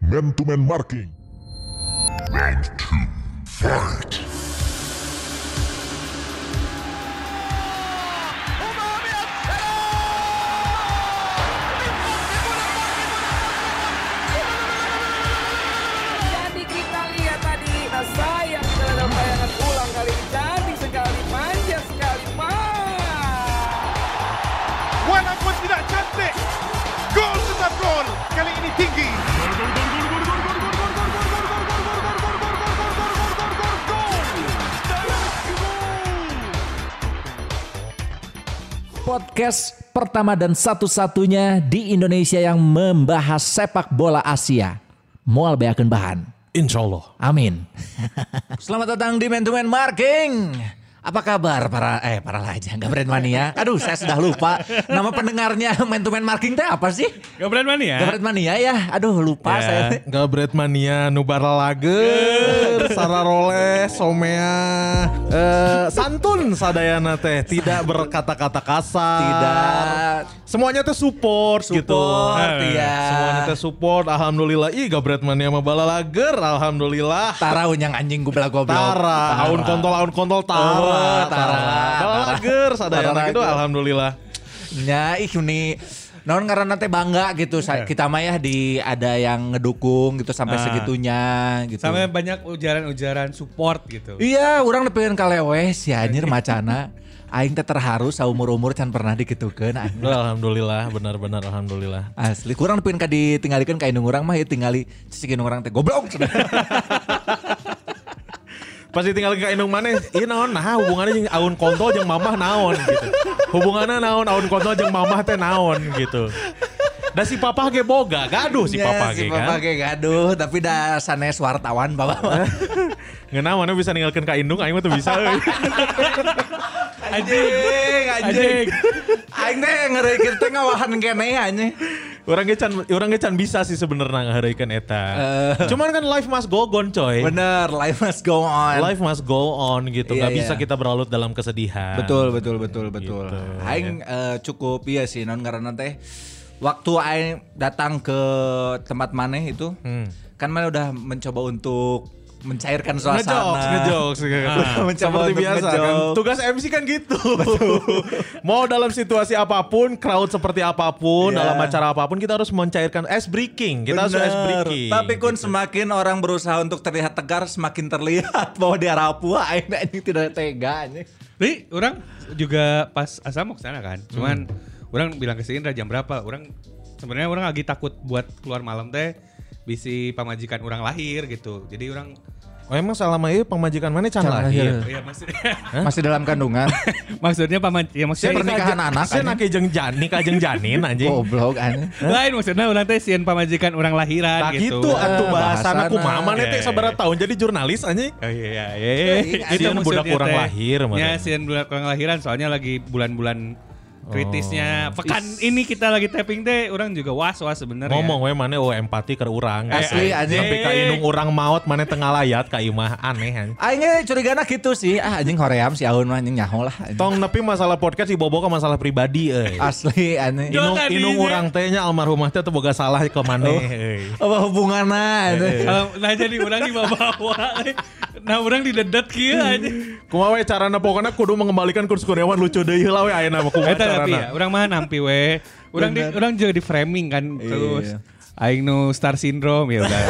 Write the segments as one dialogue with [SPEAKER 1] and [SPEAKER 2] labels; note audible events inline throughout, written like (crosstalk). [SPEAKER 1] Man to man marking.
[SPEAKER 2] Round two. Fight.
[SPEAKER 3] Jadi kita lihat tadi nah, sayang sekali dalam bayangan ulang kali ini cantik sekali, manja sekali, mah.
[SPEAKER 4] Walaupun tidak cantik, gol tetap gol. Kali ini tinggi.
[SPEAKER 5] podcast pertama dan satu-satunya di Indonesia yang membahas sepak bola Asia. Mual beakeun bahan.
[SPEAKER 6] Insya Allah.
[SPEAKER 5] Amin. (laughs) Selamat datang di Man to Man Marking. Apa kabar para eh para aja nggak brand mania? Aduh saya sudah lupa nama pendengarnya Man to Man Marking teh apa sih?
[SPEAKER 6] Gak berani mania.
[SPEAKER 5] Nggak brand mania ya? Aduh lupa saya.
[SPEAKER 7] (laughs)
[SPEAKER 5] teh.
[SPEAKER 7] Gabret Mania, Nubara
[SPEAKER 5] (laughs)
[SPEAKER 7] Lager, Sararole, Somea, eh, Santun Sadayana teh, tidak berkata-kata kasar.
[SPEAKER 5] Tidak.
[SPEAKER 7] Semuanya teh support, gitu.
[SPEAKER 5] Support,
[SPEAKER 7] Eh,
[SPEAKER 5] iya.
[SPEAKER 7] Semuanya teh support, Alhamdulillah. Ih Gabret Mania sama Bala Lager, Alhamdulillah.
[SPEAKER 5] Tarau yang anjing gubla goblok.
[SPEAKER 7] Tara, aun kontol, aun kontol,
[SPEAKER 5] Oh,
[SPEAKER 7] Tara,
[SPEAKER 5] Tara,
[SPEAKER 7] Bala
[SPEAKER 5] Tara.
[SPEAKER 7] Lager,
[SPEAKER 5] Tara
[SPEAKER 7] Sadayana gitu,
[SPEAKER 5] Lager.
[SPEAKER 7] Alhamdulillah.
[SPEAKER 5] Ya ih ini non karena teh bangga gitu Sa-
[SPEAKER 7] Iya.
[SPEAKER 5] kita mah ya di ada yang ngedukung gitu sampai
[SPEAKER 6] Ah.
[SPEAKER 5] segitunya gitu.
[SPEAKER 6] Sampai banyak ujaran-ujaran support gitu.
[SPEAKER 5] Iya, orang pengen kalewe si anjir macana. Aing teh terharu saumur-umur can pernah dikitukeun anjing.
[SPEAKER 7] Alhamdulillah, benar-benar Alhamdulillah.
[SPEAKER 5] Asli, kurang pengen ka ditinggalikeun ka indung urang mah ya tingali cicikin urang teh goblok.
[SPEAKER 7] pasti tinggal ke Indung mana iya naon nah hubungannya jeung aun kontol jeung mamah naon gitu hubungannya naon aun kontol jeung mamah teh naon gitu dan si papa ge boga gaduh (laughs) si
[SPEAKER 5] Iya, Ya,
[SPEAKER 7] papa
[SPEAKER 5] si
[SPEAKER 7] ge
[SPEAKER 5] papa
[SPEAKER 7] (laughs) kan
[SPEAKER 5] ge gaduh, tapi da sanes wartawan
[SPEAKER 7] (laughs)
[SPEAKER 5] bawa.
[SPEAKER 7] ngeuna mana anu bisa ninggalkeun ka Indung aing mah teu bisa euy
[SPEAKER 5] Anjing, anjing. Aing teh ngereukit teh ngawahan keneh anjing.
[SPEAKER 7] urang ge can urang ge can bisa sih sebenarnya ngahareukeun eta
[SPEAKER 5] Eh.
[SPEAKER 7] cuman kan life must go on coy
[SPEAKER 5] Bener, life must go on.
[SPEAKER 7] life must go on gitu
[SPEAKER 5] Iya,
[SPEAKER 7] nggak
[SPEAKER 5] iya.
[SPEAKER 7] bisa kita berlarut dalam kesedihan
[SPEAKER 5] Betul, betul, betul, betul.
[SPEAKER 7] Kan, Gitu,
[SPEAKER 5] Aing eh, cukup iya sih non karena teh waktu aing datang ke tempat maneh itu
[SPEAKER 7] Hmm.
[SPEAKER 5] kan maneh udah mencoba untuk mencairkan suasana.
[SPEAKER 7] Ngejokes, ngejokes.
[SPEAKER 5] Ah. Mencoba
[SPEAKER 7] Seperti
[SPEAKER 5] untuk
[SPEAKER 7] biasa kan.
[SPEAKER 5] ngejokes.
[SPEAKER 7] Tugas MC kan gitu. Mau dalam situasi apapun, crowd seperti apapun,
[SPEAKER 5] Iya.
[SPEAKER 7] dalam acara apapun kita harus mencairkan ice breaking. Kita harus ice
[SPEAKER 5] Bener.
[SPEAKER 7] breaking. gitu.
[SPEAKER 5] Tapi kun semakin orang berusaha untuk terlihat tegar, semakin terlihat (laughs) bahwa dia rapuh. Aing anjing tidak tega anjing.
[SPEAKER 6] Tapi orang juga pas asal mau kesana kan. Cuman orang bilang ke si Indra jam berapa. Orang sebenarnya orang lagi takut buat keluar malam teh. Bisi pamajikan orang lahir gitu. Jadi orang
[SPEAKER 7] Oh emang selama ini pemajikan mana can
[SPEAKER 5] Can lahir.
[SPEAKER 7] lahir?
[SPEAKER 6] ya maksud,
[SPEAKER 5] Masih dalam kandungan.
[SPEAKER 6] (laughs) maksudnya paman ya maksudnya
[SPEAKER 5] Pernikahan anak,
[SPEAKER 7] (laughs) Saya
[SPEAKER 5] anjing.
[SPEAKER 7] nake jeng jani ka jeung janin anjing.
[SPEAKER 5] Goblok anjing.
[SPEAKER 6] lain maksudnya orang teh sieun pamajikan orang
[SPEAKER 7] Nah
[SPEAKER 6] lahiran gitu.
[SPEAKER 7] gitu atuh
[SPEAKER 5] Ah, bahasana.
[SPEAKER 7] bahasana kumaha mana teh
[SPEAKER 6] Iya,
[SPEAKER 7] sabaraha tahun jadi jurnalis anjing.
[SPEAKER 6] Oh iya iya
[SPEAKER 5] iya.
[SPEAKER 6] iya.
[SPEAKER 7] Sieun budak orang lahir,
[SPEAKER 6] mah.
[SPEAKER 7] Maren.
[SPEAKER 6] Ya, sieun budak orang lahiran soalnya lagi bulan-bulan kritisnya. Pekan ini kita lagi tapping teh orang juga was-was sebenarnya.
[SPEAKER 7] Ngomong we mana oh empati ke urang.
[SPEAKER 5] iya. Asli,
[SPEAKER 7] Eh,
[SPEAKER 5] anjing.
[SPEAKER 7] Tapi ka indung urang maot mana tengah layat ka imah aneh anjing.
[SPEAKER 5] Aingnya curigana gitu sih. Ah anjing hoream si Aun mah anjing nyaho lah. anjing.
[SPEAKER 7] Tong nepi masalah podcast dibobo ke masalah pribadi euy.
[SPEAKER 5] Asli anjing.
[SPEAKER 7] Inung,
[SPEAKER 6] Jangan
[SPEAKER 7] inung
[SPEAKER 6] ini.
[SPEAKER 7] urang tehnya almarhumah teh teu boga salah ke eh. maneh euy.
[SPEAKER 5] apa hubungannya
[SPEAKER 7] Iya,
[SPEAKER 5] itu
[SPEAKER 6] Kalau- nah jadi orang di bawah Nah orang didedet kieu aja.
[SPEAKER 7] Kumaha we carana pokoknya kudu mengembalikan kursus kurniawan lucu deui lah we ayeuna mah kumaha
[SPEAKER 6] Eta tapi
[SPEAKER 7] carana.
[SPEAKER 6] ya, orang mah nampi we. Orang di orang juga di framing kan terus. Aing nu star syndrome ya (laughs) udah.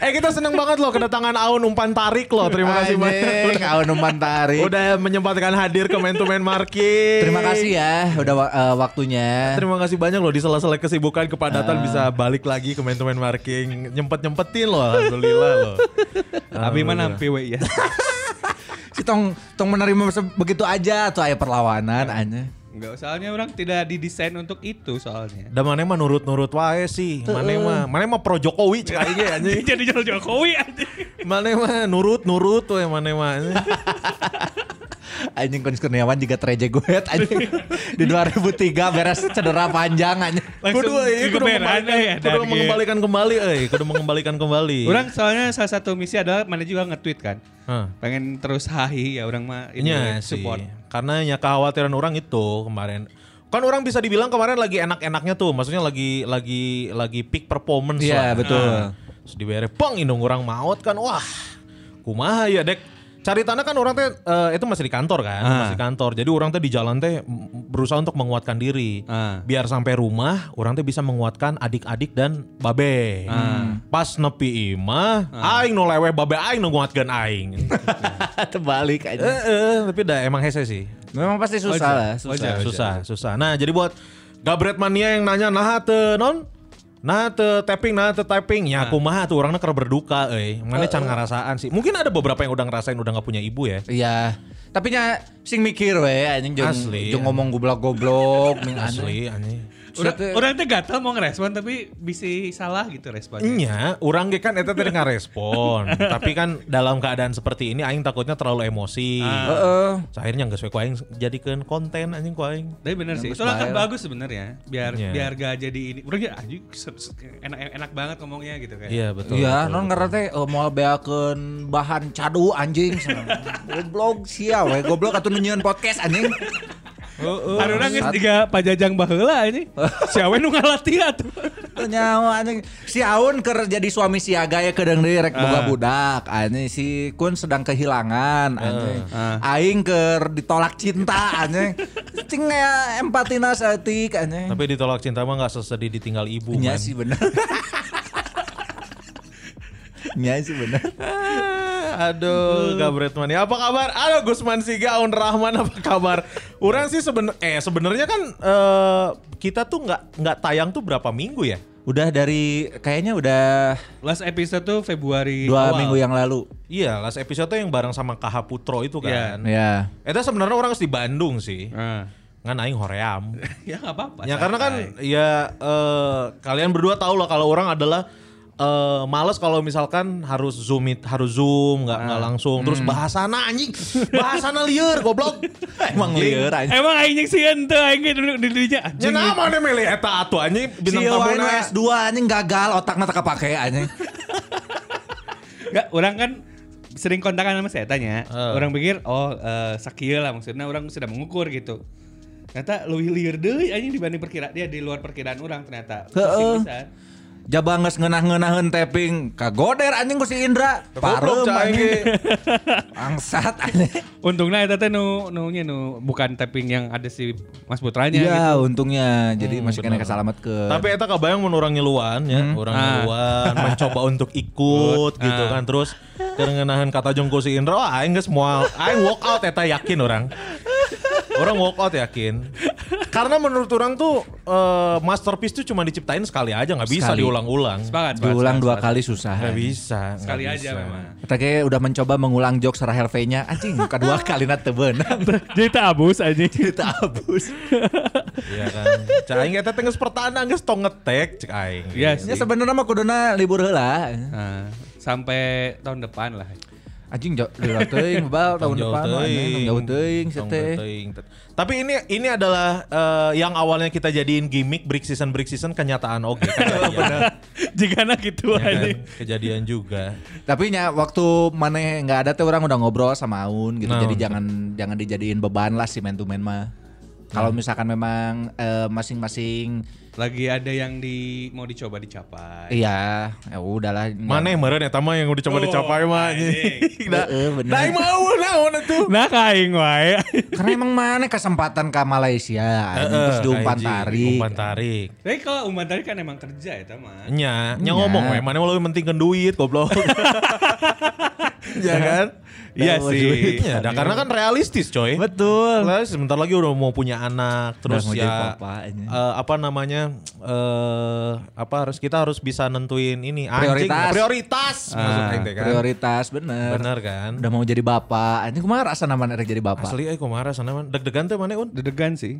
[SPEAKER 7] Eh kita seneng banget loh kedatangan Aun umpan tarik loh. Terima kasih banyak.
[SPEAKER 5] (laughs) Anjing, Aun Numantari.
[SPEAKER 7] Udah menyempatkan hadir ke Man to Man Marking.
[SPEAKER 5] Terima kasih ya udah wa- eh, waktunya.
[SPEAKER 7] Terima kasih banyak loh di sela-sela kesibukan kepadatan bisa balik lagi ke Man to Man Marking. Nyempet-nyempetin loh alhamdulillah loh.
[SPEAKER 6] Abi mah nampi we (laughs) ya.
[SPEAKER 5] Si tong tong menerima se- begitu aja tuh aya perlawanan anjing.
[SPEAKER 6] Enggak, soalnya orang tidak didesain untuk itu soalnya.
[SPEAKER 7] Dan mana mah nurut-nurut wae sih. Mana mah mana mah pro Jokowi cek
[SPEAKER 6] (laughs)
[SPEAKER 7] aja anjing.
[SPEAKER 6] (laughs) Jadi jual Jokowi aja.
[SPEAKER 7] Mana mah nurut-nurut tuh mana mah.
[SPEAKER 5] Anjing Kun Kurniawan juga treje goet
[SPEAKER 7] (laughs)
[SPEAKER 5] anjing. Di 2003 beres cedera panjang anjing.
[SPEAKER 6] Langsung ya,
[SPEAKER 7] kudu euy, kudu
[SPEAKER 6] digeberan euy,
[SPEAKER 7] mengembalikan, kudu
[SPEAKER 6] dan ge.
[SPEAKER 7] mengembalikan kembali euy, kudu mengembalikan kembali.
[SPEAKER 6] gitu Iya. Orang soalnya salah satu misi adalah mana juga nge-tweet kan.
[SPEAKER 7] Hah.
[SPEAKER 6] Pengen terus hahi ya orang mah ini
[SPEAKER 7] Nya sih.
[SPEAKER 6] support.
[SPEAKER 7] Karena ya kekhawatiran orang itu kemarin Kan orang bisa dibilang kemarin lagi enak-enaknya tuh, maksudnya lagi lagi lagi peak performance
[SPEAKER 5] Iya,
[SPEAKER 7] lah. Nah,
[SPEAKER 5] betul.
[SPEAKER 7] Terus dibere pang indung orang maut kan, wah kumaha ya dek. Cari tanah kan orang teh eh, itu masih di kantor kan,
[SPEAKER 6] Ah.
[SPEAKER 7] masih di kantor. Jadi orang teh di jalan teh mm, berusaha untuk menguatkan diri.
[SPEAKER 6] Ah.
[SPEAKER 7] Biar sampai rumah orang teh bisa menguatkan adik-adik dan babe. Pas nepi imah, aing nu leweh babe aing nu nguatkeun aing.
[SPEAKER 5] Terbalik
[SPEAKER 7] Eh,
[SPEAKER 5] aja.
[SPEAKER 7] eh, tapi udah emang hese sih.
[SPEAKER 5] Memang pasti susah
[SPEAKER 6] Wajar,
[SPEAKER 5] lah, susah.
[SPEAKER 6] wajar.
[SPEAKER 7] Oh, Susah, susah, susah. Nah, jadi buat Gabret Mania yang nanya, nah te non? Nah te tapping, nah te tapping. Ya kumaha tuh orangnya ker berduka euy. Mana can ngarasaan sih. Mungkin ada beberapa yang udah ngerasain udah nggak punya ibu ya.
[SPEAKER 5] Iya. Tapi nya sing mikir we anjing jeung
[SPEAKER 7] Asli. ya.
[SPEAKER 5] jeung ngomong
[SPEAKER 7] (laughs)
[SPEAKER 5] goblok-goblok ning aneh.
[SPEAKER 7] Asli anjing.
[SPEAKER 6] Orang,
[SPEAKER 5] Siap, eh.
[SPEAKER 6] orang teh gatel mau ngerespon tapi bisa salah gitu responnya.
[SPEAKER 7] Nya, orang ge kan eta tadi ngarespon. (laughs) Tapi kan dalam keadaan seperti ini aing takutnya terlalu emosi.
[SPEAKER 5] Heeh.
[SPEAKER 7] Akhirnya nggak sesuai ku aing jadikan konten anjing ku aing.
[SPEAKER 6] Tapi bener sih,
[SPEAKER 5] Bagus
[SPEAKER 6] soalnya kan
[SPEAKER 5] bae lah.
[SPEAKER 6] bagus sebenarnya. Biar
[SPEAKER 7] Iya.
[SPEAKER 6] biar gak jadi ini. Orang ya anjing se- se- enak enak banget ngomongnya gitu kan.
[SPEAKER 7] Iya betul.
[SPEAKER 5] Iya, non
[SPEAKER 7] betul, betul.
[SPEAKER 5] ngerti teh mau beakeun bahan cadu anjing. goblok sia we, goblok atuh nu nyieun podcast anjing.
[SPEAKER 6] Oh, Harusnya geus tiga pajajang baheula (laughs) ini. Siawe nu ngalatih atuh.
[SPEAKER 5] Teu Nyawa anjing. Si Aun keur jadi suami siaga ya kedeung deui rek boga budak anjing. Si Kun sedang kehilangan anjing.
[SPEAKER 6] Ah.
[SPEAKER 5] Aing keur ditolak cinta anjing. Cing ya empatina saeutik anjing.
[SPEAKER 7] Tapi ditolak cinta mah nggak sesedih ditinggal ibu.
[SPEAKER 5] Iya
[SPEAKER 7] man.
[SPEAKER 5] sih bener. Iya sih bener.
[SPEAKER 7] Ah, Aduh, Gabret Mania. Apa kabar? Halo Gusman Siga, Aun Rahman apa kabar? Orang sih seben eh sebenarnya kan eh, kita tuh nggak nggak tayang tuh berapa minggu ya?
[SPEAKER 5] Udah dari kayaknya udah
[SPEAKER 6] Last episode tuh Februari
[SPEAKER 5] dua
[SPEAKER 6] awal.
[SPEAKER 5] minggu yang lalu.
[SPEAKER 7] Iya, last episode tuh yang bareng sama KH Putro itu kan.
[SPEAKER 5] Ya.
[SPEAKER 7] Eta sebenarnya orang harus di Bandung sih.
[SPEAKER 6] Ah.
[SPEAKER 7] Ngan aing hoream.
[SPEAKER 6] Ya nggak apa-apa.
[SPEAKER 7] Ya karena kan
[SPEAKER 6] santai.
[SPEAKER 7] ya eh, kalian berdua tahu lah kalau orang adalah eh, males kalau misalkan harus zoom it, harus zoom nggak
[SPEAKER 5] Ah.
[SPEAKER 7] nggak langsung
[SPEAKER 5] Hmm.
[SPEAKER 7] terus bahasana anjing bahasana liar goblok
[SPEAKER 5] (laughs) Emang
[SPEAKER 7] Eh,
[SPEAKER 5] liar anjing.
[SPEAKER 6] Emang aing sih ente aing ge duduk di
[SPEAKER 7] Ya
[SPEAKER 6] dirinya anjing.
[SPEAKER 7] nama nih milih eta atuh anjing bintang
[SPEAKER 5] si Wain
[SPEAKER 7] tamu
[SPEAKER 5] S2 anjing gagal otaknya tak kepake anjing.
[SPEAKER 6] Nggak, orang kan sering kontakan sama saya
[SPEAKER 7] Eh.
[SPEAKER 6] tanya. Orang pikir oh eh, sakieu lah maksudnya orang sudah mengukur gitu. Ternyata lebih liar deui anjing dibanding perkiraan dia di luar perkiraan orang ternyata.
[SPEAKER 5] Heeh.
[SPEAKER 6] Pusing pisan.
[SPEAKER 5] Jaba nges ngeunah-ngeunaheun tapping kagoder anjing ku si Indra. Parum
[SPEAKER 7] (laughs)
[SPEAKER 5] anjing. Bangsat anjing.
[SPEAKER 6] Untungnya eta teh nu nu nya nu bukan tapping yang ada si Mas
[SPEAKER 7] Ya,
[SPEAKER 5] (laughs)
[SPEAKER 6] Putranya
[SPEAKER 5] Iya,
[SPEAKER 6] gitu.
[SPEAKER 5] untungnya jadi masih kena kesalamat ke.
[SPEAKER 7] Hmm, Tapi eta kabayang mun orang ngiluan ya, orang
[SPEAKER 6] Ah.
[SPEAKER 7] ngiluan mencoba untuk ikut
[SPEAKER 6] Ikut,
[SPEAKER 7] gitu
[SPEAKER 6] ah.
[SPEAKER 7] kan terus kengenahan kata jongko si Indra, wah aing geus moal, aing walk out eta yakin orang. Orang walk out yakin. Karena menurut orang tuh eh, masterpiece tuh cuma diciptain sekali aja nggak bisa
[SPEAKER 5] Sekali.
[SPEAKER 7] diulang-ulang.
[SPEAKER 6] Sepakat, sepakat,
[SPEAKER 5] diulang
[SPEAKER 6] sepakat,
[SPEAKER 5] dua
[SPEAKER 6] sepakat.
[SPEAKER 5] kali susah.
[SPEAKER 7] Nggak
[SPEAKER 5] anjing.
[SPEAKER 7] bisa. nggak
[SPEAKER 6] Sekali aja
[SPEAKER 7] bisa.
[SPEAKER 6] memang.
[SPEAKER 5] Kita kayak udah mencoba mengulang jokes Rahel V-nya. Anjing, kedua (laughs) kali na teu
[SPEAKER 7] (laughs)
[SPEAKER 5] beunang.
[SPEAKER 6] Jadi tak abus anjing.
[SPEAKER 5] Kita abus.
[SPEAKER 7] Iya kan. Cak aing eta teh geus pertanda geus tong ngetek cek aing.
[SPEAKER 5] Ya
[SPEAKER 6] Iya sih.
[SPEAKER 5] sebenarnya mah kuduna libur heula.
[SPEAKER 6] Nah, sampai tahun depan lah.
[SPEAKER 5] Anjing jauh lila teuing bal tahun
[SPEAKER 7] Tong jauh
[SPEAKER 5] depan mah, anjing tong
[SPEAKER 7] teuing.
[SPEAKER 5] jauh teuing
[SPEAKER 7] Tong
[SPEAKER 5] seteh.
[SPEAKER 7] jauh teuing. Tapi ini ini adalah eh, yang awalnya kita jadiin gimmick break season break season kenyataan
[SPEAKER 5] (laughs)
[SPEAKER 7] oke. Kejadian,
[SPEAKER 6] Jika nak gitu
[SPEAKER 7] Ya kan? kejadian juga.
[SPEAKER 5] Tapi nya waktu mana nggak ada teh orang udah ngobrol sama Aun gitu.
[SPEAKER 7] Nah,
[SPEAKER 5] Jadi
[SPEAKER 7] betul. Nah.
[SPEAKER 5] jangan jangan dijadiin beban lah si man to man mah. Kalau misalkan memang eh, masing-masing
[SPEAKER 6] Lagi ada yang di mau dicoba dicapai.
[SPEAKER 5] iya ya udahlah.
[SPEAKER 7] Mana yang meren eta mah yang udah coba
[SPEAKER 6] Oh,
[SPEAKER 7] dicapai mah
[SPEAKER 6] anjing.
[SPEAKER 7] Nah,
[SPEAKER 5] Heeh, bener.
[SPEAKER 7] nah, mau naon itu.
[SPEAKER 6] Nah kaing wae.
[SPEAKER 5] Karena emang mana kesempatan ke
[SPEAKER 7] Eh,
[SPEAKER 5] Malaysia anjing, terus diumpan tarik.
[SPEAKER 7] Umpan tarik.
[SPEAKER 6] Tapi kalau umpan tadi kan emang kerja ya teman.
[SPEAKER 7] Nya, nya ngomong we, mana mau lebih pentingkeun duit goblok.
[SPEAKER 5] (laughs)
[SPEAKER 7] ya kan?
[SPEAKER 6] Iya
[SPEAKER 5] Tahu
[SPEAKER 6] sih.
[SPEAKER 7] Iya, nah, karena kan realistis coy.
[SPEAKER 5] Betul.
[SPEAKER 7] Lah sebentar lagi udah mau punya anak terus
[SPEAKER 5] mau jadi
[SPEAKER 7] ya
[SPEAKER 5] papa ini.
[SPEAKER 7] eh, apa namanya eh apa harus kita harus bisa nentuin ini
[SPEAKER 5] Prioritas.
[SPEAKER 7] prioritas maksud aing teh kan.
[SPEAKER 5] Ah, Prioritas bener.
[SPEAKER 7] Bener kan?
[SPEAKER 5] Udah mau jadi bapak. Anjing kumaha rasa namanya rek jadi bapak.
[SPEAKER 7] Asli eh kumaha sana man deg-degan teh mana un?
[SPEAKER 6] Dedegan sih.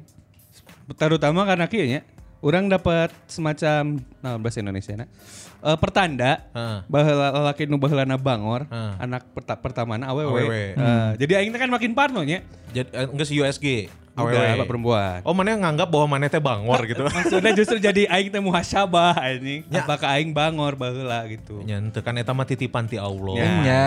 [SPEAKER 6] Terutama karena kayaknya orang dapat semacam nah bahasa Indonesia nah. Eh, pertanda
[SPEAKER 7] Heeh.
[SPEAKER 6] bahwa lelaki nu baheulana bangor
[SPEAKER 7] Heeh.
[SPEAKER 6] anak perta- pertamana awewe.
[SPEAKER 7] Awewe.
[SPEAKER 6] Eh, jadi aing teh kan makin parno nya.
[SPEAKER 7] Jadi eh, enggak si USG.
[SPEAKER 6] Udah, bapak perempuan.
[SPEAKER 7] (laughs) Oh mana yang nganggap bahwa mana teh bangor gitu. (laughs)
[SPEAKER 6] Maksudnya justru jadi aing teh muhasabah anjing. Apakah aing bangor baheula gitu.
[SPEAKER 7] Ya ente kan eta mah titipan ti Allah.
[SPEAKER 6] Ya.
[SPEAKER 5] Ya.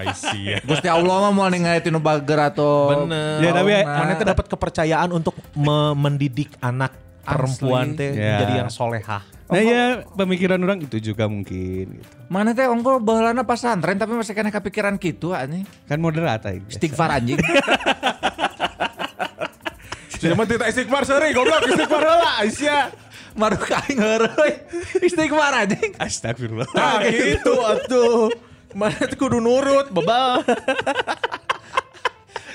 [SPEAKER 7] I see. ya.
[SPEAKER 5] Gusti Allah mah mau ningali tinu bager atau Nah.
[SPEAKER 7] Bener.
[SPEAKER 6] Ya, tapi
[SPEAKER 5] Tauna.
[SPEAKER 7] mana teh Eh, dapat kepercayaan untuk me- mendidik anak perempuan teh
[SPEAKER 6] Ya.
[SPEAKER 7] jadi yang solehah.
[SPEAKER 6] Nah ya pemikiran orang itu juga mungkin gitu.
[SPEAKER 5] Mana teh ongko baheulana pasantren tapi masih kena kepikiran gitu anjing.
[SPEAKER 6] Kan moderat aing. biasa.
[SPEAKER 5] Istighfar
[SPEAKER 7] (laughs)
[SPEAKER 5] anjing.
[SPEAKER 7] Cuma tidak istighfar sering goblok istighfar lah Aisyah.
[SPEAKER 5] Maruk aing heureuy. Istighfar anjing.
[SPEAKER 6] Astagfirullah.
[SPEAKER 7] Nah gitu atuh. Mana tuh kudu nurut bebal.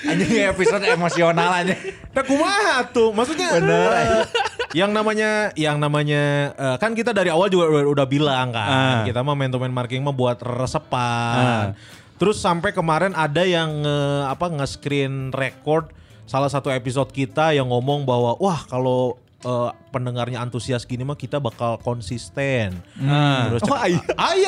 [SPEAKER 5] Anjing episode emosional anjing.
[SPEAKER 7] Nah kumaha tuh maksudnya eh, yang namanya yang namanya eh, kan kita dari awal juga udah, udah bilang kan
[SPEAKER 6] Ah.
[SPEAKER 7] kita mah man to man marking mah buat resepan. Terus sampai kemarin ada yang nge- apa nge-screen record salah satu episode kita yang ngomong bahwa wah kalau eh, pendengarnya antusias gini mah kita bakal konsisten. Terus oh, aya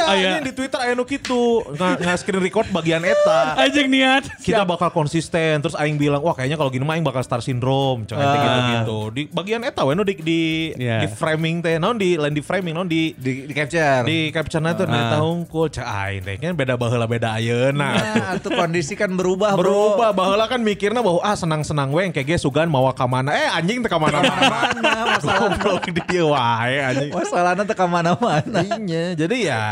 [SPEAKER 6] Aya.
[SPEAKER 7] ini di Twitter aya nu kitu Nga- nge-screen record bagian eta
[SPEAKER 6] (laughs)
[SPEAKER 7] (laughs)
[SPEAKER 6] Anjing niat.
[SPEAKER 7] kita bakal konsisten terus aing bilang wah kayaknya kalau gini mah aing bakal star syndrome coy
[SPEAKER 6] Ah.
[SPEAKER 7] gitu gitu di bagian eta we nu di di,
[SPEAKER 6] Iya.
[SPEAKER 7] di framing teh non di lain di framing non di di,
[SPEAKER 5] Di, di capture.
[SPEAKER 7] capture na teh
[SPEAKER 6] Ah.
[SPEAKER 7] ternyata hungkul cah aing teh kan beda baheula beda ayeuna
[SPEAKER 5] Nah, itu kondisi kan berubah, bro.
[SPEAKER 7] (laughs) berubah baheula kan mikirnya bahwa ah senang-senang we engke ge sugan mawa ka mana eh anjing teh ka mana-mana
[SPEAKER 5] Mana masalah
[SPEAKER 7] goblok di dieu wae anjing
[SPEAKER 5] masalahnya teh ka mana-mana.
[SPEAKER 7] Iya, jadi ya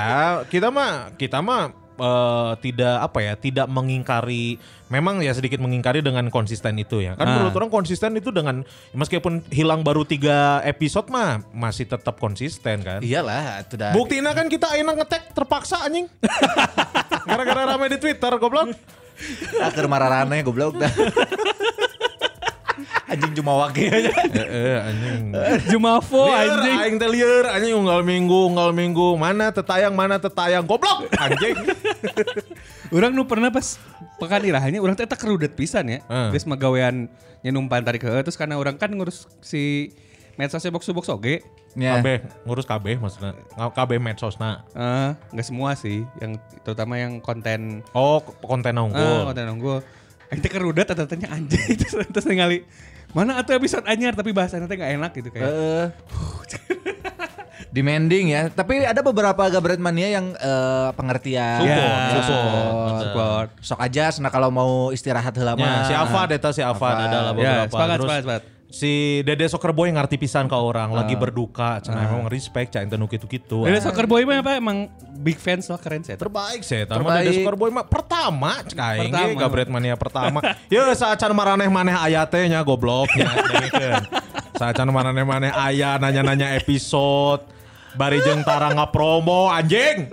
[SPEAKER 7] kita mah kita mah eh, tidak apa ya, tidak mengingkari. Memang ya sedikit mengingkari dengan konsisten itu ya. Kan
[SPEAKER 6] Ah.
[SPEAKER 7] menurut orang konsisten itu dengan meskipun hilang baru tiga episode mah masih tetap konsisten kan.
[SPEAKER 5] Iyalah, itu dah.
[SPEAKER 7] Buktinya kan kita enak ngetek terpaksa (laughs) anjing. Gara-gara rame di Twitter goblok.
[SPEAKER 5] Akhir mararane goblok
[SPEAKER 7] (laughs)
[SPEAKER 5] dah. Anjing cuma wakil aja.
[SPEAKER 7] Eh, eh, anjing.
[SPEAKER 6] Jumafo
[SPEAKER 7] Liar,
[SPEAKER 6] anjing.
[SPEAKER 7] aing teh liar, anjing unggal minggu, unggal minggu, mana tetayang, mana tetayang, goblok, (laughs) anjing.
[SPEAKER 6] Orang nu pernah pas pekan irahannya orang teh tak kerudet pisan ya.
[SPEAKER 7] Heeh.
[SPEAKER 6] Terus magawean numpan tarik heeh terus karena orang kan ngurus si medsosnya box to box oge.
[SPEAKER 5] Ya.
[SPEAKER 7] Kabeh, ngurus kabeh maksudnya. Nga- Kabeh medsosna.
[SPEAKER 6] Eh, nggak semua sih, yang terutama yang konten
[SPEAKER 7] Oh, k- konten
[SPEAKER 6] Ah,
[SPEAKER 7] unggul.
[SPEAKER 6] konten unggul. Aing teh kerudet eta tanya anjing (laughs) terus terus ningali mana atuh episode anyar tapi bahasanya teh nggak enak gitu kayak.
[SPEAKER 5] Heeh. (laughs) demanding ya, tapi ada beberapa gabret mania yang eh, pengertian.
[SPEAKER 7] Support,
[SPEAKER 5] Ya,
[SPEAKER 7] support.
[SPEAKER 6] Support.
[SPEAKER 5] Sok aja, nah kalau mau istirahat heula
[SPEAKER 7] Ya,
[SPEAKER 5] mah.
[SPEAKER 7] si Afad eta si Afad
[SPEAKER 5] Afad.
[SPEAKER 7] adalah
[SPEAKER 6] Ya,
[SPEAKER 7] beberapa.
[SPEAKER 6] sepakat,
[SPEAKER 7] Terus
[SPEAKER 6] sepakat, sepakat.
[SPEAKER 7] Si Dede Soccer Boy ngarti pisan ke orang, lagi berduka, cenah emang respect, cah ente nu kitu-kitu.
[SPEAKER 6] Ah.
[SPEAKER 7] Ah.
[SPEAKER 6] Dede soccer boy mah apa emang big fans lah keren sih.
[SPEAKER 7] terbaik sih eta mah
[SPEAKER 5] Terbaik.
[SPEAKER 7] Dede Soccer Boy mah pertama cah aing ge
[SPEAKER 6] Pertama.
[SPEAKER 7] gabret mania pertama. Ye saacan maraneh-maneh aya teh nya goblok
[SPEAKER 6] (laughs)
[SPEAKER 7] nya dengekeun. Saacan kan. maraneh-maneh aya nanya-nanya episode Bari jeung tarang promo anjing.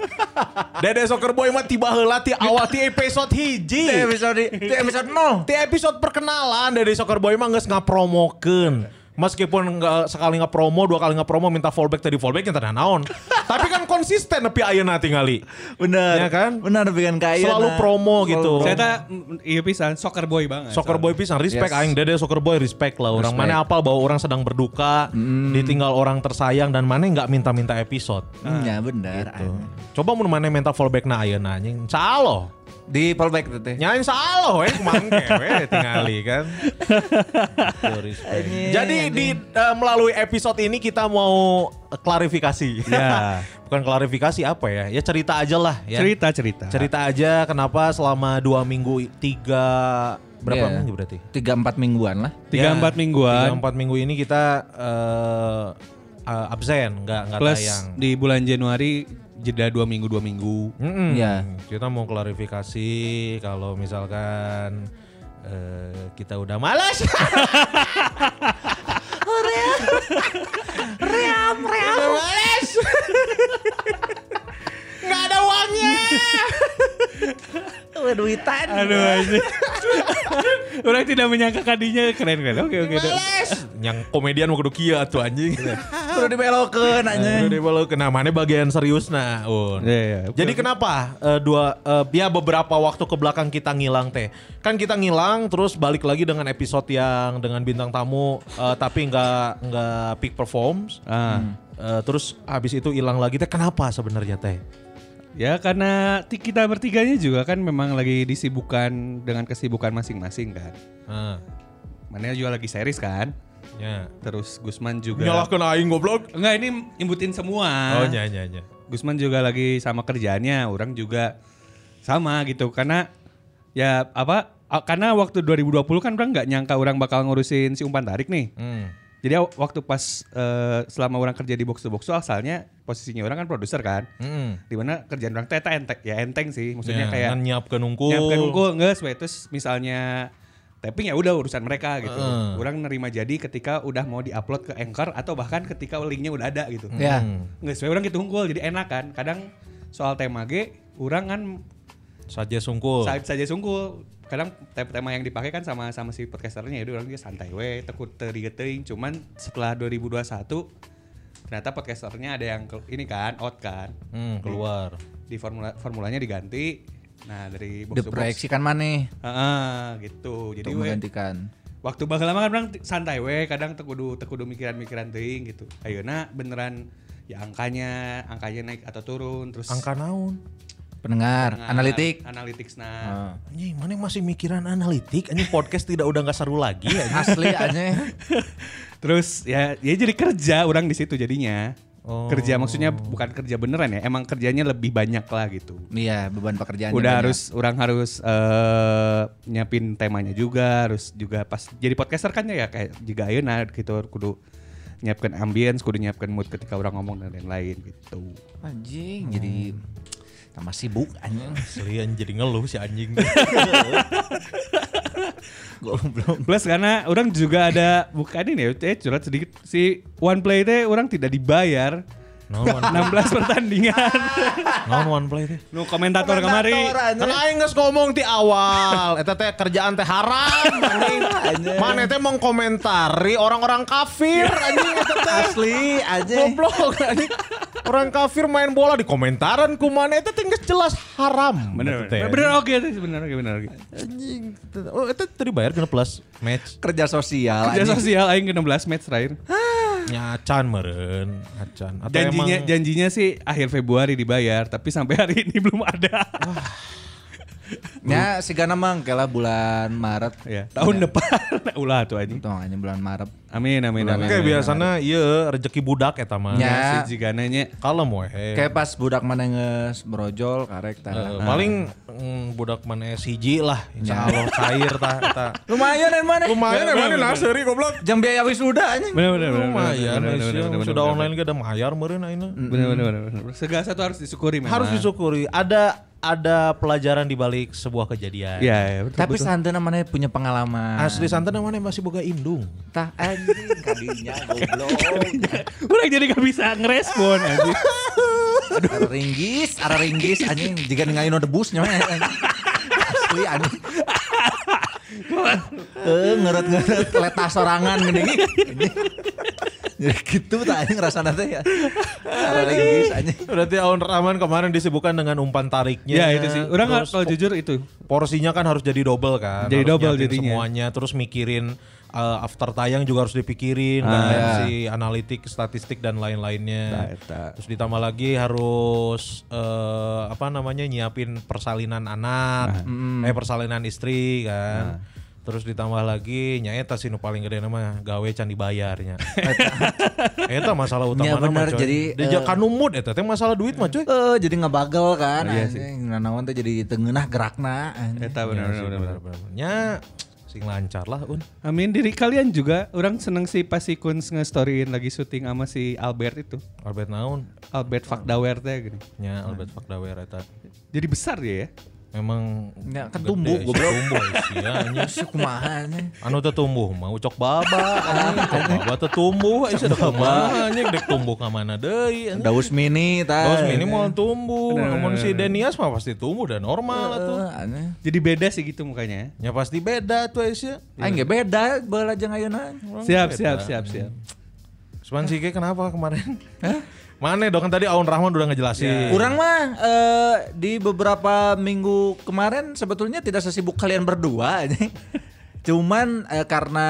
[SPEAKER 7] Dede Soccer Boy mah tiba heula ti awal ti episode hiji.
[SPEAKER 5] Itu episode itu episode 0.
[SPEAKER 7] Di episode perkenalan dari Soccer Boy mah nggak ngapromokeun. Meskipun nggak sekali ngepromo, dua kali ngepromo minta fallback tadi fallback yang tanda naon.
[SPEAKER 5] (laughs)
[SPEAKER 7] Tapi kan konsisten tapi ayeuna tingali.
[SPEAKER 5] Bener.
[SPEAKER 7] Iya kan?
[SPEAKER 5] Bener dengan kaya.
[SPEAKER 7] Selalu promo gitu.
[SPEAKER 6] Saya teh mm, iya pisan soccer boy banget.
[SPEAKER 7] Soccer Boy pisan respect
[SPEAKER 5] Yes.
[SPEAKER 7] aing Dede Soccer Boy respect lah orang
[SPEAKER 5] Respect.
[SPEAKER 7] mana apal bahwa orang sedang berduka, ditinggal orang tersayang dan mana nggak minta-minta episode.
[SPEAKER 5] Iya bener. anjing.
[SPEAKER 7] Coba mun mana minta fallback na ayeuna anjing. Insyaallah.
[SPEAKER 5] Di fallback tuh teh.
[SPEAKER 7] Nyain salah weh mangke weh tingali kan. Tuh, respect. Jadi di eh, melalui episode ini kita mau klarifikasi.
[SPEAKER 6] Ya.
[SPEAKER 7] (laughs) Bukan klarifikasi apa ya? Ya cerita aja lah ya.
[SPEAKER 6] cerita cerita.
[SPEAKER 7] Cerita aja kenapa selama dua minggu tiga berapa
[SPEAKER 5] Iya.
[SPEAKER 7] minggu berarti?
[SPEAKER 5] Tiga empat mingguan lah.
[SPEAKER 7] Ya,
[SPEAKER 6] Tiga empat mingguan.
[SPEAKER 7] Tiga empat minggu ini kita eh, eh, absen nggak nggak
[SPEAKER 6] plus
[SPEAKER 7] tayang.
[SPEAKER 6] di bulan Januari jeda dua minggu dua minggu.
[SPEAKER 7] Mm-mm.
[SPEAKER 5] Iya.
[SPEAKER 7] Kita mau klarifikasi kalau misalkan eh, kita udah (laughs) malas. Oh,
[SPEAKER 5] Ream, ream.
[SPEAKER 7] Udah malas. Nggak ada uangnya.
[SPEAKER 5] Duitan.
[SPEAKER 6] Aduh anjing. (laughs) Orang tidak menyangka kadinya keren kan. Oke oke. oke.
[SPEAKER 7] Malas. (laughs) Yang komedian mau kudu kieu tuh anjing.
[SPEAKER 5] Perlu dibelokeun anjing.
[SPEAKER 7] Udah walau kena mana bagian serius nah. Un.
[SPEAKER 6] Iya, iya.
[SPEAKER 7] Jadi kenapa eh, dua eh, ya beberapa waktu ke belakang kita ngilang teh. Kan kita ngilang terus balik lagi dengan episode yang dengan bintang tamu eh, tapi nggak nggak peak performs.
[SPEAKER 6] Ah.
[SPEAKER 7] Eh, terus habis itu hilang lagi teh kenapa sebenarnya teh?
[SPEAKER 6] Ya karena ti- kita bertiganya juga kan memang lagi disibukan dengan kesibukan masing-masing kan. Mana juga lagi series kan.
[SPEAKER 7] Nah, Ya.
[SPEAKER 6] Terus Gusman juga.
[SPEAKER 7] Nyalahkan aing goblok.
[SPEAKER 6] Enggak ini imbutin semua.
[SPEAKER 7] Oh, nya nya nya.
[SPEAKER 6] Gusman juga lagi sama kerjaannya, orang juga sama gitu karena ya apa a- karena waktu 2020 kan orang nggak nyangka orang bakal ngurusin si umpan tarik nih.
[SPEAKER 7] Hmm.
[SPEAKER 6] Jadi aw- waktu pas eh, selama orang kerja di box to box tuh asalnya posisinya orang kan produser kan.
[SPEAKER 7] Hmm.
[SPEAKER 6] Dimana kerjaan orang teh eta enteng ya enteng sih
[SPEAKER 7] Ya,
[SPEAKER 6] maksudnya kayak
[SPEAKER 7] kan nyiapkeun unggul.
[SPEAKER 6] nyiapkan unggul nggak sesuai terus misalnya taping ya udah urusan mereka gitu.
[SPEAKER 7] Heeh.
[SPEAKER 6] Orang nerima jadi ketika udah mau diupload ke Anchor atau bahkan ketika linknya udah ada gitu.
[SPEAKER 5] Ya.
[SPEAKER 6] Nggak sesuai orang gitu unggul jadi enak kan. Kadang soal tema G orang kan
[SPEAKER 7] Saja sungkul.
[SPEAKER 6] saat saja sungguh kadang te- tema yang dipakai kan sama sama si podcasternya jadi orang dia santai we tekut teuing cuman setelah 2021 ternyata podcasternya ada yang ke- ini kan out kan
[SPEAKER 7] Hmm, keluar.
[SPEAKER 6] di formula formulanya diganti nah dari box to box
[SPEAKER 5] Diproyeksikan mana
[SPEAKER 6] Heeh, gitu jadi
[SPEAKER 5] untuk
[SPEAKER 6] we,
[SPEAKER 5] menggantikan.
[SPEAKER 6] waktu bakal lama kan orang t- santai we kadang tekudu tekudu mikiran-mikiran teuing gitu ayeuna beneran ya angkanya angkanya naik atau turun terus
[SPEAKER 7] Angka naon?
[SPEAKER 5] Pendengar,
[SPEAKER 6] Nah,
[SPEAKER 5] analitik.
[SPEAKER 6] analytics nah
[SPEAKER 5] Ah.
[SPEAKER 7] Anjing, mana masih mikiran analitik? Anjing podcast tidak udah nggak seru lagi ya. anjing.
[SPEAKER 5] Asli aja.
[SPEAKER 6] terus ya ya jadi kerja orang di situ jadinya
[SPEAKER 7] Oh.
[SPEAKER 6] kerja maksudnya bukan kerja beneran ya emang kerjanya lebih banyak lah gitu
[SPEAKER 5] Iya, beban pekerjaan.
[SPEAKER 6] udah harus orang harus eh, nyiapin temanya juga harus juga pas jadi podcaster kan ya kayak jika ayeuna gitu kudu nyiapkan ambience kudu nyiapkan mood ketika orang ngomong dan lain-lain gitu
[SPEAKER 5] Anjing, jadi tambah sibuk anjing.
[SPEAKER 7] Asli anjing, jadi ngeluh si anjing.
[SPEAKER 5] (laughs) Goblok.
[SPEAKER 6] plus karena orang juga ada bukan ini ya eh, curhat sedikit si one play teh orang tidak dibayar
[SPEAKER 7] Naon one,
[SPEAKER 6] 16 pertandingan
[SPEAKER 7] (laughs) naon one play teh?
[SPEAKER 6] nu komentator kemari
[SPEAKER 7] Kan aing geus ngomong di awal, eta teh kerjaan teh haram anjing. Mana teh mengkomentari orang-orang kafir
[SPEAKER 6] Iya.
[SPEAKER 7] anjing eta teh.
[SPEAKER 5] Asli aja.
[SPEAKER 7] Goblok anjing. Orang kafir main bola di komentaran ku mana eta teh geus jelas haram.
[SPEAKER 6] bener
[SPEAKER 7] Eta teh.
[SPEAKER 6] bener, bener oke teh bener oke bener oke
[SPEAKER 7] Anjing. Oh, eta tadi bayar kena plus match.
[SPEAKER 5] Kerja sosial.
[SPEAKER 6] kerja
[SPEAKER 5] anjing.
[SPEAKER 6] sosial aing ke 16 match terakhir
[SPEAKER 7] Nyacan meren, acan. Atau
[SPEAKER 6] janjinya
[SPEAKER 7] emang-
[SPEAKER 6] janjinya sih akhir Februari dibayar tapi sampai hari ini (laughs) belum ada
[SPEAKER 5] Ya, si Gana mangkela bulan Maret.
[SPEAKER 7] Iya,
[SPEAKER 6] ya tahun depan ulah tuh anjing
[SPEAKER 5] Tuh anjing bulan Maret.
[SPEAKER 6] amin amin
[SPEAKER 7] Ah.
[SPEAKER 6] amin
[SPEAKER 7] Oke, biasanya iya rezeki budak eta mah.
[SPEAKER 5] Ya.
[SPEAKER 6] si jigananya
[SPEAKER 7] Kalem weh.
[SPEAKER 5] Kayak pas budak mana nges brojol karek tah.
[SPEAKER 7] Eh, paling mm, budak mana hiji lah insya Allah cair ta, ta.
[SPEAKER 5] Lumayan dan mana?
[SPEAKER 7] Ya. (laughs) lumayan emang ini naseri goblok
[SPEAKER 5] Jam biaya wisuda anjing.
[SPEAKER 6] bener bener bener
[SPEAKER 7] lumayan
[SPEAKER 6] bener, bener,
[SPEAKER 7] Aisyah.
[SPEAKER 6] bener, bener,
[SPEAKER 7] sudah
[SPEAKER 6] bener,
[SPEAKER 7] online gak ada mayar meren aina
[SPEAKER 6] bener bener bener bener. segala satu harus disyukuri memang
[SPEAKER 7] harus disyukuri ada ada pelajaran di balik sebuah kejadian
[SPEAKER 6] ya, ya betul,
[SPEAKER 5] Tapi
[SPEAKER 6] betul.
[SPEAKER 5] santai namanya punya pengalaman.
[SPEAKER 7] asli santan namanya masih boga indung
[SPEAKER 5] Tah anjing kadinya goblok.
[SPEAKER 6] (laughs) orang jadi gak bisa ngerespon anjing
[SPEAKER 5] Ara ringgis, ara ringgis anjing jika ngain debus nya anjing. Asli anjing. Eh ngeret-ngeret leta sorangan gini. Anjing. Jadi gitu tah anjing rasana teh ya. Ara ringgis anjing.
[SPEAKER 7] berarti Aun Rahman kemarin disibukkan dengan umpan tariknya
[SPEAKER 6] ya itu sih orang
[SPEAKER 7] Terus
[SPEAKER 6] kalau jujur itu
[SPEAKER 7] porsinya kan harus jadi double kan
[SPEAKER 6] Jadi
[SPEAKER 7] harus
[SPEAKER 6] double
[SPEAKER 7] nyiapin
[SPEAKER 6] jadinya.
[SPEAKER 7] semuanya terus mikirin uh, after tayang juga harus dipikirin
[SPEAKER 6] Ah,
[SPEAKER 7] dan
[SPEAKER 5] iya.
[SPEAKER 7] si analitik statistik dan
[SPEAKER 6] Nah,
[SPEAKER 7] lain-lainnya
[SPEAKER 6] eta.
[SPEAKER 7] terus ditambah lagi harus eh, apa namanya nyiapin persalinan
[SPEAKER 6] Nah.
[SPEAKER 7] anak eh persalinan istri kan terus ditambah lagi nyaeta sih nu paling gede nama gawe can
[SPEAKER 6] (laughs)
[SPEAKER 7] dibayarnya eta masalah utama
[SPEAKER 5] Ya, bener, jadi,
[SPEAKER 7] dia
[SPEAKER 5] eh,
[SPEAKER 7] kanumut eta teh masalah duit mah coy
[SPEAKER 5] Eh jadi ngebagel kan
[SPEAKER 6] Iya
[SPEAKER 5] anjing. Nanawan teh jadi tengenah gerakna anjing.
[SPEAKER 6] eta bener bener, bener, bener.
[SPEAKER 7] nya sing lancar lah un
[SPEAKER 6] Amin diri kalian juga orang seneng sih pas si Kunz nge-storyin lagi syuting sama si Albert itu
[SPEAKER 7] Albert Naun
[SPEAKER 6] Albert Fakdawer teh gini
[SPEAKER 7] nya Ya, Albert Fakdawer eta
[SPEAKER 6] jadi besar dia ya
[SPEAKER 7] memang
[SPEAKER 5] Ya, kan tumbuh,
[SPEAKER 7] gede,
[SPEAKER 5] goblok. (laughs)
[SPEAKER 7] tumbuh sia nya.
[SPEAKER 5] Si Iya, kumaha anjing.
[SPEAKER 7] anu teh tumbuh mah ucok baba anjing.
[SPEAKER 5] Ah,
[SPEAKER 7] ucok baba teh tumbuh ieu teh kumaha anjing dek tumbuh ka mana deui anjing.
[SPEAKER 5] Daus mini tah.
[SPEAKER 7] Terus
[SPEAKER 5] eh.
[SPEAKER 7] minimal tumbuh, namun si Denias mah pasti tumbuh dan normal
[SPEAKER 5] Eh,
[SPEAKER 7] tuh.
[SPEAKER 5] anjing.
[SPEAKER 6] jadi beda sih gitu mukanya
[SPEAKER 7] Ya pasti beda tuh Aisyah.
[SPEAKER 5] Aing ge beda beulah jeung ayeuna.
[SPEAKER 6] siap siap siap siap
[SPEAKER 7] Cuman si Ge kenapa kemarin? Mana dong kan tadi Aun Rahman udah
[SPEAKER 6] Iya.
[SPEAKER 7] ngejelasin.
[SPEAKER 5] Iya. Kurang mah eh, di beberapa minggu kemarin sebetulnya tidak sesibuk kalian berdua (laughs) anjing. Cuman eh, karena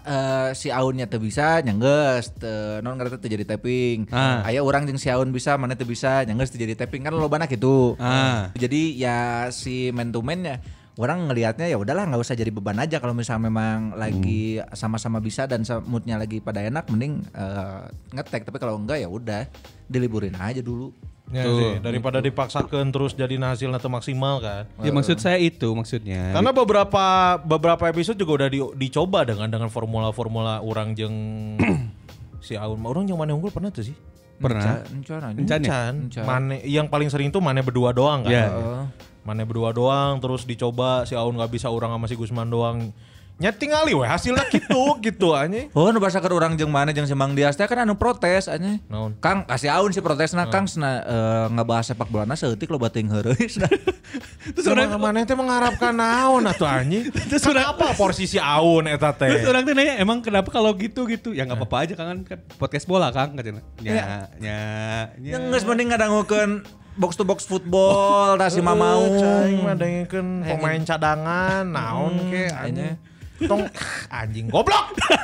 [SPEAKER 5] eh, si Aunnya teu bisa nyengges, teu non ngareta teu jadi taping.
[SPEAKER 6] Ah.
[SPEAKER 5] Aya urang jeung si Aun bisa, mana teu bisa nyengges teu jadi taping kan lobana gitu.
[SPEAKER 6] Ah.
[SPEAKER 5] Jadi ya si man to man-nya orang ngelihatnya ya udahlah nggak usah jadi beban aja kalau misalnya memang lagi
[SPEAKER 6] Hmm.
[SPEAKER 5] sama-sama bisa dan se- moodnya lagi pada enak mending eh, ngetek tapi kalau enggak ya udah diliburin aja dulu
[SPEAKER 7] Ya sih, daripada dipaksakan terus jadi hasilnya tuh maksimal kan.
[SPEAKER 6] Ya maksud saya itu maksudnya.
[SPEAKER 7] Nah, Karena beberapa beberapa episode juga udah di- dicoba dengan dengan formula-formula orang jeng si Aun. Orang yang mana unggul pernah tuh sih?
[SPEAKER 6] pernah.
[SPEAKER 5] Encan, encan aja.
[SPEAKER 6] Encan ya?
[SPEAKER 7] Kan,
[SPEAKER 5] Encan.
[SPEAKER 7] Mane yang paling sering tuh Mane berdua doang kan.
[SPEAKER 6] Ya.
[SPEAKER 5] Heeh.
[SPEAKER 7] Mane berdua doang terus dicoba si Aun nggak bisa orang sama si Gusman doang. Nyeting ali we hasilnya gitu gitu anjing.
[SPEAKER 5] Oh, nu bahasa orang jeung mana jeung Simang Dias teh kan anu protes anjing.
[SPEAKER 7] Naon?
[SPEAKER 5] Kang kasih aun sih protesna Kang sena eh, ngebahas sepak bola na seutik lo bating heureus. nah.
[SPEAKER 7] (laughs) Terus orang mana teh mengharapkan naon atuh anjing? Terus apa porsi si Aun eta teh?
[SPEAKER 6] Terus orang tuh nanya emang kenapa kalau gitu gitu? Ya nggak apa-apa aja kangen kan podcast bola Kang katanya. Ya ya ya.
[SPEAKER 5] Yang geus mending ngadangukeun box to box football da si Mamaung.
[SPEAKER 7] Cai mah dengekeun pemain cadangan naon ke anjing. Tong (laughs) anjing goblok. (laughs)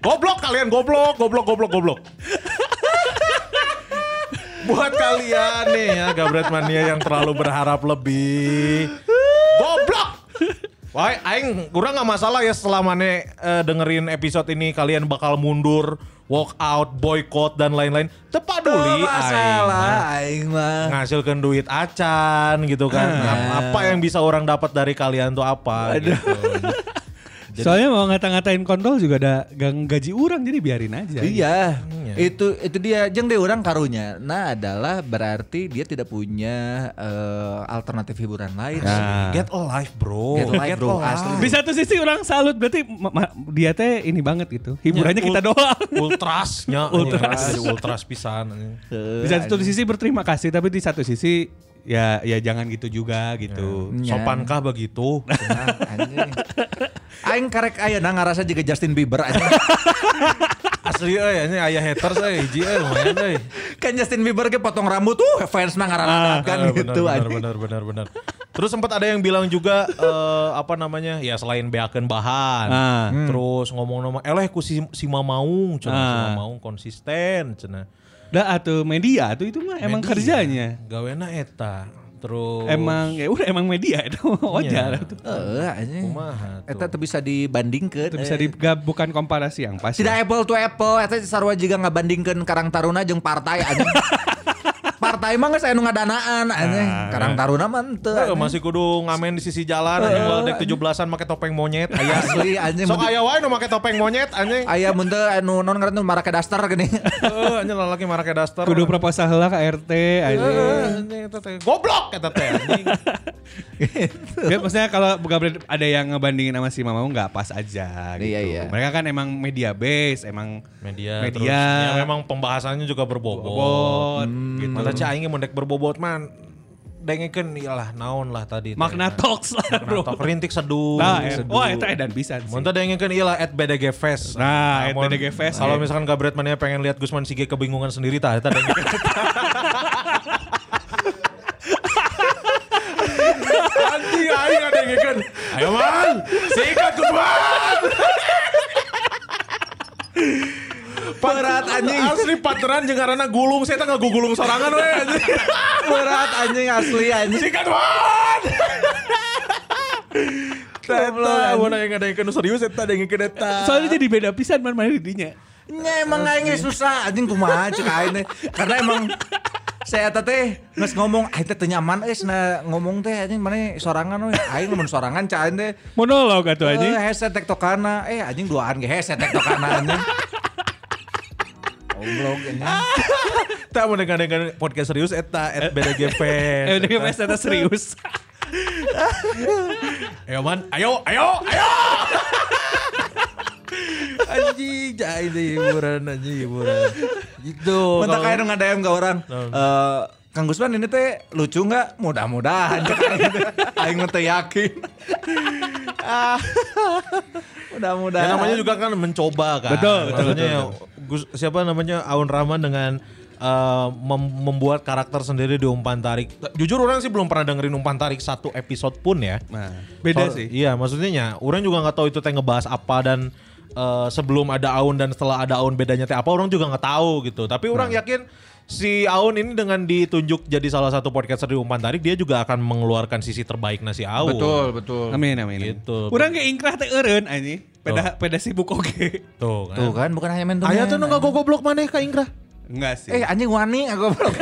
[SPEAKER 7] goblok kalian goblok, goblok, goblok, goblok. (laughs) Buat kalian nih ya Gabret Mania yang terlalu berharap lebih. Goblok. Wah, aing kurang nggak masalah ya setelah mana eh, dengerin episode ini kalian bakal mundur, walk out, boycott dan lain-lain. Tepaduli
[SPEAKER 5] Peduli
[SPEAKER 7] aing.
[SPEAKER 5] masalah aing mah.
[SPEAKER 7] ngasilkan duit acan gitu kan.
[SPEAKER 5] Ah.
[SPEAKER 7] Ap- Apa yang bisa orang dapat dari kalian tuh apa gitu.
[SPEAKER 6] Soalnya mau ngata-ngatain kontol juga ada gang gaji orang jadi biarin aja.
[SPEAKER 5] Iya, itu itu dia jeng deh orang karunya. Nah adalah berarti dia tidak punya eh, alternatif hiburan lain.
[SPEAKER 6] Nah.
[SPEAKER 7] Get alive
[SPEAKER 5] Ah.
[SPEAKER 7] bro.
[SPEAKER 5] Get live bro, asli.
[SPEAKER 6] Di satu sisi orang salut berarti ma- ma- dia teh ini banget gitu.
[SPEAKER 7] Ya,
[SPEAKER 6] Hiburannya kita doang.
[SPEAKER 5] (laughs)
[SPEAKER 7] Ultrasnya.
[SPEAKER 6] Ultras.
[SPEAKER 7] Jadi ultras pisan. anjing.
[SPEAKER 5] Tuh,
[SPEAKER 6] (laughs) Di satu sisi berterima kasih tapi di satu sisi ya ya jangan gitu juga gitu.
[SPEAKER 5] anjing.
[SPEAKER 7] Ya. Sopankah begitu?
[SPEAKER 5] Nah, anjing. Aing karek ayeuna ngarasa juga Justin Bieber aja.
[SPEAKER 7] Asli euy ini ayah haters euy hiji euy lumayan eh. euy.
[SPEAKER 5] (laughs) kan Justin Bieber ke potong rambut tuh fans nah ngarasa kan
[SPEAKER 7] Ah,
[SPEAKER 5] gitu
[SPEAKER 7] benar,
[SPEAKER 5] anjing.
[SPEAKER 7] benar, benar, benar. Terus sempat ada yang bilang juga eh, apa namanya? Ya selain beakeun bahan,
[SPEAKER 6] Ah.
[SPEAKER 5] Hmm.
[SPEAKER 7] terus ngomong nama eleh ku si, si Mamaung, cenah si
[SPEAKER 6] Ah.
[SPEAKER 7] Mamaung konsisten, cenah.
[SPEAKER 6] Dah atau media tuh itu mah emang
[SPEAKER 7] Media. Oh.
[SPEAKER 6] kerjanya.
[SPEAKER 7] Gawena eta. Terus
[SPEAKER 6] Emang ya udah emang media itu (laughs) wajar
[SPEAKER 7] Iya.
[SPEAKER 6] itu.
[SPEAKER 5] Heeh anjing.
[SPEAKER 7] Kumaha tuh.
[SPEAKER 5] Eta tuh bisa dibandingkan.
[SPEAKER 6] Itu bisa
[SPEAKER 7] Eh.
[SPEAKER 6] di bukan komparasi yang pas.
[SPEAKER 5] Tidak apple to apple, eta sarwa juga ngabandingkeun Karang Taruna jeung partai anjing.
[SPEAKER 7] (laughs)
[SPEAKER 5] partai mah geus anu ngadanaan anjing.
[SPEAKER 7] Ah,
[SPEAKER 5] Karang Taruna mah henteu.
[SPEAKER 7] Eh,
[SPEAKER 5] anjing.
[SPEAKER 7] masih kudu ngamen di sisi jalan anjing uh, dek 17-an make topeng monyet aya
[SPEAKER 5] Asli, anjing.
[SPEAKER 7] Sok aya wae nu make topeng monyet anjing.
[SPEAKER 5] Aya mun teu anu non ngaran teu marake daster
[SPEAKER 7] (laughs)
[SPEAKER 5] gini.
[SPEAKER 7] Heeh, anjing lalaki marake daster.
[SPEAKER 6] Kudu proposal heula ke RT aja.
[SPEAKER 7] Eh, anjing eta teh. Goblok eta teh anjing.
[SPEAKER 6] Ya, maksudnya kalau Gabriel ada yang ngebandingin sama si Mamamu nggak pas aja gitu.
[SPEAKER 5] Iya, iya.
[SPEAKER 6] Mereka kan emang media base, emang
[SPEAKER 7] Media,
[SPEAKER 6] Media.
[SPEAKER 7] terus, ya memang Hmm. pembahasannya juga berbobot.
[SPEAKER 6] bobot gitu.
[SPEAKER 7] Mata cah aing mun dek berbobot man dengekeun iyalah naon lah tadi.
[SPEAKER 6] Makna talks lah bro.
[SPEAKER 7] Tok rintik ya. seduh.
[SPEAKER 6] Nah,
[SPEAKER 7] rintik
[SPEAKER 6] eh,
[SPEAKER 7] seduh.
[SPEAKER 6] wah itu edan pisan sih.
[SPEAKER 7] Mun tadi yang kan ialah at BDG Fest.
[SPEAKER 6] Nah, at
[SPEAKER 7] mun-
[SPEAKER 6] BDG Fest,
[SPEAKER 7] Kalau
[SPEAKER 6] ya.
[SPEAKER 7] misalkan Gabret Mania pengen lihat Gusman Sige kebingungan sendiri tah eta (laughs) deng. Anjing aing ada yang kan. Ayo man, sikat Gusman. Berat anjing. Asli pateran jeung ngaranna gulung, saya tengah gulung sorangan we anjing.
[SPEAKER 5] Berat anjing asli anjing.
[SPEAKER 7] Sikat man. Teta, mana yang ada yang serius, eta ada yang eta.
[SPEAKER 6] Soalnya jadi beda pisan man mana didinya.
[SPEAKER 5] Nya emang aing ge susah anjing kumaha cek aing teh. Karena emang saya eta teh geus ngomong aing teh teu nyaman euy cenah ngomong teh anjing mana eh, sorangan we. Aing mun sorangan cai teh.
[SPEAKER 6] Monolog
[SPEAKER 5] Eh,
[SPEAKER 7] Oh,
[SPEAKER 6] atuh anjing.
[SPEAKER 5] headset tektokana. Eh anjing duaan ge headset tektokana anjing. Goblok
[SPEAKER 7] (laughs)
[SPEAKER 5] anjing.
[SPEAKER 7] Tak mendengarkan podcast serius eta at BDG
[SPEAKER 6] Eh udah
[SPEAKER 7] Fest.
[SPEAKER 6] kayak ternyata serius.
[SPEAKER 7] Ayo man, ayo, ayo, ayo. anjing, jai deh hiburan anjing hiburan. Gitu.
[SPEAKER 5] Minta
[SPEAKER 7] kalau-
[SPEAKER 5] kayak dengan DM ke orang. Eh, Kang Gusman ini teh lucu nggak? Mudah-mudahan. (laughs) cek aing teh. Aing mah teu yakin. (laughs) Ah,
[SPEAKER 7] Ya
[SPEAKER 5] Mudah-mudahan.
[SPEAKER 7] namanya juga kan mencoba kan.
[SPEAKER 6] Betul, betul,
[SPEAKER 7] Maksudnya Gus, siapa namanya Aun Rahman dengan eh, mem- membuat karakter sendiri di umpan tarik. Jujur orang sih belum pernah dengerin umpan tarik satu episode pun ya.
[SPEAKER 6] Nah, beda
[SPEAKER 7] Soal-
[SPEAKER 6] sih.
[SPEAKER 7] Iya, maksudnya nya, orang juga nggak tahu itu teh ngebahas apa dan eh, sebelum ada Aun dan setelah ada Aun bedanya teh apa orang juga nggak tahu gitu. Tapi orang yakin si Aun ini dengan ditunjuk jadi salah satu podcaster di Umpan Tarik, dia juga akan mengeluarkan sisi terbaiknya si Aun.
[SPEAKER 5] Betul, betul.
[SPEAKER 6] Amin amin.
[SPEAKER 7] Gitu.
[SPEAKER 6] Orang ke ingkrah teh eureun anjing. Peda peda sibuk oge.
[SPEAKER 7] Tuh kan.
[SPEAKER 5] Tuh kan bukan hanya main
[SPEAKER 7] Ayah tuh
[SPEAKER 5] men.
[SPEAKER 7] nggak goblok mana Kak Ingrah.
[SPEAKER 6] Enggak sih.
[SPEAKER 5] Eh anjing wani aku goblok.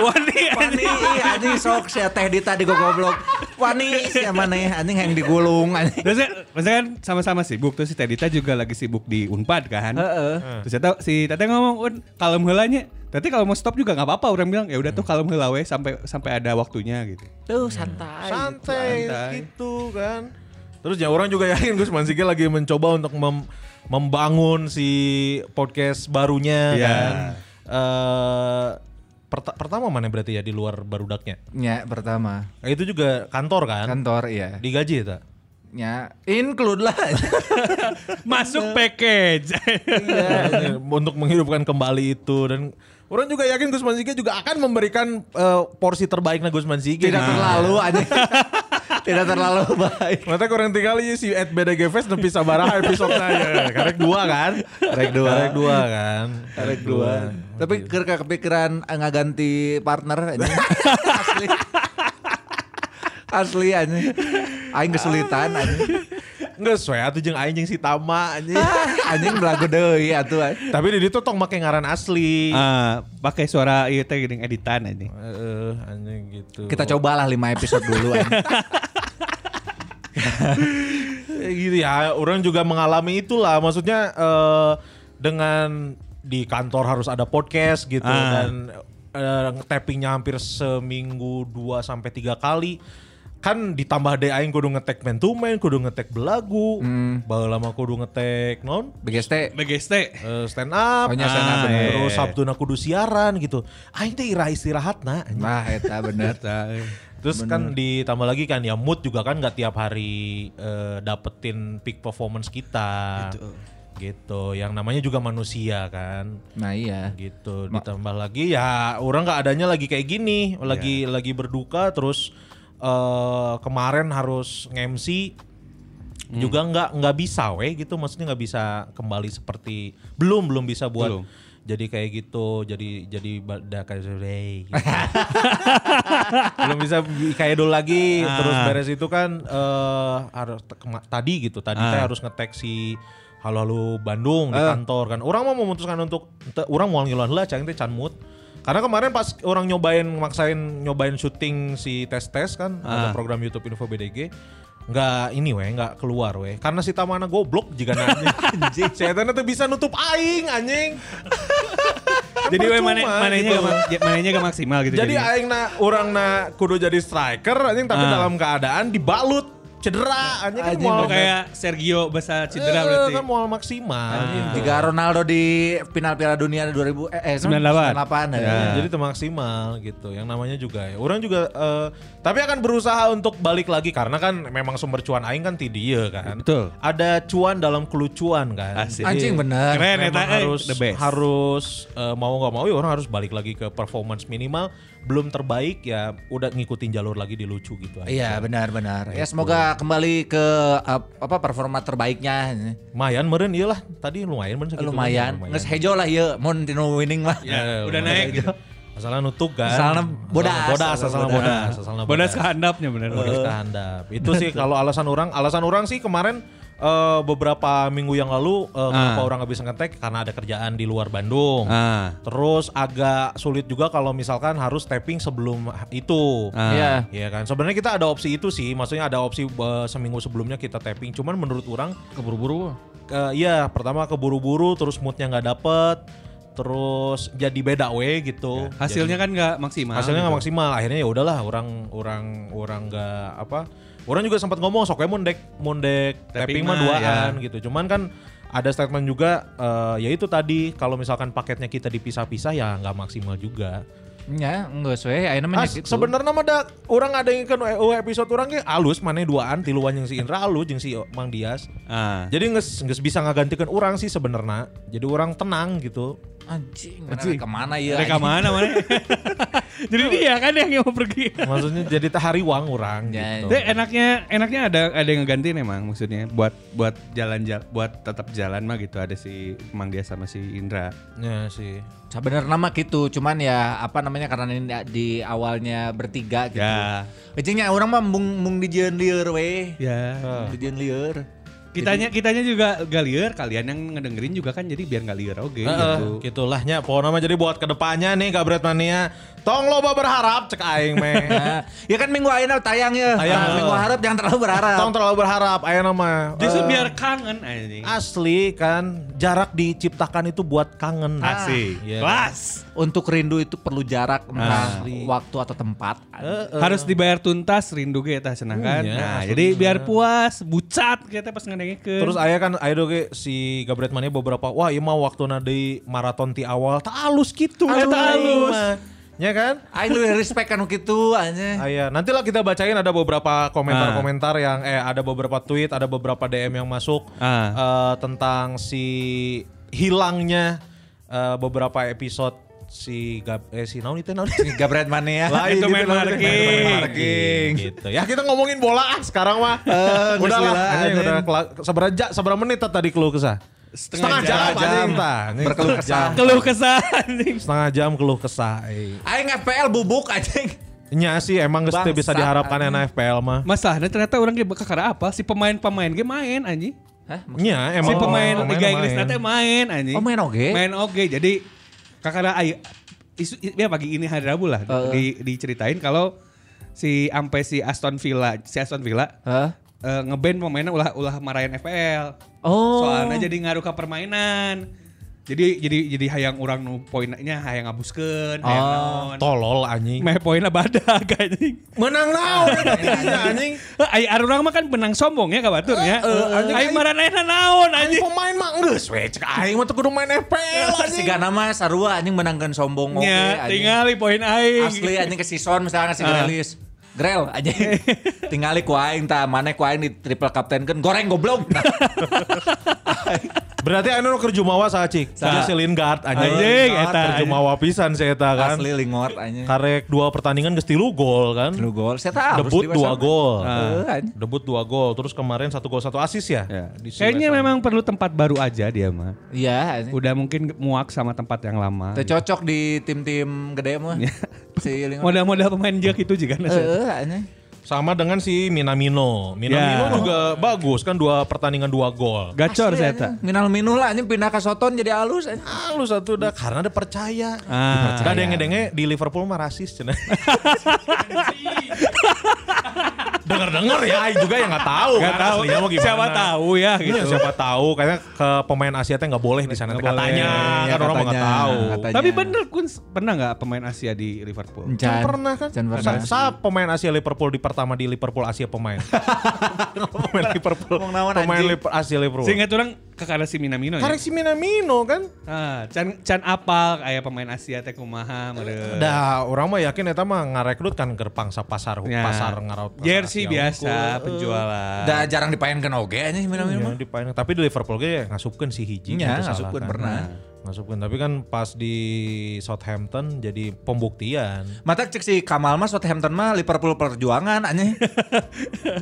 [SPEAKER 6] Wani
[SPEAKER 5] Wani iya, anjing sok sia teh Dita di goblok. Wani sia maneh anjing yang digulung anjing.
[SPEAKER 6] Terus maksudnya kan sama-sama sibuk terus si Tedita juga lagi sibuk di Unpad kan.
[SPEAKER 5] Heeh.
[SPEAKER 6] Terus tata, si Tete ngomong, "Un, kalem heula nya." Tete kalau mau stop juga nggak apa-apa, orang bilang, "Ya udah tuh kalem heula we sampai sampai ada waktunya gitu."
[SPEAKER 5] Tuh santai.
[SPEAKER 7] santai,
[SPEAKER 6] Santai.
[SPEAKER 7] gitu kan. Terus ya orang juga yakin Gus Mansiga lagi mencoba untuk mem- membangun si podcast barunya
[SPEAKER 6] Iya.
[SPEAKER 7] kan. Eh, perta- pertama mana berarti ya di luar barudaknya.
[SPEAKER 5] Nya pertama
[SPEAKER 7] Nah, itu juga kantor kan?
[SPEAKER 5] kantor iya.
[SPEAKER 7] Digaji ya, tak?
[SPEAKER 5] Nya include lah. (laughs)
[SPEAKER 6] Masuk package.
[SPEAKER 7] (laughs) Iya, untuk menghidupkan kembali itu dan orang juga yakin Gus Mansiga juga akan memberikan eh, porsi terbaiknya Gus Nah. Mansiga.
[SPEAKER 5] Tidak terlalu anjing. (laughs) Tidak terlalu baik.
[SPEAKER 7] Mata kurang tinggal ya si Ed BDG Fest nepi sabaraha episode-na ya. Karek dua kan? Karek dua. Karek dua kan? Karek dua.
[SPEAKER 5] Tapi keur ka kepikiran eh, ngaganti partner anjing. Asli. Asli anjing. Aing kesulitan anjing.
[SPEAKER 7] Enggak sesuai atuh jeung aing jeung si Tama anjing. (laughs)
[SPEAKER 5] Anjing belagu deui atuh. anjing.
[SPEAKER 7] Tapi di ditu tong make ngaran asli.
[SPEAKER 6] Ah, pakai suara ieu teh geuning editan anjing.
[SPEAKER 7] Heeh, anjing gitu.
[SPEAKER 5] Kita cobalah 5 episode dulu anjing.
[SPEAKER 7] Eh, gitu ya. Orang juga mengalami itulah. Maksudnya eh, dengan di kantor harus ada podcast gitu
[SPEAKER 6] Ah.
[SPEAKER 7] dan eh, tappingnya hampir seminggu 2 sampai tiga kali. Kan ditambah deh aing kudu ngetek man to man, kudu ngetek belagu,
[SPEAKER 5] Hmm.
[SPEAKER 7] baheula lama kudu ngetek non
[SPEAKER 5] BGST
[SPEAKER 6] BGST.
[SPEAKER 7] eh, stand up,
[SPEAKER 5] Oh, nya stand up,
[SPEAKER 7] Ah,
[SPEAKER 5] bener.
[SPEAKER 7] terus Sabtu kudu siaran gitu. Aing teh ira istirahat nah.
[SPEAKER 5] Nah, eta bener.
[SPEAKER 7] Terus kan ditambah lagi kan ya mood juga kan nggak tiap hari eh, dapetin peak performance kita. Gitu. Yang namanya juga manusia kan.
[SPEAKER 5] Nah, iya.
[SPEAKER 7] Gitu. ditambah lagi ya orang nggak adanya lagi kayak gini, lagi lagi berduka terus eh, kemarin harus nge-MC juga nggak nggak bisa weh gitu maksudnya nggak bisa kembali seperti belum belum bisa buat
[SPEAKER 6] Belum.
[SPEAKER 7] jadi kayak gitu jadi jadi badak kayak sore gitu. belum bisa bi- kayak dulu lagi
[SPEAKER 6] Ah.
[SPEAKER 7] terus beres itu kan eh harus te- kema- tadi gitu tadi teh
[SPEAKER 6] Ah.
[SPEAKER 7] harus ngetek si halo-halo Bandung di kantor kan orang mau memutuskan untuk te- orang mau ngiluan lah cang teh can mood karena kemarin pas orang nyobain maksain nyobain syuting si tes tes kan ada
[SPEAKER 6] Ah.
[SPEAKER 7] program YouTube Info BDG nggak ini weh nggak keluar weh karena si Tamana goblok jika
[SPEAKER 6] (laughs)
[SPEAKER 7] nanya anjing setannya tuh bisa nutup aing anjing
[SPEAKER 6] Jadi we mana
[SPEAKER 7] Percuma,
[SPEAKER 6] mananya
[SPEAKER 7] gitu.
[SPEAKER 6] gak ma- ya, mananya gak maksimal gitu.
[SPEAKER 7] Jadi
[SPEAKER 6] jadinya.
[SPEAKER 7] aing na urang na kudu jadi striker anjing tapi
[SPEAKER 6] Ah.
[SPEAKER 7] dalam keadaan dibalut cedera anjing kan
[SPEAKER 5] Anjing,
[SPEAKER 7] moal
[SPEAKER 6] Oh, kayak Sergio bahasa
[SPEAKER 7] Eh,
[SPEAKER 6] cedera berarti. ya.
[SPEAKER 7] kan moal maksimal gitu.
[SPEAKER 5] Jika Ronaldo di final Piala Dunia 2000 eh, eh
[SPEAKER 6] 98.
[SPEAKER 5] 98 ya.
[SPEAKER 6] Ya.
[SPEAKER 7] Jadi termaksimal gitu. Yang namanya juga ya. Orang juga eh, tapi akan berusaha untuk balik lagi karena kan memang sumber cuan aing kan ti dieu kan.
[SPEAKER 6] Nah, Betul.
[SPEAKER 7] Ada cuan dalam kelucuan kan.
[SPEAKER 6] Asik.
[SPEAKER 5] Anjing bener.
[SPEAKER 6] Keren
[SPEAKER 7] Memang
[SPEAKER 6] eta eh,
[SPEAKER 7] harus
[SPEAKER 6] the best.
[SPEAKER 7] harus eh, mau nggak mau ya orang harus balik lagi ke performance minimal belum terbaik ya udah ngikutin jalur lagi di lucu gitu aja.
[SPEAKER 5] Iya benar-benar. Ya semoga kembali ke ap- apa performa terbaiknya.
[SPEAKER 7] Lumayan meren iyalah tadi Gitu, lumayan Iya. meren segitu.
[SPEAKER 5] Lumayan. Nges hejo lah ya. Mun tinu winning mah.
[SPEAKER 6] Ya, udah naik gitu.
[SPEAKER 7] Masalah nutuk kan.
[SPEAKER 5] Asalna bodas. Eh.
[SPEAKER 7] Asalna Bodas, asalna
[SPEAKER 5] Asalna
[SPEAKER 7] bodas,
[SPEAKER 6] Nah,
[SPEAKER 7] asalna
[SPEAKER 6] Bodas kehandapnya bener. Eh.
[SPEAKER 7] Bodas kehandap. Itu sih kalau alasan orang, alasan orang sih kemarin eh, beberapa minggu yang lalu
[SPEAKER 5] Ah.
[SPEAKER 7] eh, kenapa orang nggak bisa ngetek karena ada kerjaan di luar Bandung.
[SPEAKER 6] Ah.
[SPEAKER 7] Terus agak sulit juga kalau misalkan harus tapping sebelum itu.
[SPEAKER 5] Iya.
[SPEAKER 7] Iya kan. Sebenarnya kita ada opsi itu sih. Maksudnya ada opsi eh, seminggu sebelumnya kita tapping. Cuman menurut orang
[SPEAKER 5] Keburu-buru.
[SPEAKER 7] Ke- Iya, pertama keburu-buru, terus moodnya nggak dapet, terus jadi beda we gitu.
[SPEAKER 6] Hasilnya kan gak
[SPEAKER 7] Jadi
[SPEAKER 6] maksimal.
[SPEAKER 7] hasilnya nggak
[SPEAKER 6] gitu.
[SPEAKER 7] maksimal. Akhirnya ya udahlah, orang orang orang nggak apa. Orang juga sempat ngomong sok mondek mondek tapping
[SPEAKER 6] Tapping
[SPEAKER 7] mah
[SPEAKER 6] mah,
[SPEAKER 7] duaan gitu. Cuman kan ada statement juga eh, ya itu tadi kalau misalkan paketnya kita dipisah-pisah ya nggak maksimal juga.
[SPEAKER 5] Ya enggak sesuai. Ayeuna mah gitu.
[SPEAKER 7] Ah,
[SPEAKER 5] nya kitu.
[SPEAKER 7] sebenarnya mah da orang ada yang kan episode orang ge alus mana duaan tiluan yang si Indra alus jeung si Mang Dias.
[SPEAKER 6] Ah.
[SPEAKER 7] Jadi nges, nges bisa ngagantikan orang sih sebenarnya. Jadi orang tenang gitu.
[SPEAKER 5] Anjing, anjing.
[SPEAKER 7] Anjing.
[SPEAKER 5] kemana ya?
[SPEAKER 6] Mereka
[SPEAKER 5] anjing?
[SPEAKER 6] mana
[SPEAKER 7] (laughs)
[SPEAKER 6] mana?
[SPEAKER 1] Jadi dia kan yang mau pergi.
[SPEAKER 7] Maksudnya jadi tahariwang orang
[SPEAKER 5] (laughs) Ya,
[SPEAKER 7] gitu.
[SPEAKER 6] Tapi enaknya enaknya ada ada yang ngegantiin emang maksudnya buat buat jalan jalan buat tetap jalan mah gitu ada si Mang dia sama si Indra.
[SPEAKER 7] Ya sih.
[SPEAKER 5] Sebenarnya nama gitu, cuman ya apa namanya karena ini di- di awalnya bertiga gitu.
[SPEAKER 6] Ya.
[SPEAKER 5] Ecingnya orang mah mung mung dijieun lieur we.
[SPEAKER 6] Ya.
[SPEAKER 5] Dijieun lieur.
[SPEAKER 6] Kitanya kitanya juga galier, kalian yang ngedengerin juga kan jadi biar nggak liar oke
[SPEAKER 5] Iya,
[SPEAKER 6] gitu.
[SPEAKER 7] Heeh, gitu lahnya pohon nama jadi buat kedepannya nih Kabret Mania. Tong loba berharap cek aing meh.
[SPEAKER 5] Nah, (laughs) ya kan minggu ayeuna tayang ya.
[SPEAKER 7] Tayang.
[SPEAKER 5] Nah, minggu harap jangan terlalu berharap.
[SPEAKER 7] Tong terlalu berharap aing nama.
[SPEAKER 6] Justru
[SPEAKER 7] Eh,
[SPEAKER 6] biar kangen anjing.
[SPEAKER 7] Ah, asli kan jarak diciptakan itu buat kangen.
[SPEAKER 5] Ah.
[SPEAKER 6] Asik.
[SPEAKER 7] Iya.
[SPEAKER 6] Kelas.
[SPEAKER 5] Untuk rindu itu perlu jarak entah
[SPEAKER 7] Asli.
[SPEAKER 5] waktu atau tempat.
[SPEAKER 6] Harus dibayar tuntas rindu ge tah cenah kan.
[SPEAKER 7] Iya,
[SPEAKER 6] Nah,
[SPEAKER 7] maksudnya.
[SPEAKER 6] jadi biar puas, bucat kita pas ngedengekeun.
[SPEAKER 7] Terus ayah kan ayah doge si Gabret Mania beberapa wah ieu mah waktu di maraton ti awal tak alus gitu
[SPEAKER 5] Alus.
[SPEAKER 7] eta alus. Ya kan?
[SPEAKER 5] Aing lebih respect kan gitu aja.
[SPEAKER 7] Ayah, Ah, iya. nantilah kita bacain ada beberapa komentar-komentar yang eh ada beberapa tweet, ada beberapa DM yang masuk eh,
[SPEAKER 6] Ah.
[SPEAKER 7] tentang si hilangnya eh, beberapa episode si Gab eh si naon itu naon
[SPEAKER 5] Gabret mana
[SPEAKER 7] (laughs)
[SPEAKER 5] ya?
[SPEAKER 7] Lain
[SPEAKER 6] itu main
[SPEAKER 7] naon itu.
[SPEAKER 6] marking.
[SPEAKER 7] Main marking, gitu. Ya kita ngomongin bola ah sekarang mah. (laughs)
[SPEAKER 5] geus
[SPEAKER 7] udah lah,
[SPEAKER 5] lila,
[SPEAKER 7] anjing,
[SPEAKER 5] anjing.
[SPEAKER 7] udah kela- seberapa ja- seberapa menit tah tadi keluh kesah?
[SPEAKER 6] Setengah
[SPEAKER 5] jam.
[SPEAKER 7] tah. Anjing,
[SPEAKER 5] Berkeluh
[SPEAKER 7] setengah
[SPEAKER 5] kesah.
[SPEAKER 7] jam.
[SPEAKER 1] Keluh kesah anjing.
[SPEAKER 7] Setengah jam keluh kesah. eh.
[SPEAKER 5] Aing FPL bubuk anjing.
[SPEAKER 7] Nya sih emang geus teu bisa
[SPEAKER 5] Bangsat,
[SPEAKER 7] diharapkan ya na FPL mah.
[SPEAKER 6] Masalahnya ternyata orang ge kakara apa si pemain-pemain ge main anjing.
[SPEAKER 5] Hah?
[SPEAKER 7] Iya,
[SPEAKER 6] Si
[SPEAKER 7] emang
[SPEAKER 6] pemain Liga
[SPEAKER 7] main.
[SPEAKER 6] Inggris nanti main anjing.
[SPEAKER 5] Oh, main oge?
[SPEAKER 6] Main oge. Jadi kakara ayo isu, ya pagi ini hari Rabu lah
[SPEAKER 5] Heeh.
[SPEAKER 6] di, diceritain kalau si ampe si Aston Villa, si Aston Villa
[SPEAKER 5] Hah?
[SPEAKER 6] eh, ngeband pemainnya ulah ulah marahin FPL.
[SPEAKER 5] Oh.
[SPEAKER 6] Soalnya jadi ngaruh ke permainan. Jadi jadi jadi hayang orang nu poinnya hayang ngabuskeun, hayang
[SPEAKER 5] Oh.
[SPEAKER 6] naon.
[SPEAKER 7] Tolol anjing.
[SPEAKER 6] Meh poinnya badag (laughs) anjing.
[SPEAKER 7] Menang naon intinya, (laughs) anjing.
[SPEAKER 6] Ai orang mah kan benang sombong ya kabatur ya.
[SPEAKER 7] anjing,
[SPEAKER 6] Ai
[SPEAKER 7] anjing.
[SPEAKER 6] maranaeuna naon
[SPEAKER 7] Anjing
[SPEAKER 6] anjing.
[SPEAKER 7] pemain mah geus we cek aing mah teu kudu main FPL
[SPEAKER 5] (laughs)
[SPEAKER 7] anjing.
[SPEAKER 5] Siga nama sarua anjing menangkan sombong oke
[SPEAKER 6] Ya,
[SPEAKER 5] anjing.
[SPEAKER 6] tingali poin aing.
[SPEAKER 5] Asli anjing ke season misalnya si
[SPEAKER 7] Ah.
[SPEAKER 5] Grelis. Grel
[SPEAKER 7] (laughs)
[SPEAKER 5] aja tingali ku aing tah mana ku aing di triple captain kan goreng
[SPEAKER 7] (laughs)
[SPEAKER 5] goblok.
[SPEAKER 7] Berarti anu nu keur jumawa saha cik? Saha si Lingard anjing.
[SPEAKER 6] Anjing,
[SPEAKER 7] Lingard
[SPEAKER 6] eta,
[SPEAKER 7] keur jumawa pisan si eta kan.
[SPEAKER 5] Asli lingot anjing.
[SPEAKER 7] Karek dua pertandingan geus tilu gol kan.
[SPEAKER 5] Lu gol. Saya tahu.
[SPEAKER 7] Debut
[SPEAKER 5] harus
[SPEAKER 7] dua
[SPEAKER 5] diwasam.
[SPEAKER 7] gol. Ah.
[SPEAKER 5] Heeh, Eh, anjing.
[SPEAKER 7] Debut dua gol. Terus kemarin satu gol satu asis ya.
[SPEAKER 6] Nah. Ya.
[SPEAKER 7] Di si
[SPEAKER 6] Kayaknya
[SPEAKER 7] West Ham.
[SPEAKER 6] memang perlu tempat baru aja dia mah.
[SPEAKER 5] Iya anjing.
[SPEAKER 6] Udah mungkin muak sama tempat yang lama.
[SPEAKER 5] Teu cocok di tim-tim gede mah.
[SPEAKER 7] Iya.
[SPEAKER 5] si lingot.
[SPEAKER 6] Modal-modal pemain Jack itu juga nah, saya.
[SPEAKER 5] Heeh anjing.
[SPEAKER 7] sama dengan si Minamino. Minamino
[SPEAKER 6] Ya.
[SPEAKER 7] juga bagus kan dua pertandingan dua gol.
[SPEAKER 6] Gacor
[SPEAKER 5] Asli,
[SPEAKER 6] saya
[SPEAKER 5] anjing.
[SPEAKER 6] tak.
[SPEAKER 5] Minal minul lah anjing pindah ke Soton jadi alus anjing.
[SPEAKER 7] Ah lu satu dah karena ada percaya.
[SPEAKER 6] Ah.
[SPEAKER 7] Ada denge-denge di Liverpool mah rasis cenah. Dengar-dengar ya Aing juga yang nggak tahu
[SPEAKER 6] Gak
[SPEAKER 7] kan
[SPEAKER 6] tahu.
[SPEAKER 7] aslinya mau gimana.
[SPEAKER 6] Siapa tahu ya
[SPEAKER 7] Iya,
[SPEAKER 6] gitu.
[SPEAKER 7] siapa tahu kayaknya ke pemain Asia teh nggak boleh di sana
[SPEAKER 6] Nggak
[SPEAKER 7] katanya
[SPEAKER 6] boleh.
[SPEAKER 7] kan orang mah nggak tahu.
[SPEAKER 5] Iya, Katanya.
[SPEAKER 6] Tapi bener Kun pernah nggak pemain Asia di Liverpool?
[SPEAKER 5] Can,
[SPEAKER 7] Kan pernah kan?
[SPEAKER 5] Can pernah.
[SPEAKER 7] Sa, sa pemain Asia Liverpool di pertama di Liverpool Asia pemain. pemain Liverpool.
[SPEAKER 5] Ngomong naon,
[SPEAKER 7] Pemain
[SPEAKER 5] anjing?
[SPEAKER 7] Liverpool Asia Liverpool.
[SPEAKER 6] Seingat orang kakak si Minamino ya.
[SPEAKER 7] Karek si Minamino kan.
[SPEAKER 6] Ah, can can apal kayak pemain Asia teh kumaha meureun.
[SPEAKER 7] Dah, orang mah yakin eta mah ngarekrut kan ke pangsa pasar
[SPEAKER 6] Ya.
[SPEAKER 7] pasar ngaraut. pasar
[SPEAKER 6] jersey
[SPEAKER 7] Asia
[SPEAKER 6] biasa
[SPEAKER 7] unggul.
[SPEAKER 6] penjualan.
[SPEAKER 5] Da jarang dipaenkeun oge anjing
[SPEAKER 7] Iya,
[SPEAKER 5] minal-minul. mah.
[SPEAKER 7] di Pioneer. Tapi di Liverpool ge ngasupkeun si hiji.
[SPEAKER 5] Iya,
[SPEAKER 7] itu salah kan. Nah,
[SPEAKER 5] ngasupkeun, pernah.
[SPEAKER 7] Ngasupkeun, tapi kan pas di Southampton jadi
[SPEAKER 5] (laughs)
[SPEAKER 7] pembuktian.
[SPEAKER 5] Mata cek si Kamal mah Southampton mah Liverpool perjuangan
[SPEAKER 7] (laughs)
[SPEAKER 5] aneh.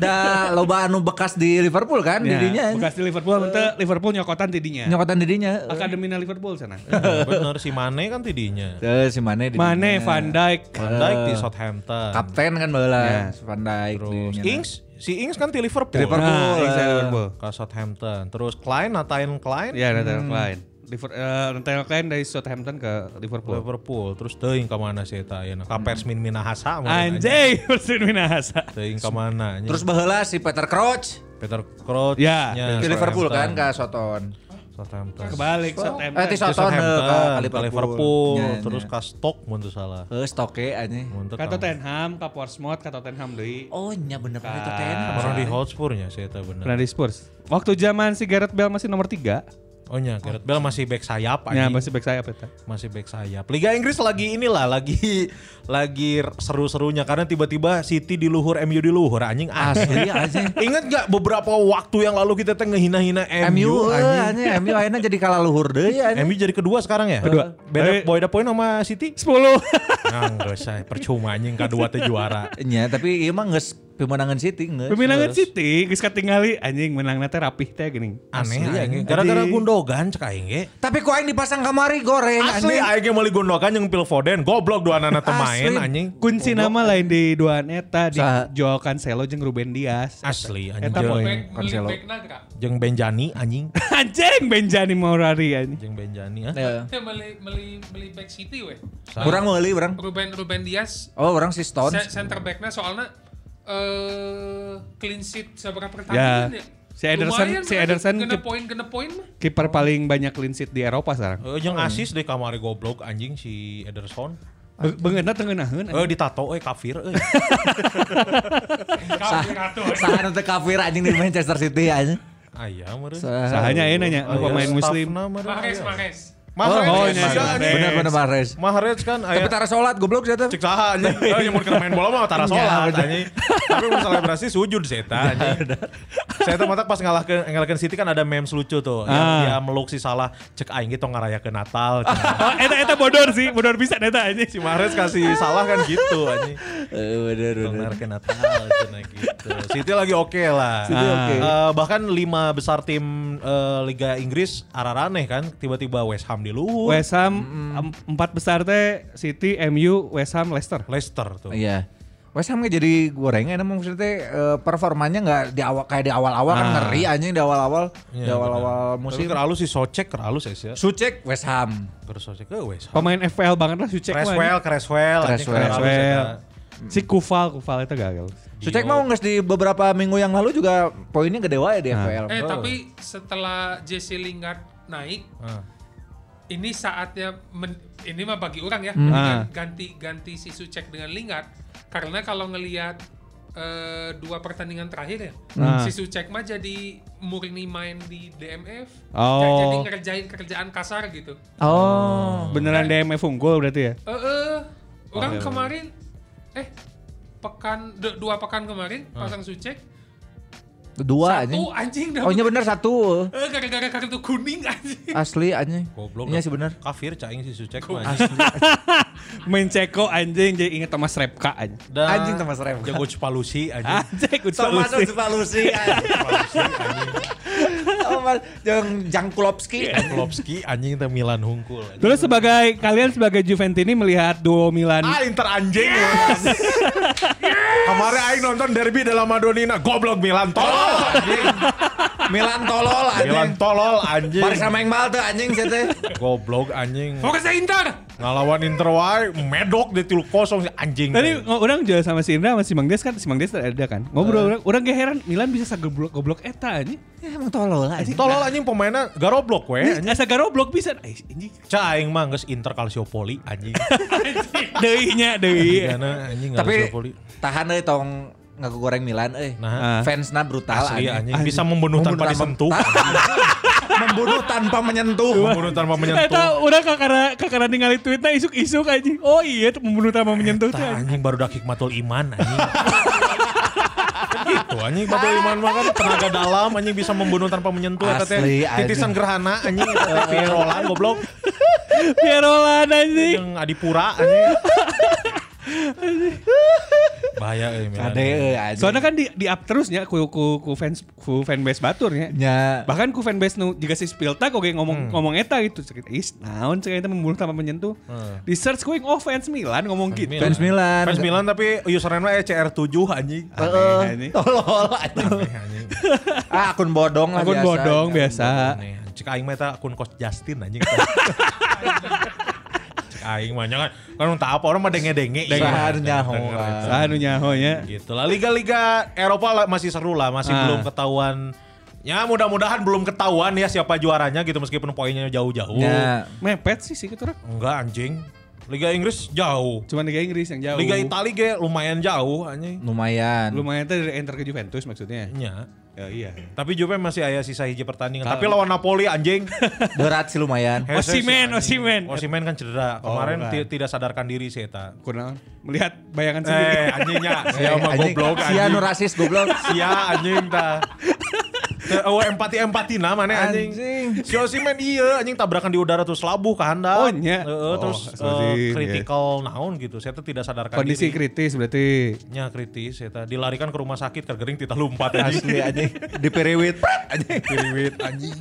[SPEAKER 5] da loba anu bekas di Liverpool kan
[SPEAKER 7] Iya,
[SPEAKER 6] Ya,
[SPEAKER 5] dirinya. anjing.
[SPEAKER 6] bekas di Liverpool, ente Liverpool nyokotan tidinya.
[SPEAKER 5] Nyokotan dirinya.
[SPEAKER 6] Akademina Liverpool sana.
[SPEAKER 7] Nah, Bener si Mane kan tidinya.
[SPEAKER 5] Tuh si Mane dirinya.
[SPEAKER 6] Mane, Van Dijk.
[SPEAKER 7] Van Dijk di Southampton.
[SPEAKER 5] Kapten kan bala si Van Dijk.
[SPEAKER 7] Terus
[SPEAKER 5] dirinya.
[SPEAKER 7] Ings, si Ings kan di Liverpool.
[SPEAKER 5] nah. Liverpool.
[SPEAKER 6] Nah,
[SPEAKER 5] eh.
[SPEAKER 6] Inside Liverpool.
[SPEAKER 7] Ke Southampton. Terus Klein, Nathan Klein.
[SPEAKER 6] Ya, Nathan Klein. Liver, eh, Nathan Klein dari Southampton ke Liverpool.
[SPEAKER 7] Liverpool. Terus teuing ka mana sih eta ayeuna? Ka Persmin Minahasa meureun anjing.
[SPEAKER 6] Anjay, (laughs) Persin Minahasa.
[SPEAKER 7] Teuing ka mana? anjing.
[SPEAKER 5] Terus baheula si Peter Crouch
[SPEAKER 7] Peter Crouch
[SPEAKER 6] Ya,
[SPEAKER 5] di Liverpool kan ke Soton.
[SPEAKER 7] Southampton.
[SPEAKER 6] Kebalik
[SPEAKER 5] Eh di
[SPEAKER 7] Ke
[SPEAKER 6] Southampton.
[SPEAKER 5] Soton eh, ke
[SPEAKER 7] Southampton,
[SPEAKER 5] Liverpool. Iya,
[SPEAKER 7] ke Liverpool,
[SPEAKER 5] Nya, nya.
[SPEAKER 7] terus ke Stoke mun teu salah.
[SPEAKER 5] Heeh, stoke aneh.
[SPEAKER 7] Mun teu
[SPEAKER 6] Ka
[SPEAKER 7] ka-
[SPEAKER 6] Tottenham, ka Portsmouth, ka Tottenham deui.
[SPEAKER 5] Oh nya bener bener itu ten.
[SPEAKER 7] Pernah di Hotspur nya sih eta bener.
[SPEAKER 6] Pernah di Spurs. Waktu zaman si Gareth Bale masih nomor 3,
[SPEAKER 7] Oh nya, Gareth Bale masih back sayap
[SPEAKER 6] Ya
[SPEAKER 7] anjing.
[SPEAKER 6] masih back sayap eta.
[SPEAKER 7] masih back sayap. Liga Inggris lagi inilah, lagi lagi seru-serunya karena tiba-tiba City di luhur, MU di luhur anjing asli.
[SPEAKER 5] Asli anjing.
[SPEAKER 7] Ingat gak beberapa waktu yang lalu kita teh ngehina-hina
[SPEAKER 5] MU
[SPEAKER 7] MU
[SPEAKER 5] eh,
[SPEAKER 7] anjing.
[SPEAKER 5] anjing MU akhirnya jadi kalah luhur deh ya.
[SPEAKER 7] MU jadi kedua sekarang ya?
[SPEAKER 6] Kedua.
[SPEAKER 7] Beda
[SPEAKER 6] Tapi-
[SPEAKER 7] boy poin sama City.
[SPEAKER 6] (laughs)
[SPEAKER 1] 10.
[SPEAKER 7] (laughs) Ah, Nggak usah, percuma anjing kedua teh (laughs) juara.
[SPEAKER 5] Ya, tapi ieu mah geus pemenangan City geus.
[SPEAKER 6] Pemenangan City geus katingali anjing menangna teh rapih teh geuning.
[SPEAKER 5] Asli,
[SPEAKER 7] Aneh anjing.
[SPEAKER 5] anjing.
[SPEAKER 7] Gara-gara
[SPEAKER 6] Jadi-
[SPEAKER 7] Gundogan cek aing ge.
[SPEAKER 5] Tapi kok aing dipasang kamari goreng
[SPEAKER 7] Asli
[SPEAKER 5] anjing.
[SPEAKER 7] aing ge meuli Gundogan jeung Phil Foden. Goblok dua anak teu
[SPEAKER 5] Asli.
[SPEAKER 7] main anjing.
[SPEAKER 6] Kunci nama lain di duaan eta di
[SPEAKER 5] Saha?
[SPEAKER 6] Joao Cancelo jeung Ruben Dias.
[SPEAKER 7] Asli anjing.
[SPEAKER 6] Eta poin.
[SPEAKER 7] jeung-
[SPEAKER 5] Cancelo.
[SPEAKER 7] Jeung Benjani anjing.
[SPEAKER 6] (laughs) anjing Benjani Morari anjing.
[SPEAKER 7] Jeung Benjani ah.
[SPEAKER 5] Ya.
[SPEAKER 8] Dia beli beli beli back City weh.
[SPEAKER 5] Kurang meuli urang.
[SPEAKER 8] Ruben Ruben Dias
[SPEAKER 5] Oh, orang si Stones.
[SPEAKER 8] se- center backnya soalnya eh clean sheet
[SPEAKER 6] Ya.
[SPEAKER 8] seberapa pertandingan ya.
[SPEAKER 6] Si Ederson-
[SPEAKER 8] Lumayan,
[SPEAKER 6] si
[SPEAKER 8] makanya
[SPEAKER 6] Ederson
[SPEAKER 8] kena
[SPEAKER 6] ke-
[SPEAKER 8] poin kena poin mah.
[SPEAKER 6] Kiper paling banyak clean sheet di Eropa sekarang.
[SPEAKER 7] Eh, jeung asis deh kamari goblok anjing si Ederson.
[SPEAKER 6] Be- Beungeutna teu ngeunaheun.
[SPEAKER 7] Eh ditato eh kafir (laughs) eh.
[SPEAKER 5] Saha nu teu kafir anjing di Manchester City anjing.
[SPEAKER 7] Aya Ah, iya, meureun.
[SPEAKER 5] Saha.
[SPEAKER 6] Sahanya ya nanya
[SPEAKER 7] Aya,
[SPEAKER 6] pemain
[SPEAKER 7] staffna
[SPEAKER 6] muslim.
[SPEAKER 7] meureun,
[SPEAKER 8] Mahrez
[SPEAKER 7] aya.
[SPEAKER 8] Mahrez.
[SPEAKER 7] Mahrez. Oh,
[SPEAKER 6] Oh, iya, iya.
[SPEAKER 5] Benar benar Mahrez.
[SPEAKER 7] Mahrez kan
[SPEAKER 5] Tapi
[SPEAKER 7] aya
[SPEAKER 5] tara sholat goblok sih eta.
[SPEAKER 7] cek saha (laughs) anjing. Eh, yang mau kena main bola mah tara
[SPEAKER 5] Ya,
[SPEAKER 7] sholat
[SPEAKER 5] bener.
[SPEAKER 7] anjing. Tapi mau selebrasi sujud si eta anjing. Saya tuh matak pas ngalahkeun ngalahkeun City kan ada memes lucu tuh. Yang
[SPEAKER 6] Ah.
[SPEAKER 7] dia meluk si salah cek aing gitu ngarayakeun Natal. cenah.
[SPEAKER 6] (laughs) Oh, eta eta bodor sih, bodor bisa eta anjing.
[SPEAKER 7] Si Mahrez kasih salah kan gitu anjing.
[SPEAKER 5] Eh, bener bener.
[SPEAKER 7] Benar kena Natal cenah gitu. City lagi oke lah.
[SPEAKER 5] City oke.
[SPEAKER 7] Eh, bahkan lima besar tim eh, Liga Inggris araraneh kan tiba-tiba West Ham di luhur.
[SPEAKER 6] (laughs) West Ham em- empat besar teh City, MU, West Ham, Leicester.
[SPEAKER 7] Leicester tuh.
[SPEAKER 5] Iya. West Ham nggak jadi gorengan emang maksudnya eh, performanya nggak di awal kayak di awal-awal kan
[SPEAKER 7] Nah.
[SPEAKER 5] ngeri anjing di awal-awal
[SPEAKER 7] Iya,
[SPEAKER 5] di awal-awal
[SPEAKER 7] benar.
[SPEAKER 5] musim.
[SPEAKER 7] Tapi keralus si Socek keralus ya sih.
[SPEAKER 5] Sucek West Ham.
[SPEAKER 7] Terus Socek ke West Ham.
[SPEAKER 6] Pemain FPL banget lah Sucek mah,
[SPEAKER 7] Creswell,
[SPEAKER 6] anjing.
[SPEAKER 7] Creswell, anjing,
[SPEAKER 5] Creswell.
[SPEAKER 7] keralus
[SPEAKER 6] Creswell.
[SPEAKER 7] eta.
[SPEAKER 6] Si Kufal, Kufal itu gagal.
[SPEAKER 5] Sucek mau nggak di beberapa minggu yang lalu juga poinnya gede wae
[SPEAKER 7] Nah.
[SPEAKER 5] di FPL.
[SPEAKER 8] Eh tapi setelah Jesse Lingard naik
[SPEAKER 7] Ah.
[SPEAKER 8] ini saatnya men- ini mah bagi orang ya
[SPEAKER 6] Ah.
[SPEAKER 8] mendingan ganti ganti si Sucek dengan Lingard karena kalau ngelihat eh, dua pertandingan terakhir ya
[SPEAKER 6] Ah.
[SPEAKER 8] si Sucek mah jadi murni main di DMF
[SPEAKER 6] Oh.
[SPEAKER 8] Kayak jadi ngerjain kerjaan kasar gitu
[SPEAKER 5] Oh.
[SPEAKER 6] Beneran DMF unggul berarti ya?
[SPEAKER 8] eh eh, orang kemarin eh pekan de- dua pekan kemarin pasang Sucek
[SPEAKER 5] Dua anjing.
[SPEAKER 8] satu anjing
[SPEAKER 5] Oh
[SPEAKER 8] dapat
[SPEAKER 5] iya bener satu.
[SPEAKER 8] eh, gara-gara kartu kuning anjing
[SPEAKER 5] Asli anjing.
[SPEAKER 7] Goblok.
[SPEAKER 5] Iya
[SPEAKER 7] dah.
[SPEAKER 5] sih bener.
[SPEAKER 7] Kafir caing si Sucek mah. anjing. (laughs)
[SPEAKER 6] Main Ceko anjing jadi inget Thomas Repka anjing. (laughs)
[SPEAKER 7] Dan
[SPEAKER 5] Anjing Thomas Rev. (laughs)
[SPEAKER 7] Jago Cepalusi anjing.
[SPEAKER 6] Anjing udah
[SPEAKER 5] Thomas
[SPEAKER 6] lusi.
[SPEAKER 5] Valusi anjing. Thomas Jang Jangkulowski.
[SPEAKER 7] Iya. Klopski (laughs) anjing teh Milan hungkul. anjing.
[SPEAKER 6] Terus sebagai kalian sebagai Juventini melihat duo Milan
[SPEAKER 7] Ah Inter anjing. Kemarin aing nonton derby dalam Madonina, goblok Milan tolol. anjing.
[SPEAKER 5] Milan tolol
[SPEAKER 7] Milan
[SPEAKER 5] anjing.
[SPEAKER 7] tolol anjing.
[SPEAKER 5] Baris sama yang tuh anjing sih teh.
[SPEAKER 7] Goblok anjing.
[SPEAKER 8] fokusnya Inter
[SPEAKER 7] Ngalawan Inter wae medok di 3-0 si anjing.
[SPEAKER 6] Tadi ngo- orang juga sama si Indra sama si Mang Des kan, si Mang Des ada kan. Ngobrol orang, orang gak heran Milan bisa segoblok goblok eta anjing.
[SPEAKER 5] Ya emang tolol anjing.
[SPEAKER 7] tolol anjing pemainnya garoblok we.
[SPEAKER 6] Ini asa garoblok bisa. Eh, ini
[SPEAKER 7] Cah aing mah geus Inter Calciopoli (laughs) anjing. Iya.
[SPEAKER 6] deui-nya deui.
[SPEAKER 7] Gana anjing
[SPEAKER 5] Tapi
[SPEAKER 7] Calciopoli.
[SPEAKER 5] tahan euy tong ngaku goreng Milan euy.
[SPEAKER 7] Nah.
[SPEAKER 5] Fansna brutal
[SPEAKER 7] Asli anjing
[SPEAKER 6] Anjing.
[SPEAKER 7] bisa membunuh tanpa
[SPEAKER 5] tanpa- (laughs)
[SPEAKER 7] disentuh.
[SPEAKER 5] Membunuh tanpa menyentuh.
[SPEAKER 7] membunuh tanpa menyentuh.
[SPEAKER 6] Eta orang kakara kakara ningali tweetnya isuk-isuk anjing. Oh iya tuh membunuh tanpa menyentuh
[SPEAKER 7] Tah,
[SPEAKER 6] tuh.
[SPEAKER 7] anjing baru dak hikmatul iman anjing. Kan gitu anjing hikmatul iman mah kan tenaga dalam anjing bisa membunuh tanpa menyentuh eta teh.
[SPEAKER 5] Asli, anjing.
[SPEAKER 7] Titisan gerhana anjing eta teh Pierolan goblok
[SPEAKER 6] Pierolan Ya, anjing.
[SPEAKER 7] jeung Adipura anjing. Bahaya eh, euy Milan.
[SPEAKER 5] Kade euy anjing.
[SPEAKER 6] Soalnya kan di di up terusnya ku ku ku fans ku fanbase baturnya.
[SPEAKER 5] nya
[SPEAKER 6] Bahkan ku fanbase nu jika si Spilta kok kayak ngomong ngomong eta gitu. Cek eta, Is naon cek eta membunuh tanpa menyentuh. Di search ku yang, oh fans Milan ngomong gitu.
[SPEAKER 5] fans Milan.
[SPEAKER 7] Fans Milan tapi E username nya CR7 anjing.
[SPEAKER 5] Heeh.
[SPEAKER 6] anjing.
[SPEAKER 5] Tolol anjing.
[SPEAKER 7] Aneh, anjing.
[SPEAKER 5] Ah akun bodong lah
[SPEAKER 6] Akun
[SPEAKER 5] biasa.
[SPEAKER 6] bodong biasa.
[SPEAKER 7] Aneh. Cek aing mah eta akun coach Justin
[SPEAKER 6] (laughs)
[SPEAKER 7] anjing. Cek aing mah nya kan kan entah apa orang mah denge-denge. Iya,
[SPEAKER 5] Saharnya ho.
[SPEAKER 6] Saha nu nyaho nya.
[SPEAKER 7] gitu lah liga-liga Eropa lah masih seru lah masih
[SPEAKER 6] Ah.
[SPEAKER 7] belum ketahuan ya mudah-mudahan belum ketahuan ya siapa juaranya gitu meskipun poinnya jauh-jauh
[SPEAKER 5] Nya.
[SPEAKER 6] Mepet sih sih gitu orang.
[SPEAKER 7] enggak anjing Liga Inggris jauh.
[SPEAKER 6] Cuman Liga Inggris yang jauh.
[SPEAKER 7] Liga Italia ge lumayan jauh anjing.
[SPEAKER 5] Lumayan.
[SPEAKER 6] Lumayan tuh dari enter ke Juventus maksudnya.
[SPEAKER 7] Ya.
[SPEAKER 6] Ya iya.
[SPEAKER 7] Tapi Juve masih ayah sisa hiji pertandingan.
[SPEAKER 6] Tahu.
[SPEAKER 7] Tapi lawan Napoli
[SPEAKER 6] (laughs)
[SPEAKER 7] anjing.
[SPEAKER 5] Berat sih lumayan.
[SPEAKER 6] Eh,
[SPEAKER 7] Hese sih,
[SPEAKER 1] Osimhen,
[SPEAKER 7] anjing.
[SPEAKER 1] Osimhen.
[SPEAKER 7] Osimhen kan cedera.
[SPEAKER 6] Oh,
[SPEAKER 7] Kemarin
[SPEAKER 6] bukan.
[SPEAKER 7] ti- tidak sadarkan diri sih eta.
[SPEAKER 6] Kurang melihat bayangan sendiri.
[SPEAKER 7] Eh
[SPEAKER 5] (laughs)
[SPEAKER 7] anjingnya. Sia mah
[SPEAKER 5] anjing.
[SPEAKER 7] goblok
[SPEAKER 5] Sia
[SPEAKER 7] anjing.
[SPEAKER 5] nu rasis goblok.
[SPEAKER 7] Sia anjing ta. oh, Teu eueuh empati-empati na nah, mana anjing.
[SPEAKER 5] Anjing.
[SPEAKER 7] Si Osimhen iya anjing tabrakan di udara terus labuh ke handap.
[SPEAKER 6] Oh,
[SPEAKER 5] iya.
[SPEAKER 6] nya.
[SPEAKER 7] Heeh,
[SPEAKER 6] Oh,
[SPEAKER 7] terus
[SPEAKER 6] si Osim, iya.
[SPEAKER 7] kritikal naon gitu. Saya tuh tidak sadarkan
[SPEAKER 6] Kondisi
[SPEAKER 7] diri.
[SPEAKER 6] kritis berarti.
[SPEAKER 7] Nya kritis eta dilarikan ke rumah sakit kegering titah lompat
[SPEAKER 5] Asli
[SPEAKER 7] anjing.
[SPEAKER 5] anjing. Di periwit. Anjing.
[SPEAKER 7] Piriwit anjing.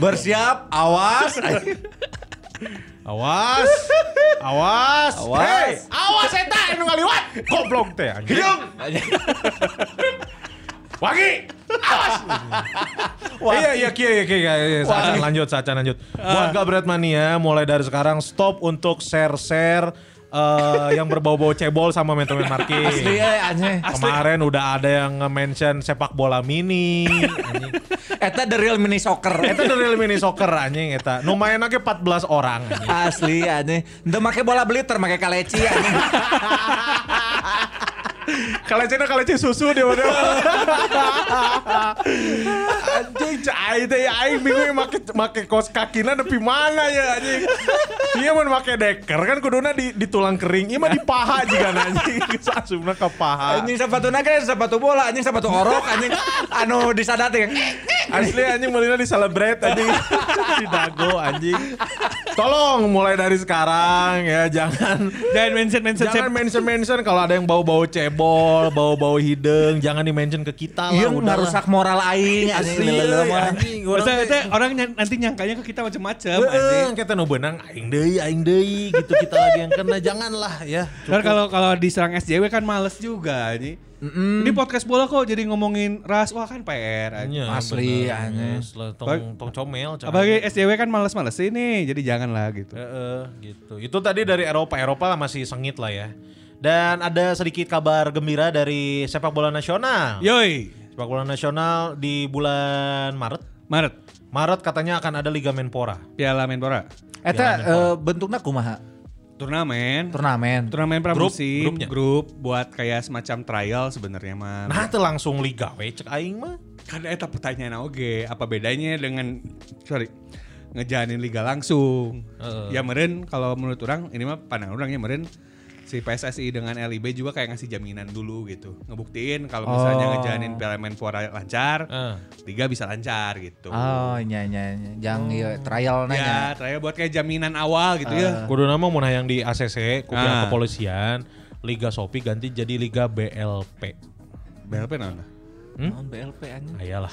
[SPEAKER 5] Bersiap, awas. anjing. (laughs)
[SPEAKER 7] Awas. Awas.
[SPEAKER 5] Awas.
[SPEAKER 7] Hey, awas eta anu ngaliwat. Goblok teh anjing. (laughs) Hidup. Wagi. Awas. Iya iya kia iya kia iya, iya. Sacan lanjut sacan lanjut. Warga Bradmania mulai dari sekarang stop untuk share-share eh, yang berbau-bau cebol sama mentomen marking.
[SPEAKER 5] Asli eh, anjing.
[SPEAKER 7] Kemarin udah ada yang nge-mention sepak bola mini. anjing.
[SPEAKER 5] Eta the real mini soccer.
[SPEAKER 7] Eta the real mini soccer anjing eta. Nu main aja 14 orang. anjing.
[SPEAKER 5] Asli anjing. Udah make bola beliter, make kaleci anjing.
[SPEAKER 7] Kalecina kaleci susu dia mana? anjing cai teh ya aing bingung make make kos kakina depi mana ya anjing. Iya mun make deker kan kuduna di, di tulang kering, ieu mah di paha juga anjing. (laughs) Sasumna ke paha.
[SPEAKER 5] Anjing sepatu naga, sepatu bola, anjing sepatu orok, anjing anu disadat yang
[SPEAKER 7] Asli anjing mulina di celebrate anjing. di dago anjing. Tolong mulai dari sekarang ya jangan
[SPEAKER 1] Jangan mention mention
[SPEAKER 7] Jangan mention-mention kalau ada yang bau-bau cebol, bau-bau hidung, jangan di-mention ke kita lah.
[SPEAKER 5] Iya
[SPEAKER 7] udahlah. Iya,
[SPEAKER 5] ngerusak moral aing anjing
[SPEAKER 7] Asli,
[SPEAKER 5] leuleum, eh, anjing.
[SPEAKER 7] anjing.
[SPEAKER 6] Masa itu orang nyang- nanti nyangkanya ke kita macam-macam anjing.
[SPEAKER 7] Heeh, kita nu benang aing deui aing deui gitu kita lagi yang kena janganlah ya.
[SPEAKER 6] Ntar kalau kalau diserang SJW kan males juga anjing. Ini podcast bola kok jadi ngomongin ras wah kan PR anjing.
[SPEAKER 5] Asli, anjing.
[SPEAKER 7] Tong tong comel. cah.
[SPEAKER 6] Apalagi SJW kan males-males ini jadi janganlah gitu.
[SPEAKER 7] Heeh, gitu. Itu tadi dari Eropa. Eropa lah masih sengit lah ya. Dan ada sedikit kabar gembira dari sepak bola nasional.
[SPEAKER 6] Ya. Yoi,
[SPEAKER 7] Sepak bola nasional di bulan Maret.
[SPEAKER 6] Maret
[SPEAKER 7] Maret katanya akan ada Liga Menpora.
[SPEAKER 6] Piala Menpora.
[SPEAKER 5] Eta eh, bentuknya kumaha?
[SPEAKER 6] Turnamen.
[SPEAKER 5] Turnamen.
[SPEAKER 6] Turnamen
[SPEAKER 7] Grup-
[SPEAKER 6] pramusim,
[SPEAKER 7] grupnya.
[SPEAKER 6] grup buat kayak semacam trial sebenarnya mah.
[SPEAKER 7] Nah, itu langsung liga we cek aing mah.
[SPEAKER 6] Kan eta pertanyaan oge, apa bedanya dengan sorry ngejalanin liga langsung. Ya meren kalau menurut orang ini mah pandangan orang ya meren si PSSI dengan LIB juga kayak ngasih jaminan dulu gitu. Ngebuktiin kalau misalnya ngejalanin Piala Menpora lancar, liga bisa lancar gitu.
[SPEAKER 5] Oh, nya nya nya. Jang
[SPEAKER 7] Oh.
[SPEAKER 5] iya, ieu trial
[SPEAKER 6] Ya,
[SPEAKER 7] Iya.
[SPEAKER 5] nanya.
[SPEAKER 6] trial buat kayak jaminan awal gitu ya.
[SPEAKER 7] Kudu nama mun hayang di ACC, ku pihak
[SPEAKER 6] Ah.
[SPEAKER 7] kepolisian, Liga Sopi ganti jadi Liga BLP.
[SPEAKER 6] BLP naon?
[SPEAKER 5] Naon BLP anjing.
[SPEAKER 6] (laughs)
[SPEAKER 7] Ayalah.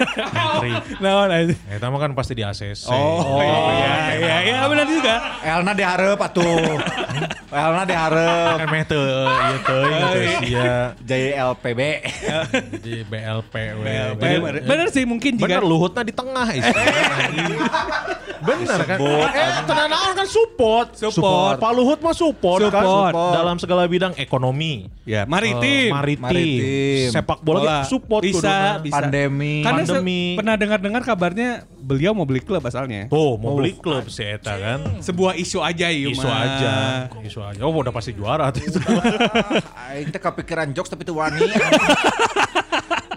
[SPEAKER 7] Menteri.
[SPEAKER 6] Naon aja.
[SPEAKER 7] Ah, Eta mah kan pasti di ACC.
[SPEAKER 6] Oh, iya iya iya benar juga.
[SPEAKER 5] Elna dihareup atuh.
[SPEAKER 7] (laughs)
[SPEAKER 5] Elna dihareup.
[SPEAKER 7] Kan meh teu ieu teuing teu
[SPEAKER 6] Iya.
[SPEAKER 7] sia
[SPEAKER 5] JLPB.
[SPEAKER 7] di BLP we.
[SPEAKER 6] Bener, bener sih mungkin juga.
[SPEAKER 7] Bener luhutna di tengah
[SPEAKER 6] (laughs)
[SPEAKER 7] istilahnya. Bener kan? Eh, tenan naon kan support.
[SPEAKER 6] Support.
[SPEAKER 7] Pak Luhut mah support, kan?
[SPEAKER 6] Support.
[SPEAKER 7] Dalam segala bidang ekonomi.
[SPEAKER 6] Ya,
[SPEAKER 7] Eh,
[SPEAKER 6] maritim.
[SPEAKER 7] maritim.
[SPEAKER 5] Maritim.
[SPEAKER 7] Sepak bola,
[SPEAKER 6] Bola.
[SPEAKER 7] kan support
[SPEAKER 6] bisa,
[SPEAKER 7] kuduna.
[SPEAKER 6] bisa.
[SPEAKER 5] Pandemi.
[SPEAKER 7] Kan-
[SPEAKER 6] Karena se-
[SPEAKER 7] Pandemi.
[SPEAKER 6] pernah dengar-dengar kabarnya beliau mau beli klub asalnya.
[SPEAKER 7] Tuh, mau beli
[SPEAKER 6] Oh,
[SPEAKER 7] klub si Eta kan.
[SPEAKER 6] Sebuah isu aja ya,
[SPEAKER 7] Isu aja, isu aja. Oh, udah pasti juara tuh itu.
[SPEAKER 6] (laughs)
[SPEAKER 5] Aing teh Ah, kepikiran jokes tapi teu
[SPEAKER 7] (laughs)
[SPEAKER 5] wani.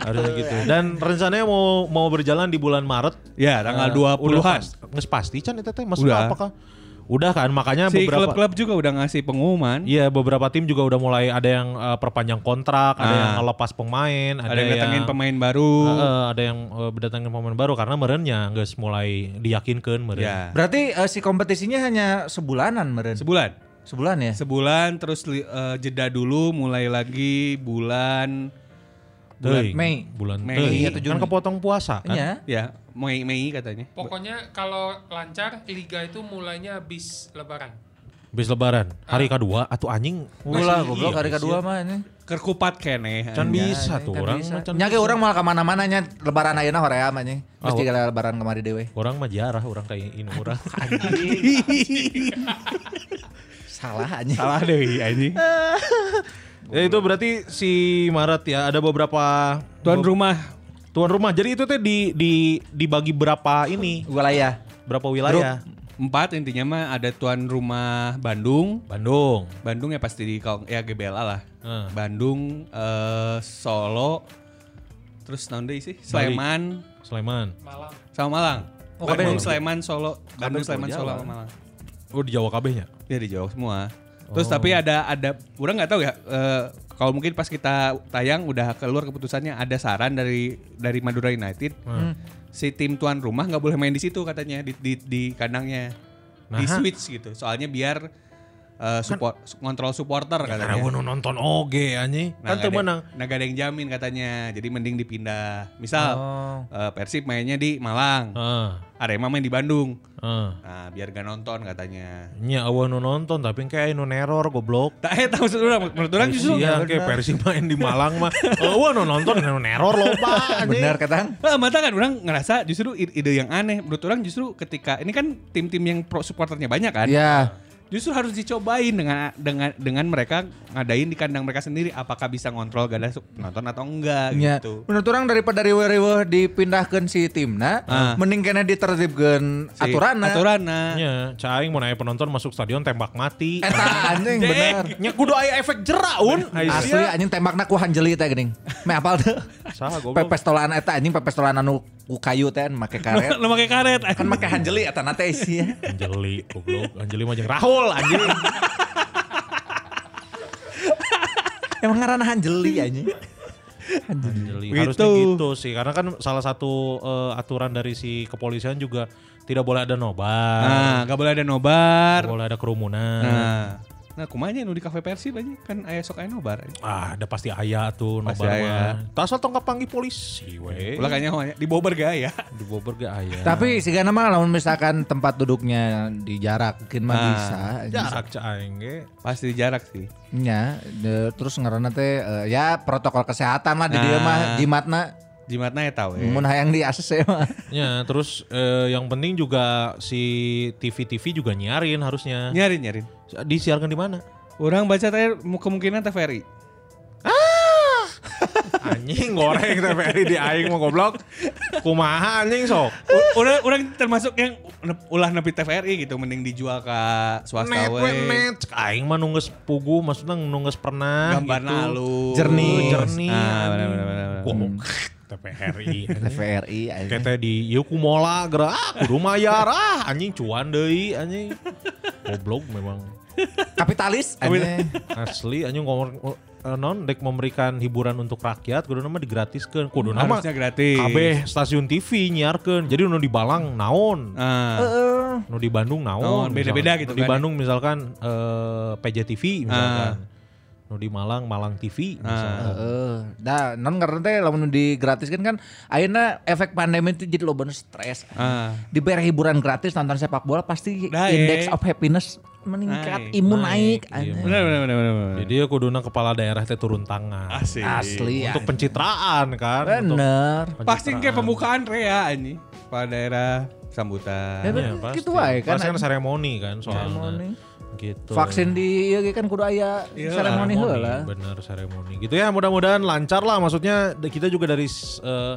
[SPEAKER 7] Harusnya gitu. Dan rencananya mau mau berjalan di bulan Maret.
[SPEAKER 6] Ya, tanggal
[SPEAKER 7] Eh,
[SPEAKER 6] 20-an.
[SPEAKER 7] Nges pasti Chan itu teh maksudnya
[SPEAKER 6] Udah.
[SPEAKER 7] apakah? Udah kan makanya
[SPEAKER 6] Si
[SPEAKER 7] beberapa
[SPEAKER 6] klub-klub juga udah ngasih pengumuman.
[SPEAKER 7] Iya, beberapa tim juga udah mulai ada yang eh, perpanjang kontrak, ada
[SPEAKER 6] Ah.
[SPEAKER 7] yang ngelepas pemain, ada,
[SPEAKER 6] ada yang datengin pemain baru.
[SPEAKER 7] Heeh, ada yang eh, datengin pemain baru karena merenya guys mulai diyakinkan meren.
[SPEAKER 6] ya.
[SPEAKER 5] Berarti eh, si kompetisinya hanya sebulanan meren.
[SPEAKER 6] Sebulan.
[SPEAKER 5] Sebulan ya?
[SPEAKER 6] Sebulan terus li- eh, jeda dulu mulai lagi bulan
[SPEAKER 7] Bulan
[SPEAKER 5] Mei.
[SPEAKER 7] Bulan
[SPEAKER 6] Mei.
[SPEAKER 7] Teuing. kan
[SPEAKER 6] Iya,
[SPEAKER 7] kepotong puasa kan.
[SPEAKER 5] Iya.
[SPEAKER 6] ya Mei Mei katanya.
[SPEAKER 8] Pokoknya kalau lancar liga itu mulainya habis lebaran.
[SPEAKER 7] Bis lebaran, hari kedua atau anjing.
[SPEAKER 5] Ulah
[SPEAKER 7] Masih
[SPEAKER 5] goblok
[SPEAKER 7] iya,
[SPEAKER 5] hari
[SPEAKER 7] masih iya.
[SPEAKER 5] kedua mah ini.
[SPEAKER 6] Kerkupat keneh.
[SPEAKER 7] Can
[SPEAKER 6] anjing.
[SPEAKER 7] bisa tuh orang mah can
[SPEAKER 5] Nya ge
[SPEAKER 7] bisa.
[SPEAKER 5] urang malah ka mana-mana nya lebaran ayeuna horea mah nya. Mesti
[SPEAKER 7] Ah,
[SPEAKER 5] kala lebaran kemari dewe.
[SPEAKER 7] Orang mah jarah, orang kayak ini orang.
[SPEAKER 5] (laughs) Salah anjing.
[SPEAKER 6] Salah deh anjing.
[SPEAKER 7] ya itu berarti si Maret ya ada beberapa
[SPEAKER 6] Tuan rumah
[SPEAKER 7] tuan rumah. Jadi itu teh di di dibagi berapa ini?
[SPEAKER 5] Wilayah. (laughs)
[SPEAKER 7] Berapa wilayah?
[SPEAKER 6] Empat intinya mah ada tuan rumah Bandung.
[SPEAKER 7] Bandung.
[SPEAKER 6] Bandung ya pasti di kalau- ya GBLA lah.
[SPEAKER 7] Hmm.
[SPEAKER 6] Bandung, eh, Solo, terus naon deui sih?
[SPEAKER 7] Bali.
[SPEAKER 6] Sleman
[SPEAKER 7] Sleman.
[SPEAKER 8] Malang.
[SPEAKER 6] sama Malang.
[SPEAKER 7] Oh,
[SPEAKER 6] Bandung,
[SPEAKER 7] kabeh.
[SPEAKER 6] Sleman, Solo,
[SPEAKER 5] Kabeh
[SPEAKER 6] Bandung, Sleman,
[SPEAKER 5] Pulau
[SPEAKER 6] Solo,
[SPEAKER 5] Jawa.
[SPEAKER 6] sama Malang.
[SPEAKER 7] Oh di Jawa kabehnya.
[SPEAKER 6] Ya di Jawa semua.
[SPEAKER 7] Oh.
[SPEAKER 6] Terus tapi ada ada orang nggak tahu ya eh, kalau mungkin pas kita tayang udah keluar keputusannya ada saran dari dari Madura United
[SPEAKER 7] Hmm.
[SPEAKER 6] si tim tuan rumah nggak boleh main di situ katanya di di, di kandangnya di
[SPEAKER 7] Nah. Kan
[SPEAKER 6] switch gitu soalnya biar eh, support kontrol supporter
[SPEAKER 7] Karena
[SPEAKER 6] katanya.
[SPEAKER 7] gue Nah, nonton oge anjing. Ya, Kan
[SPEAKER 6] nggak
[SPEAKER 7] tuh
[SPEAKER 6] ada-
[SPEAKER 7] menang.
[SPEAKER 6] Nah gak ada yang jamin katanya jadi mending dipindah. Misal
[SPEAKER 7] Oh.
[SPEAKER 6] eh, Persib mainnya di Malang,
[SPEAKER 7] Ah,
[SPEAKER 6] Arema main di Bandung.
[SPEAKER 7] ah.
[SPEAKER 6] Nah biar gak nonton katanya.
[SPEAKER 7] Nya awan nu nonton tapi kayak nu neror goblok.
[SPEAKER 6] Tak eh tahu maksud orang, menurut orang justru
[SPEAKER 7] Iya, kayak Persib main di Malang (laughs) mah. Oh, nu nonton nu neror (laughs) loba. anjing.
[SPEAKER 5] Benar katang?
[SPEAKER 6] Ah, mata kan orang ngerasa justru i- ide yang aneh. Menurut orang justru ketika ini kan tim-tim yang pro supporternya banyak kan.
[SPEAKER 5] Iya.
[SPEAKER 6] Justru harus dicobain dengan dengan dengan mereka ngadain di kandang mereka sendiri apakah bisa ngontrol gak ada su- penonton atau enggak
[SPEAKER 5] Ya.
[SPEAKER 6] gitu.
[SPEAKER 5] Menurut orang daripada riweuh-riweuh dipindahkan si timna,
[SPEAKER 6] Ah.
[SPEAKER 5] mending kena ditertibkan
[SPEAKER 6] Si-
[SPEAKER 5] aturan
[SPEAKER 6] Aturana.
[SPEAKER 7] Nya, cah aing mau naik penonton masuk stadion tembak mati.
[SPEAKER 5] Eta anjing bener.
[SPEAKER 7] Nya kudu aya efek jerak un.
[SPEAKER 5] (laughs) Asli anjing tembakna ku hanjeli teh geuning. Me apal teu?
[SPEAKER 7] Saha goblok.
[SPEAKER 5] Pepes tolaan eta anjing pepes tolaan anu ku kayu teh anu make (laughs) karet.
[SPEAKER 1] Lu pakai karet.
[SPEAKER 5] (laughs) kan make hanjeli eta na teh isi ya.
[SPEAKER 7] Anjeli, goblok. Anjeli mah jeung Rahul anjing.
[SPEAKER 5] Emang ngaranna hanjeli anjing.
[SPEAKER 7] Anjeli.
[SPEAKER 6] Gitu.
[SPEAKER 7] Harusnya gitu sih. Karena kan salah satu eh, aturan dari si kepolisian juga tidak boleh ada nobar.
[SPEAKER 6] Nah, gak boleh ada
[SPEAKER 7] Tidak
[SPEAKER 6] nobar.
[SPEAKER 7] boleh ada kerumunan.
[SPEAKER 6] Nah, nah kumanya nu di kafe Persib aja kan aya sok aya nobar.
[SPEAKER 7] Ah, ada pasti ayah tuh
[SPEAKER 6] Pasti
[SPEAKER 7] nobar
[SPEAKER 6] aya.
[SPEAKER 7] mah. Tak asal tongkap panggil polisi
[SPEAKER 5] Iya.
[SPEAKER 7] we.
[SPEAKER 6] Ulah kayaknya hoanya di Bobber gak ya? (laughs)
[SPEAKER 7] Di Bobor ge aya.
[SPEAKER 5] Tapi si Gana mah lamun misalkan tempat duduknya dijarakin mah
[SPEAKER 6] Ah,
[SPEAKER 5] bisa. anjing.
[SPEAKER 7] jarak cah aing ge.
[SPEAKER 6] Pasti di jarak sih.
[SPEAKER 5] Ya, de- terus ngaranna teh eh, ya protokol kesehatan lah di dieu
[SPEAKER 6] Nah.
[SPEAKER 5] mah jimatna
[SPEAKER 6] Jimatna ya tahu.
[SPEAKER 5] mun hayang di ACC mah.
[SPEAKER 6] Iya.
[SPEAKER 7] Ya, terus eh, yang penting juga si TV-TV juga nyiarin
[SPEAKER 5] Hmm.
[SPEAKER 7] harusnya.
[SPEAKER 6] Nyarin nyarin.
[SPEAKER 7] Disiarkan di mana?
[SPEAKER 6] Orang baca tadi kemungkinan TVRI.
[SPEAKER 7] (laughs) Anjing goreng TVRI di aing mau goblok. Kumaha anjing sok.
[SPEAKER 6] U- orang orang termasuk yang nep- ulah nepi TVRI gitu mending dijual ke swasta
[SPEAKER 7] Net we
[SPEAKER 6] we
[SPEAKER 7] net. Cek Aing mah nungges pugu maksudnya nungges pernah gitu. Oh,
[SPEAKER 6] gambar nah, halus
[SPEAKER 5] Jernih.
[SPEAKER 7] Jernih,
[SPEAKER 6] nah, benar
[SPEAKER 7] anjing.
[SPEAKER 6] benar benar, benar.
[SPEAKER 7] (laughs) Goblok. TVRI. anjing.
[SPEAKER 5] TVRI anjing.
[SPEAKER 7] Kete di ieu kumola gerak kudu mayar ah anjing cuan deui anjing. Goblok memang.
[SPEAKER 5] kapitalis anjing.
[SPEAKER 7] Asli anjing ngomong eh, non dek memberikan hiburan untuk rakyat kudu nama digratiskeun kudu nama
[SPEAKER 6] Hmm, harusnya gratis
[SPEAKER 7] kabeh stasiun TV nyiarkeun jadi nu di Balang naon
[SPEAKER 6] nah,
[SPEAKER 7] nu di Bandung naon
[SPEAKER 6] Naon, beda-beda
[SPEAKER 7] misalkan.
[SPEAKER 6] gitu
[SPEAKER 7] Nu di
[SPEAKER 6] kan.
[SPEAKER 7] Bandung misalkan eh, PJ TV misalkan nu di Malang Malang TV
[SPEAKER 6] ah,
[SPEAKER 7] misalkan
[SPEAKER 5] Heeh. Dah, non karena teh lamun digratiskan kan akhirnya efek pandemi itu jadi loban stres.
[SPEAKER 6] ah.
[SPEAKER 5] Dibayar hiburan gratis nonton sepak bola pasti
[SPEAKER 6] Naik.
[SPEAKER 5] indeks of happiness meningkat,
[SPEAKER 6] Naik, Iya,
[SPEAKER 5] imun
[SPEAKER 7] naik,
[SPEAKER 5] naik, anjing.
[SPEAKER 6] benar benar benar benar, benar. Ah,
[SPEAKER 7] jadi ya kuduna kepala daerah teh turun tangan
[SPEAKER 6] asik
[SPEAKER 5] Asli
[SPEAKER 7] untuk
[SPEAKER 5] anjing.
[SPEAKER 7] pencitraan kan untuk
[SPEAKER 5] Bener.
[SPEAKER 6] pasti kayak pembukaan Rea ini pada daerah sambutan
[SPEAKER 5] Ya,
[SPEAKER 7] Iya,
[SPEAKER 5] Kan
[SPEAKER 7] pasti.
[SPEAKER 5] gitu wae kan,
[SPEAKER 7] Pasti kan
[SPEAKER 5] anjing.
[SPEAKER 7] seremoni kan soalnya.
[SPEAKER 5] Seremoni.
[SPEAKER 7] Gitu.
[SPEAKER 5] Vaksin di ieu ge kan kudu aya
[SPEAKER 6] Iya.
[SPEAKER 5] seremoni heula.
[SPEAKER 7] Bener seremoni. Gitu ya mudah-mudahan lancar lah. Maksudnya d- kita juga dari s- eh,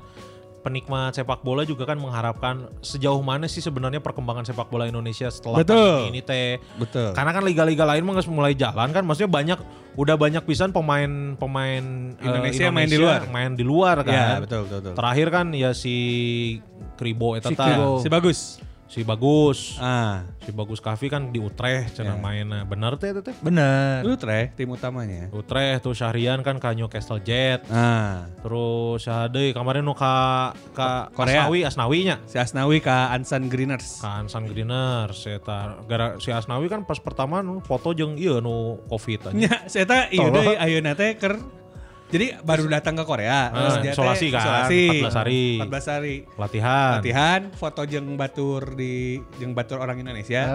[SPEAKER 7] penikmat sepak bola juga kan mengharapkan sejauh mana sih sebenarnya perkembangan sepak bola Indonesia setelah
[SPEAKER 6] Betul.
[SPEAKER 7] pandemi ini teh.
[SPEAKER 6] betul
[SPEAKER 7] Karena kan liga-liga lain mah nggak mulai jalan kan. Maksudnya banyak udah banyak pisan pemain-pemain eh,
[SPEAKER 6] Indonesia main di luar.
[SPEAKER 7] main di luar kan.
[SPEAKER 6] ya betul betul, betul.
[SPEAKER 7] Terakhir kan ya si Kribo eta
[SPEAKER 5] Si
[SPEAKER 7] tah.
[SPEAKER 5] Kribo.
[SPEAKER 6] si bagus
[SPEAKER 7] si bagus.
[SPEAKER 6] ah
[SPEAKER 7] Si Bagus Kavi kan di Utrecht
[SPEAKER 6] Iya.
[SPEAKER 7] cenah mainna. Bener teh eta teh?
[SPEAKER 5] Bener.
[SPEAKER 6] itu Tre tim utamanya
[SPEAKER 7] Utrecht tuh Syahrian kan ka Newcastle Jet.
[SPEAKER 6] ah
[SPEAKER 7] Terus Syahade kemarin nu ka ka
[SPEAKER 6] Korea.
[SPEAKER 7] Asnawi Asnawinya.
[SPEAKER 6] si Asnawi ke Ansan Greeners
[SPEAKER 7] Ka Ansan Greener eta gara si Asnawi kan pas pertama nu foto jeung ieu nu Covid anjing.
[SPEAKER 6] Ya, saya tak iya
[SPEAKER 7] Tolong.
[SPEAKER 6] deh, ayo nate ker. Jadi baru datang ke Korea,
[SPEAKER 7] Ah,
[SPEAKER 6] dia teh
[SPEAKER 7] isolasi kan, 14 hari.
[SPEAKER 6] 14 hari.
[SPEAKER 7] Latihan.
[SPEAKER 6] Latihan, foto jeng batur di jeng batur orang Indonesia,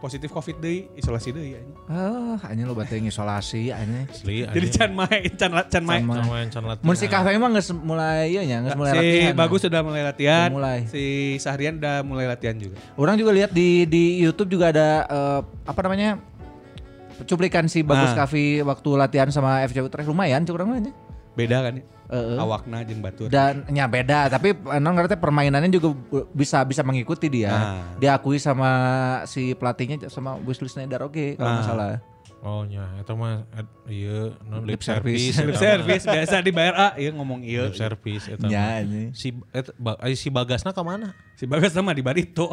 [SPEAKER 6] positif covid deui, isolasi deui. anjing.
[SPEAKER 5] Ah, anjing lo batu yang isolasi anjing.
[SPEAKER 7] Asli
[SPEAKER 6] Jadi can main, can la- can main.
[SPEAKER 5] Can
[SPEAKER 7] main can latihan.
[SPEAKER 5] Mun si kafe emang geus mulai ieu nya, geus mulai
[SPEAKER 6] si
[SPEAKER 5] latihan. ya.
[SPEAKER 6] bagus sudah mulai latihan,
[SPEAKER 5] Udah mulai.
[SPEAKER 6] si Sahrian udah mulai latihan juga.
[SPEAKER 5] Orang juga lihat di di YouTube juga ada eh, apa namanya cuplikan si Bagus
[SPEAKER 6] Ah.
[SPEAKER 5] Kavi waktu latihan sama FC Utrecht lumayan cukup orangnya.
[SPEAKER 6] Beda kan? ya?
[SPEAKER 5] Heeh.
[SPEAKER 6] awakna jeung batur.
[SPEAKER 5] dan nya beda tapi non ngerti permainannya juga bu- bisa bisa mengikuti dia
[SPEAKER 6] Nah.
[SPEAKER 5] diakui sama si pelatihnya sama Wesley Snyder oke kalau nggak
[SPEAKER 6] Nah.
[SPEAKER 5] salah
[SPEAKER 7] Oh nya, itu mah ad- iya non
[SPEAKER 5] Lip
[SPEAKER 7] lip
[SPEAKER 5] service.
[SPEAKER 7] service.
[SPEAKER 6] Lip
[SPEAKER 7] eta
[SPEAKER 6] service biasa dibayar ah, ieu
[SPEAKER 7] mah.
[SPEAKER 6] ngomong ieu.
[SPEAKER 7] Lip service eta.
[SPEAKER 5] Nya,
[SPEAKER 7] mah.
[SPEAKER 5] ini.
[SPEAKER 7] Si eta, ba, ay, si Bagasna ke mana?
[SPEAKER 6] Si Bagas sama di Barito.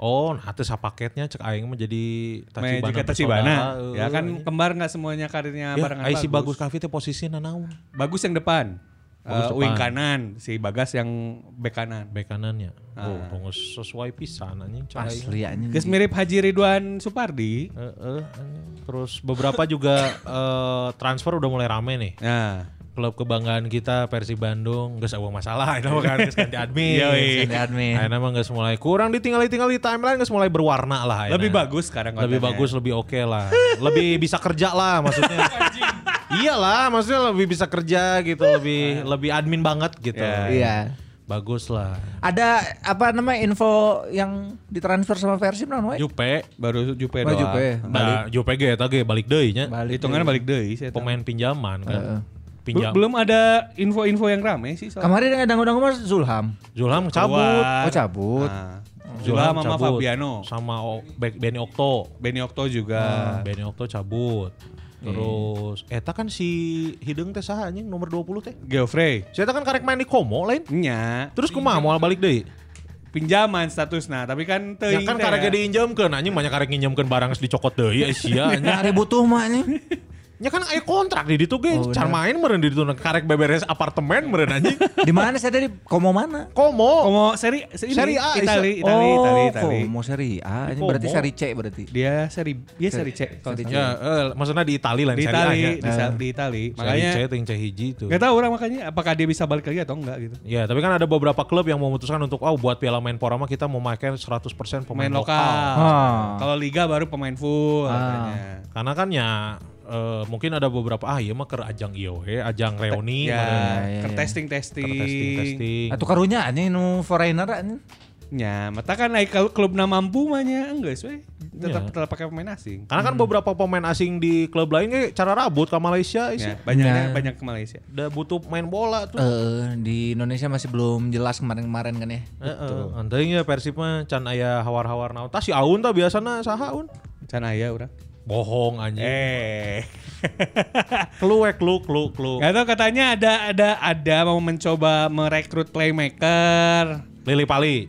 [SPEAKER 7] Oh, nah teu sapaketnya cek aing mah jadi
[SPEAKER 6] Meh juga Tachibana. Ya kan kembar nggak semuanya karirnya barengan
[SPEAKER 7] Iya, ay, si Ya, Bagus Kavi teh posisinya naon?
[SPEAKER 6] Bagus yang depan.
[SPEAKER 7] Bagus
[SPEAKER 6] Eh, wing
[SPEAKER 7] depan.
[SPEAKER 6] kanan, si Bagas yang bek kanan.
[SPEAKER 7] Bek kanannya. Oh,
[SPEAKER 6] Ah.
[SPEAKER 7] tunggu sesuai pisan anjing cek aing.
[SPEAKER 5] asli anjing.
[SPEAKER 6] Geus mirip Haji Ridwan Supardi.
[SPEAKER 7] Eh, eh, anjing. terus beberapa juga (laughs) eh, transfer udah mulai rame nih.
[SPEAKER 6] Nah,
[SPEAKER 7] Klub kebanggaan kita Persi Bandung geus eueuh masalah (laughs) eta mah kan geus ganti admin.
[SPEAKER 5] Wesley Snyder, admin.
[SPEAKER 7] Akhirnya mah nggak mulai kurang ditinggal-tinggal di timeline nggak mulai berwarna lah. ayeuna.
[SPEAKER 6] lebih bagus sekarang
[SPEAKER 7] Iya. lebih
[SPEAKER 6] kontennya.
[SPEAKER 7] bagus, lebih oke lah, lebih bisa kerja lah
[SPEAKER 6] (laughs)
[SPEAKER 7] maksudnya. Iyalah, maksudnya lebih bisa kerja gitu, lebih lebih admin banget gitu.
[SPEAKER 5] iya
[SPEAKER 7] Bagus lah.
[SPEAKER 5] ada apa namanya info yang ditransfer sama Persib non we?
[SPEAKER 7] Jupe,
[SPEAKER 6] Baru Jupe
[SPEAKER 5] Oh,
[SPEAKER 6] doang.
[SPEAKER 5] Jupe.
[SPEAKER 7] nah Jupe ge eta ge balik deui nya.
[SPEAKER 5] Balik. ya.
[SPEAKER 6] Hitungannya balik deui sih. eta.
[SPEAKER 7] Pemain pinjaman kan.
[SPEAKER 5] Heeh.
[SPEAKER 7] Pinjam.
[SPEAKER 6] Bel- Belum ada info-info yang rame sih soal.
[SPEAKER 5] kemarin yang dangu-dangu mas Zulham
[SPEAKER 7] Zulham cabut.
[SPEAKER 6] Keluar.
[SPEAKER 5] oh cabut
[SPEAKER 6] Nah, Zulham sama
[SPEAKER 7] cabut.
[SPEAKER 6] Fabiano.
[SPEAKER 7] Sama O- Be- Benny Okto.
[SPEAKER 6] Benny Okto
[SPEAKER 7] Nah,
[SPEAKER 6] juga.
[SPEAKER 7] Benny Okto cabut. Terus eta kan si Hideung teh saha anjing nomor 20 teh.
[SPEAKER 6] Geoffrey.
[SPEAKER 7] Si eta kan karek main di Komo lain.
[SPEAKER 6] Nya.
[SPEAKER 7] Terus kumaha mau balik deui?
[SPEAKER 6] Pinjaman statusnya, tapi kan teuing
[SPEAKER 7] Ya kan
[SPEAKER 6] teh
[SPEAKER 7] karek
[SPEAKER 6] ya.
[SPEAKER 7] diinjemkeun anjing banyak karek nginjemkeun barang geus dicokot deui ya
[SPEAKER 6] (laughs)
[SPEAKER 7] sia
[SPEAKER 5] (laughs)
[SPEAKER 7] anjing.
[SPEAKER 5] nyari butuh mah nih
[SPEAKER 7] Ya kan aya kontrak di ditu ge,
[SPEAKER 5] Oh,
[SPEAKER 7] car
[SPEAKER 5] bener.
[SPEAKER 7] main meureun di ditu nah, karek beberes apartemen meureun anjing.
[SPEAKER 5] di mana saya dari komo mana
[SPEAKER 7] Komo.
[SPEAKER 6] Komo seri seri
[SPEAKER 7] Oh. Seri A, Isa-
[SPEAKER 6] Itali, Itali,
[SPEAKER 5] oh,
[SPEAKER 6] Itali, Itali.
[SPEAKER 5] Komo seri A, ini
[SPEAKER 7] Komo.
[SPEAKER 5] berarti seri C berarti.
[SPEAKER 6] Dia seri dia seri C. kalau
[SPEAKER 5] Seri C.
[SPEAKER 6] nggak
[SPEAKER 7] Ya, eh, maksudnya di Itali
[SPEAKER 6] salah.
[SPEAKER 7] lah
[SPEAKER 6] Di
[SPEAKER 7] Serie A
[SPEAKER 6] Itali,
[SPEAKER 7] nya.
[SPEAKER 6] di, sa- di Itali.
[SPEAKER 7] Makanya
[SPEAKER 6] Makanya
[SPEAKER 7] yang C hiji itu.
[SPEAKER 6] nggak tahu orang makanya apakah dia bisa balik lagi atau enggak gitu.
[SPEAKER 7] Ya, tapi kan ada beberapa klub yang memutuskan untuk oh buat Piala Menpora mah kita memakai 100% pemain,
[SPEAKER 6] Pemain
[SPEAKER 7] lokal. Ah.
[SPEAKER 6] lokal.
[SPEAKER 5] Ah.
[SPEAKER 6] Kalau liga baru pemain full katanya.
[SPEAKER 7] Karena kan ya eh, mungkin ada beberapa ah iya mah ke ajang IOW, ajang reuni,
[SPEAKER 6] Ya,
[SPEAKER 5] ya,
[SPEAKER 6] ke
[SPEAKER 5] ya.
[SPEAKER 6] testing testing.
[SPEAKER 7] testing testing.
[SPEAKER 5] Atau karunya anjing nu foreigner anjing.
[SPEAKER 6] Ya, mata kan naik ke klub na mampu mah nya enggak sih.
[SPEAKER 7] Ya.
[SPEAKER 6] Tetap tetap pakai pemain asing.
[SPEAKER 7] Karena kan beberapa pemain asing di klub lain kayak cara rabut ke Malaysia Nah.
[SPEAKER 6] Ya,
[SPEAKER 7] sih.
[SPEAKER 6] banyaknya
[SPEAKER 5] Ya.
[SPEAKER 6] banyak ke Malaysia.
[SPEAKER 7] Udah butuh main bola tuh.
[SPEAKER 5] Eh, di Indonesia masih belum jelas kemarin-kemarin kan ya.
[SPEAKER 7] Heeh. Anteuing ya Persib mah can aya hawar-hawar naon. Tah si Aun tah biasana saha Aun?
[SPEAKER 6] Can aya urang.
[SPEAKER 7] Bohong anjing.
[SPEAKER 6] (laughs)
[SPEAKER 7] Eh,
[SPEAKER 6] Eh.
[SPEAKER 7] Klu we klu klu klu.
[SPEAKER 6] Gak tau katanya ada ada ada mau mencoba merekrut playmaker.
[SPEAKER 7] Lili Pali.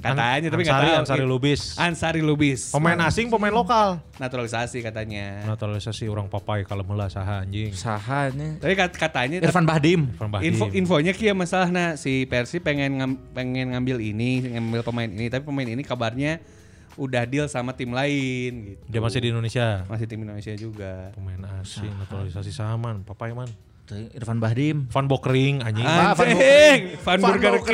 [SPEAKER 6] Katanya tapi nggak
[SPEAKER 7] Ansari,
[SPEAKER 6] tahu.
[SPEAKER 7] Ansari Lubis.
[SPEAKER 6] Ansari Lubis.
[SPEAKER 7] Pemain asing, pemain lokal.
[SPEAKER 6] Naturalisasi katanya.
[SPEAKER 7] Naturalisasi orang papai kalau meula saha anjing.
[SPEAKER 5] Usaha anjing.
[SPEAKER 6] Iya, Tapi kat- katanya
[SPEAKER 5] Irfan Bahdim.
[SPEAKER 7] Irfan Bahdim.
[SPEAKER 6] info infonya kia masalahnya si Persi pengen ngam- pengen ngambil ini, ngambil pemain ini, tapi pemain ini kabarnya udah deal sama tim lain gitu.
[SPEAKER 7] Dia masih di Indonesia.
[SPEAKER 6] masih tim Indonesia juga.
[SPEAKER 7] Pemain asing, naturalisasi saman, papai man.
[SPEAKER 5] Tuh, Irfan Bahdim.
[SPEAKER 7] Van Bokering anjing.
[SPEAKER 5] Ah. Van
[SPEAKER 6] Anjing, Van Burger
[SPEAKER 5] Van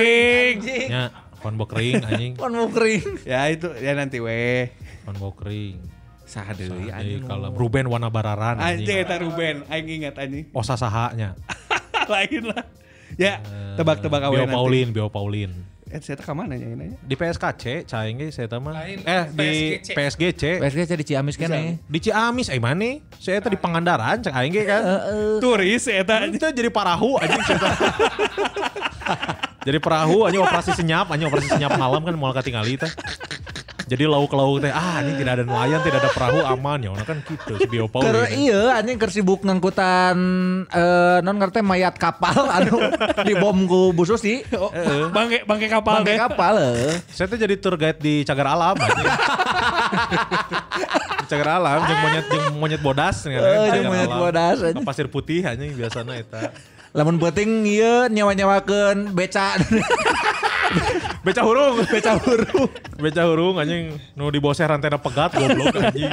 [SPEAKER 6] King.
[SPEAKER 7] Ya, Van Bokering
[SPEAKER 6] (laughs)
[SPEAKER 7] anjing.
[SPEAKER 5] Pan Mukri.
[SPEAKER 6] Ya itu ya nanti weh.
[SPEAKER 7] Van Bokering.
[SPEAKER 5] Saha deui
[SPEAKER 7] Anjing
[SPEAKER 5] anjing.
[SPEAKER 7] kalau Ruben Wanabararan
[SPEAKER 6] Iya, Anjing
[SPEAKER 7] anjing.
[SPEAKER 6] eta Ruben, aing ingat anjing.
[SPEAKER 7] Osa sahanya.
[SPEAKER 6] (laughs) Lain lah. Ya, tebak-tebak
[SPEAKER 7] Eh, Bio
[SPEAKER 6] awalnya.
[SPEAKER 7] Paulin, Bio Paulin.
[SPEAKER 6] Eh, saya ke mana ya ini?
[SPEAKER 7] Di PSKC, caing ge saya mah.
[SPEAKER 8] Lain,
[SPEAKER 7] Eh, di PSGC.
[SPEAKER 8] PSGC.
[SPEAKER 5] PSG jadi Ciamis kan ya.
[SPEAKER 7] Di Ciamis, eh mana? Saya di Pangandaran, cek aing ge kan.
[SPEAKER 6] Turis ya, eta.
[SPEAKER 7] Itu jadi parahu anjing saya teh. (laughs) Jadi perahu anjing operasi senyap, anjing operasi senyap malam kan moal katingali teh. Jadi lauk lauk teh ah ini tidak ada nelayan, tidak ada perahu aman ya. Ono kan gitu si
[SPEAKER 6] Oh,
[SPEAKER 7] Bio
[SPEAKER 5] Keur
[SPEAKER 7] Paulin.
[SPEAKER 5] iya anjing keur sibuk ngangkutan eh non ngerti mayat kapal (laughs) anu dibom ku Bu Susi.
[SPEAKER 6] Bangke bangke Oh, kapal ya.
[SPEAKER 5] Pakai Eh, kapal eh.
[SPEAKER 7] Saya tuh jadi tour guide di Cagar Alam
[SPEAKER 5] (laughs)
[SPEAKER 7] anjing. Di Cagar Alam jeung monyet jeung monyet bodas nih, kan.
[SPEAKER 5] Eh,
[SPEAKER 7] Cagar
[SPEAKER 5] jeung monyet
[SPEAKER 7] Alam.
[SPEAKER 5] bodas, anjing.
[SPEAKER 7] Ke pasir putih anjing biasana eta.
[SPEAKER 5] Lamun penting iya nyawa-nyawakeun beca. (laughs)
[SPEAKER 7] Beca hurung,
[SPEAKER 5] beca huruf.
[SPEAKER 7] beca hurung anjing nu diboseh rantena pegat goblok anjing.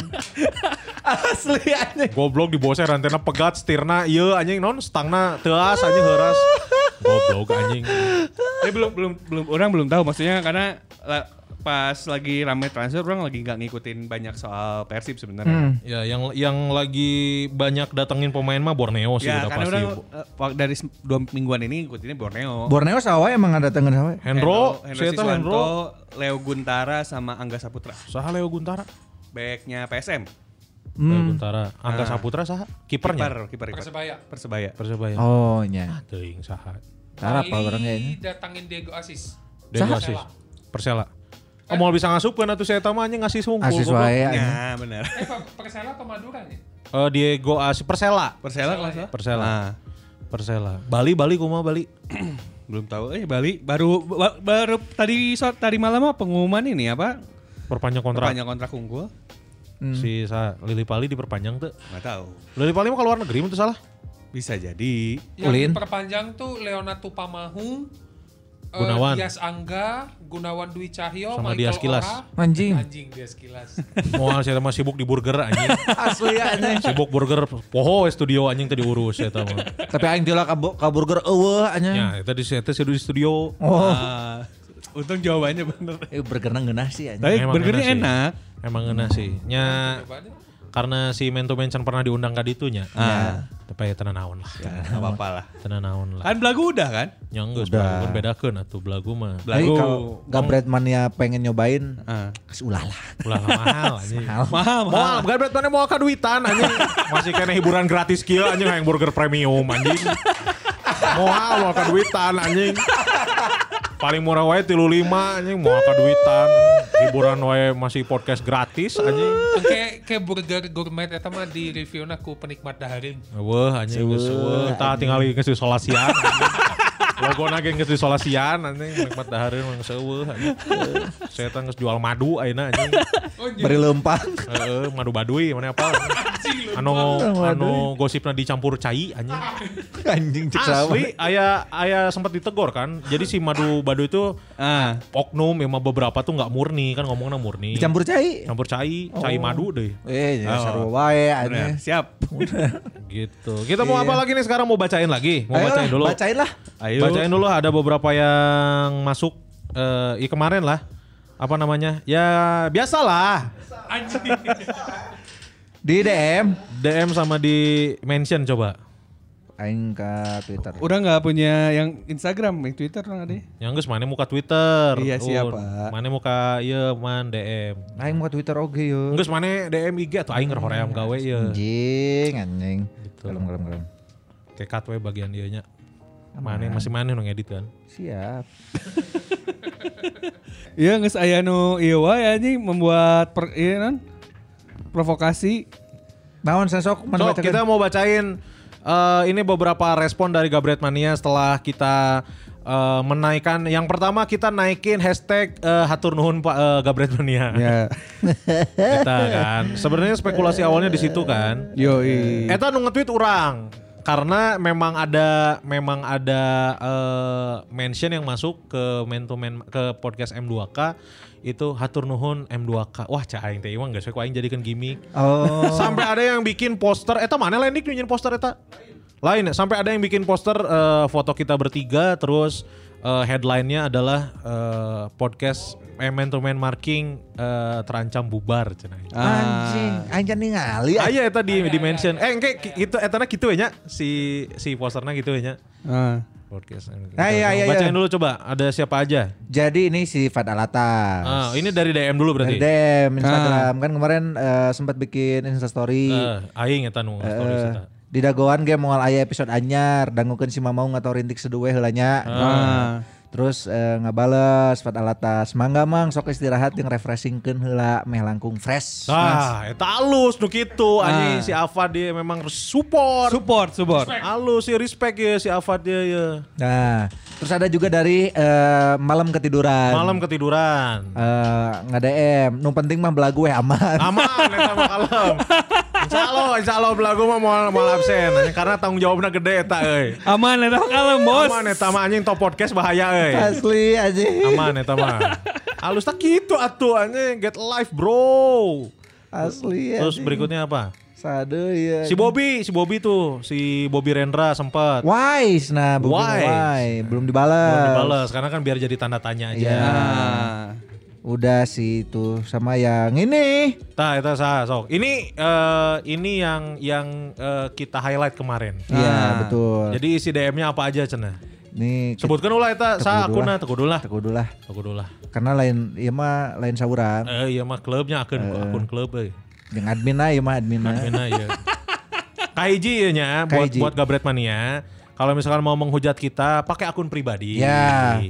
[SPEAKER 5] Asli anjing.
[SPEAKER 7] Goblok diboseh rantena pegat stirna ieu anjing non stangna teas anjing heuras. Goblok anjing.
[SPEAKER 6] Tapi belum belum belum orang belum tahu maksudnya karena la- pas lagi rame transfer orang lagi nggak ngikutin banyak soal Persib sebenarnya.
[SPEAKER 7] Ya yang yang lagi banyak datengin pemain mah Borneo sih
[SPEAKER 5] kan
[SPEAKER 7] udah
[SPEAKER 6] Ya karena
[SPEAKER 7] pasti.
[SPEAKER 6] orang eh, pak- dari se- dua mingguan ini ngikutinnya Borneo.
[SPEAKER 5] Borneo sawa emang ada tengen sawa.
[SPEAKER 7] Hendro,
[SPEAKER 6] Hendro
[SPEAKER 7] saya tahu Hendro.
[SPEAKER 6] Siswanto, Leo Guntara sama Angga Saputra.
[SPEAKER 7] Saha Leo Guntara?
[SPEAKER 6] Backnya PSM.
[SPEAKER 7] Bayu Buntara. Angga Saputra saha?
[SPEAKER 6] Kiper,
[SPEAKER 7] Kipernya.
[SPEAKER 6] kiper, kiper.
[SPEAKER 8] Persebaya.
[SPEAKER 6] Persebaya.
[SPEAKER 7] Persebaya.
[SPEAKER 5] Oh nya.
[SPEAKER 7] Teuing saha?
[SPEAKER 5] Tara apa orang kayaknya?
[SPEAKER 8] datangin Diego Asis.
[SPEAKER 7] Diego
[SPEAKER 5] Saha?
[SPEAKER 7] Asis. Persela. Oh, mau bisa ngasupkeun atuh saya tama nya ngasih sungkul.
[SPEAKER 5] Asis
[SPEAKER 7] goblok.
[SPEAKER 5] wae iya, anjing.
[SPEAKER 6] Ya, benar.
[SPEAKER 8] Eh, Pak- Persela atau Madura ya?
[SPEAKER 7] Eh, Diego Asis Persela.
[SPEAKER 6] Persela kelas lah.
[SPEAKER 7] Persela.
[SPEAKER 6] Nah,
[SPEAKER 7] Persela. Bali Bali kumaha Bali?
[SPEAKER 6] belum tahu. Eh Bali baru ba- baru tadi sore tadi malam apa pengumuman ini apa?
[SPEAKER 7] Perpanjang kontrak. Hmm.
[SPEAKER 6] Perpanjang kontrak unggul.
[SPEAKER 7] Si sa, Lili Pali diperpanjang tuh.
[SPEAKER 6] Enggak tahu.
[SPEAKER 7] Lili Pali mah keluar negeri itu salah.
[SPEAKER 6] Bisa jadi.
[SPEAKER 8] Yang
[SPEAKER 5] Ulin.
[SPEAKER 8] perpanjang tuh Leonard Tupamahu, eh,
[SPEAKER 7] Gunawan.
[SPEAKER 8] Dias Angga, Gunawan Dwi Cahyo,
[SPEAKER 7] Sama
[SPEAKER 8] Michael
[SPEAKER 7] Dias Kilas.
[SPEAKER 8] Ora.
[SPEAKER 6] Iya.
[SPEAKER 5] Anjing.
[SPEAKER 8] Anjing Dias Kilas.
[SPEAKER 7] Moal saya mah sibuk di burger anjing.
[SPEAKER 6] iya.
[SPEAKER 5] Asli anjing.
[SPEAKER 7] sibuk burger poho we studio anjing tadi urus saya mah.
[SPEAKER 5] Tapi aing tila ka bu- ka burger eueuh anjing.
[SPEAKER 7] Ya, tadi saya teh di studio.
[SPEAKER 5] Oh,
[SPEAKER 6] Ah, untung jawabannya bener.
[SPEAKER 5] eh, burger geunah sih anjing.
[SPEAKER 6] Iya. Tapi
[SPEAKER 7] Emang
[SPEAKER 6] burgernya
[SPEAKER 7] enak sih.
[SPEAKER 6] enak.
[SPEAKER 7] Emang ngena sih. Nya
[SPEAKER 8] Cobaannya.
[SPEAKER 7] karena si Mento Mention pernah diundang ka ditu nya.
[SPEAKER 6] Ah.
[SPEAKER 7] Tapi ya tenan naon lah.
[SPEAKER 6] Enggak apa-apa lah.
[SPEAKER 7] Tenan naon lah.
[SPEAKER 6] Kan belagu udah kan?
[SPEAKER 7] Nya geus
[SPEAKER 5] Udah.
[SPEAKER 7] pun bedakeun atuh belagu mah.
[SPEAKER 5] Tapi
[SPEAKER 6] Lagu-
[SPEAKER 5] kalau Gabret Mania pengen nyobain,
[SPEAKER 6] Ah.
[SPEAKER 5] kasih ulah lah.
[SPEAKER 7] Ulah mahal anjing.
[SPEAKER 6] Mahal, mahal.
[SPEAKER 7] Moal, bukan berarti mana moal ka duitan anjing. Masih kena hiburan gratis kieu anjing hayang burger premium anjing. Moal moal ka duitan anjing. Paling murah wae 35 anjing moal ka duitan. Hiburan wae masih podcast gratis anjing.
[SPEAKER 8] Oke, kayak burger gourmet eta mah di reviewna ku penikmat dahareung.
[SPEAKER 7] Wah, anjing geus weuh. Tah tinggal geus disolasian.
[SPEAKER 5] (laughs)
[SPEAKER 7] Logo nage geus disolasian anjing nikmat dahareun mah seueuh anjing. Setan geus jual madu ayeuna anjing.
[SPEAKER 8] Oh, iya.
[SPEAKER 5] Beri lempang. (laughs)
[SPEAKER 7] Heeh, madu baduy mana apa? Anu anu gosipna dicampur cai
[SPEAKER 5] (laughs)
[SPEAKER 7] anjing.
[SPEAKER 5] anjing cek sama.
[SPEAKER 7] Asli, ayah ayah sempat ditegor kan. Jadi si madu badu itu
[SPEAKER 6] Ah,
[SPEAKER 7] oknum memang beberapa tuh nggak murni kan ngomongnya murni.
[SPEAKER 5] Dicampur cai. Oh.
[SPEAKER 7] Campur cai, cai madu deh.
[SPEAKER 5] Eh, ya
[SPEAKER 6] Oh.
[SPEAKER 5] sarua wae
[SPEAKER 6] benar.
[SPEAKER 5] anjing.
[SPEAKER 6] Siap.
[SPEAKER 7] Gitu. Kita mau
[SPEAKER 5] Iya.
[SPEAKER 7] apa lagi nih sekarang mau bacain lagi? Mau
[SPEAKER 5] Ayolah,
[SPEAKER 7] bacain dulu.
[SPEAKER 5] Bacain lah.
[SPEAKER 6] Ayo.
[SPEAKER 7] Bacain dulu ada beberapa yang masuk eh ya kemarin lah. Apa namanya? Ya biasalah.
[SPEAKER 8] Anjing.
[SPEAKER 5] Di DM.
[SPEAKER 7] DM sama di mention coba.
[SPEAKER 5] Aing ke Twitter.
[SPEAKER 6] Udah nggak punya yang Instagram, yang Twitter orang ada? ya?
[SPEAKER 7] Yang geus mana muka Twitter.
[SPEAKER 6] Iya,
[SPEAKER 7] Un.
[SPEAKER 6] siap, Pak.
[SPEAKER 7] Mana muka ieu man DM.
[SPEAKER 5] Aing mau ke Twitter oge yo.
[SPEAKER 7] Geus mana DM IG atau aing hoream gawe iya. ieu.
[SPEAKER 5] Anjing, anjing. Kalem, kalem, kalem.
[SPEAKER 7] Kekat we bagian dia nya. Mana masih mana nu ngedit kan?
[SPEAKER 5] Siap.
[SPEAKER 6] Iya nges ayano ieu wae anjing membuat per, ieu non, provokasi.
[SPEAKER 5] Naon sesok
[SPEAKER 7] So, kita mau bacain eh, ini beberapa respon dari Gabret Mania setelah kita eh, menaikkan yang pertama kita naikin hashtag eh, hatur nuhun Pak eh, Gabret Mania.
[SPEAKER 6] Ya.
[SPEAKER 7] Kita kan. Sebenarnya spekulasi awalnya di situ kan.
[SPEAKER 6] Yoi.
[SPEAKER 7] Eta nu nge-tweet orang karena memang ada memang ada eh, mention yang masuk ke men to men ke podcast M2K itu hatur nuhun M2K. Wah, cah aing teh imah geus we ku aing jadikeun gimmick. (laughs)
[SPEAKER 5] Oh.
[SPEAKER 7] Sampai ada yang bikin poster eta mana lain dik nyunyin poster eta? Lain ya, sampai ada yang bikin poster eh, foto kita bertiga terus eh, headline-nya adalah eh, podcast eh, man to man marking eh, terancam bubar cenah.
[SPEAKER 5] Iya. Anjing, aing can ningali.
[SPEAKER 7] Ah, iya eta di di mention. Eh engke ki- gitu etana gitu ya nya, si si posterna gitu ya nya.
[SPEAKER 6] Ah.
[SPEAKER 7] Podcast.
[SPEAKER 5] Ah, iya, iya, iya.
[SPEAKER 7] Bacain dulu coba ada siapa aja.
[SPEAKER 5] Jadi ini si Fat Alata.
[SPEAKER 7] Ah, ini dari DM dulu berarti.
[SPEAKER 5] DM Instagram kan kemarin eh, sempat bikin Insta story.
[SPEAKER 7] Eh, aing eta nu stories eta.
[SPEAKER 5] di dagoan ge moal aya episode anyar dangukeun si Mamau atau rintik seduwe heula nya.
[SPEAKER 7] Ah.
[SPEAKER 5] Nah,
[SPEAKER 6] Ah.
[SPEAKER 5] Terus eh, ngabales Fat Alata semangga mang sok istirahat yang refreshingkeun heula meh langkung fresh.
[SPEAKER 7] Nah, eta alus nu kitu anjing si Afad dia memang support.
[SPEAKER 6] Support, support.
[SPEAKER 7] Alus si respect ya si Afad dia ya.
[SPEAKER 5] Nah, terus ada juga dari eh, malam ketiduran.
[SPEAKER 7] Malam ketiduran.
[SPEAKER 5] Eh, nge-DM, nu penting mah belagu weh aman.
[SPEAKER 7] Aman (laughs) eta mah kalem. Insya Allah, insya Allah belagu mah mau mau absen anjing, karena tanggung jawabnya gede eta euy.
[SPEAKER 6] Aman eta kalem, Bos.
[SPEAKER 7] Aman eta mah anjing top podcast bahaya euy.
[SPEAKER 5] Asli aja.
[SPEAKER 7] iya. Aman eta mah. Alus tak gitu atuh anjing get life bro.
[SPEAKER 5] Asli
[SPEAKER 7] Terus
[SPEAKER 5] anjing.
[SPEAKER 7] berikutnya apa?
[SPEAKER 5] Sade ya.
[SPEAKER 7] Si Bobby, si Bobby tuh, si Bobby Rendra sempat.
[SPEAKER 5] Wise nah, belum
[SPEAKER 7] Wise.
[SPEAKER 5] wise. Belum dibalas.
[SPEAKER 7] Belum Ya. dibales karena kan biar jadi tanda tanya aja.
[SPEAKER 5] Iya.
[SPEAKER 6] Ah.
[SPEAKER 5] Udah sih itu sama yang ini.
[SPEAKER 7] Tah, itu sah, sok. Ini eh, ini yang yang eh, kita highlight kemarin.
[SPEAKER 5] Iya, betul.
[SPEAKER 7] Jadi isi DM-nya apa aja cenah?
[SPEAKER 5] Nih kita-
[SPEAKER 7] Sebutkan ulah eta sah
[SPEAKER 5] Tekudu lah.
[SPEAKER 7] akunna tekudulah.
[SPEAKER 5] Tekudu lah.
[SPEAKER 7] Tekudulah.
[SPEAKER 5] Karena lain ieu iya mah lain saurang. Eh.
[SPEAKER 7] Eh iya mah klubnya akun akun klub euy.
[SPEAKER 5] Yang admin aja mah admin aja.
[SPEAKER 7] Enak
[SPEAKER 5] (laughs)
[SPEAKER 7] ya. Kaiji ya nya, buat
[SPEAKER 5] Nah. Kaiji.
[SPEAKER 7] buat Gabret Mania. Kalau misalkan mau menghujat kita, pakai akun pribadi.
[SPEAKER 5] Ya.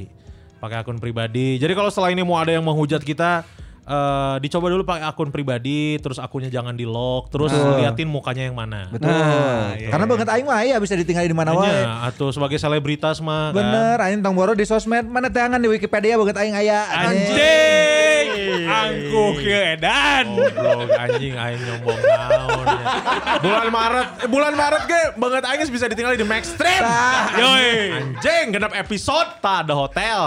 [SPEAKER 7] Pakai akun pribadi. Jadi kalau setelah ini mau ada yang menghujat kita, eh, dicoba dulu pakai akun pribadi, terus akunnya jangan di lock, terus liatin mukanya yang mana.
[SPEAKER 5] Betul. Karena banget aing mah ya bisa ditinggalin di mana wae.
[SPEAKER 7] Nya, Iya, atau sebagai selebritas mah kan.
[SPEAKER 5] Bener, aing tong boro di sosmed, mana teangan di Wikipedia banget aing aya.
[SPEAKER 7] Anjing, angkuh ke edan. Goblok anjing aing nyombong naon. ya. Bulan Maret, eh, bulan Maret ge banget aing geus bisa ditinggal di Max Stream. Yoi. Anjing, genep episode tak ada hotel.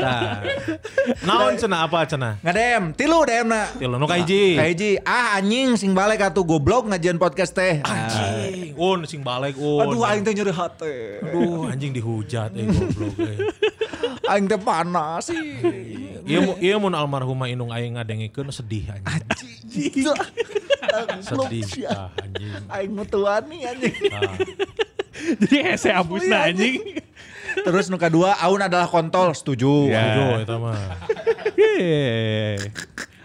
[SPEAKER 7] Tah. Naon cenah apa cenah?
[SPEAKER 5] Ngadem, tilu DM na.
[SPEAKER 7] Tilu nu kahiji.
[SPEAKER 5] Kahiji, ah anjing sing balik atuh goblok ngajian podcast teh.
[SPEAKER 7] Anjing, un sing balik un.
[SPEAKER 5] Aduh aing teh nyeri hati.
[SPEAKER 7] Aduh, anjing dihujat eh goblok eh.
[SPEAKER 5] Aing teh panas sih.
[SPEAKER 7] Ieu mu- ieu mun almarhumah Inung aing ngadengikeun sedih anjing. Sedih tah anjing.
[SPEAKER 5] Aing mutuani anjing.
[SPEAKER 7] Tah.
[SPEAKER 1] Jadi hese
[SPEAKER 7] Iya,
[SPEAKER 1] abusna anjing.
[SPEAKER 5] Terus nu kedua, Aun adalah kontol, setuju.
[SPEAKER 7] Aduh, eta mah.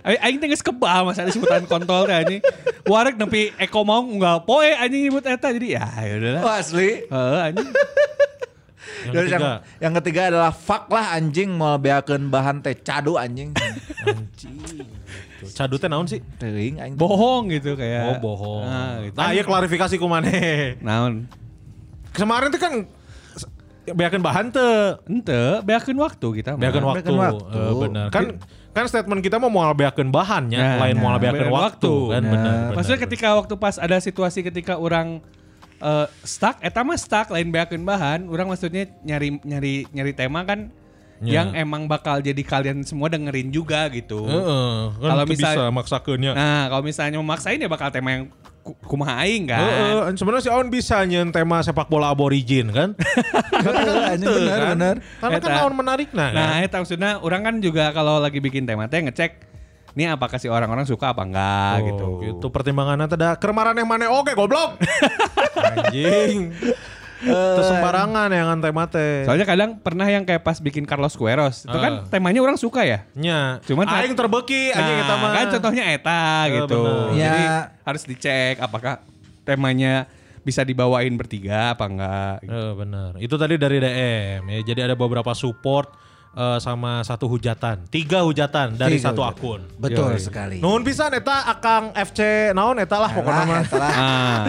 [SPEAKER 6] Aing Iya. aing teh geus kebal masalah sebutan kontol teh anjing. Wareg nepi Eko mau unggal poe anjing nyebut eta jadi ya ya udahlah.
[SPEAKER 5] Oh, asli.
[SPEAKER 6] Heeh anjing.
[SPEAKER 7] Yang
[SPEAKER 5] Terus
[SPEAKER 7] ketiga,
[SPEAKER 5] yang, yang ketiga adalah fuck lah anjing mau beakeun bahan teh cado
[SPEAKER 7] (laughs)
[SPEAKER 5] anjing.
[SPEAKER 7] cadutnya naon sih?
[SPEAKER 5] Teuing aing.
[SPEAKER 6] Bohong gitu kayak.
[SPEAKER 7] Oh bohong.
[SPEAKER 6] Nah, gitu.
[SPEAKER 7] Nah, iya klarifikasi kumane.
[SPEAKER 6] Naon?
[SPEAKER 7] Kemarin tuh kan s- beakeun bahan teu
[SPEAKER 6] Ente, beakeun waktu kita. mah.
[SPEAKER 7] beakeun waktu.
[SPEAKER 5] Beakeun waktu.
[SPEAKER 7] Eh, bener. Kan kan statement kita mau moal beakeun bahannya,
[SPEAKER 6] Nah,
[SPEAKER 7] lain moal
[SPEAKER 6] nah,
[SPEAKER 7] beakeun
[SPEAKER 6] beakeun
[SPEAKER 7] waktu,
[SPEAKER 6] waktu.
[SPEAKER 7] kan
[SPEAKER 6] Nah,
[SPEAKER 7] bener.
[SPEAKER 6] Maksudnya ketika waktu pas ada situasi ketika orang eh, stuck, eta mah stuck lain beakeun bahan, orang maksudnya nyari nyari nyari tema kan
[SPEAKER 7] Ya.
[SPEAKER 6] yang emang bakal jadi kalian semua dengerin juga gitu.
[SPEAKER 7] Heeh, iya. kan
[SPEAKER 6] Kalau
[SPEAKER 7] kalau bisa
[SPEAKER 6] misal-
[SPEAKER 7] maksakeunnya.
[SPEAKER 6] Nah, kalau misalnya memaksain ya bakal tema yang ku- kumaha aing kan.
[SPEAKER 7] Heeh, sebenarnya si Aon bisa nyen tema sepak bola aborigin kan?
[SPEAKER 6] (laughs)
[SPEAKER 5] Anjing,
[SPEAKER 7] Teu,
[SPEAKER 5] bener,
[SPEAKER 7] kan?
[SPEAKER 5] bener.
[SPEAKER 7] Karena kan
[SPEAKER 6] Eta.
[SPEAKER 7] Aon menarik nah. kan?
[SPEAKER 6] Nah, eta maksudnya orang kan juga kalau lagi bikin tema teh ngecek ini apakah si orang-orang suka apa enggak gitu.
[SPEAKER 7] Oh, Itu pertimbangannya teh da kermaran yang mana oke
[SPEAKER 6] (laughs)
[SPEAKER 7] goblok. Anjing. Itu sembarangan ya, yang ante mate.
[SPEAKER 6] Soalnya kadang pernah yang kayak pas bikin Carlos Queiroz, itu kan
[SPEAKER 7] Ah.
[SPEAKER 6] temanya orang suka ya.
[SPEAKER 7] Nya,
[SPEAKER 6] Cuman
[SPEAKER 7] aing terbeki anjing
[SPEAKER 6] Nah,
[SPEAKER 7] eta mah.
[SPEAKER 6] kan contohnya eta
[SPEAKER 7] Eh,
[SPEAKER 6] gitu.
[SPEAKER 7] bener.
[SPEAKER 6] Jadi
[SPEAKER 5] Ya.
[SPEAKER 6] harus dicek apakah temanya bisa dibawain bertiga apa enggak. gitu.
[SPEAKER 7] Eh, bener. Itu tadi dari DM ya. Jadi ada beberapa support eh, sama satu hujatan. Tiga hujatan dari
[SPEAKER 5] Tiga
[SPEAKER 7] satu
[SPEAKER 5] hujatan.
[SPEAKER 7] akun.
[SPEAKER 5] Betul
[SPEAKER 6] Yoi.
[SPEAKER 5] sekali.
[SPEAKER 7] Nuhun pisan eta Akang FC naon eta lah pokoknya mah. (laughs)
[SPEAKER 5] salah.
[SPEAKER 6] Ah.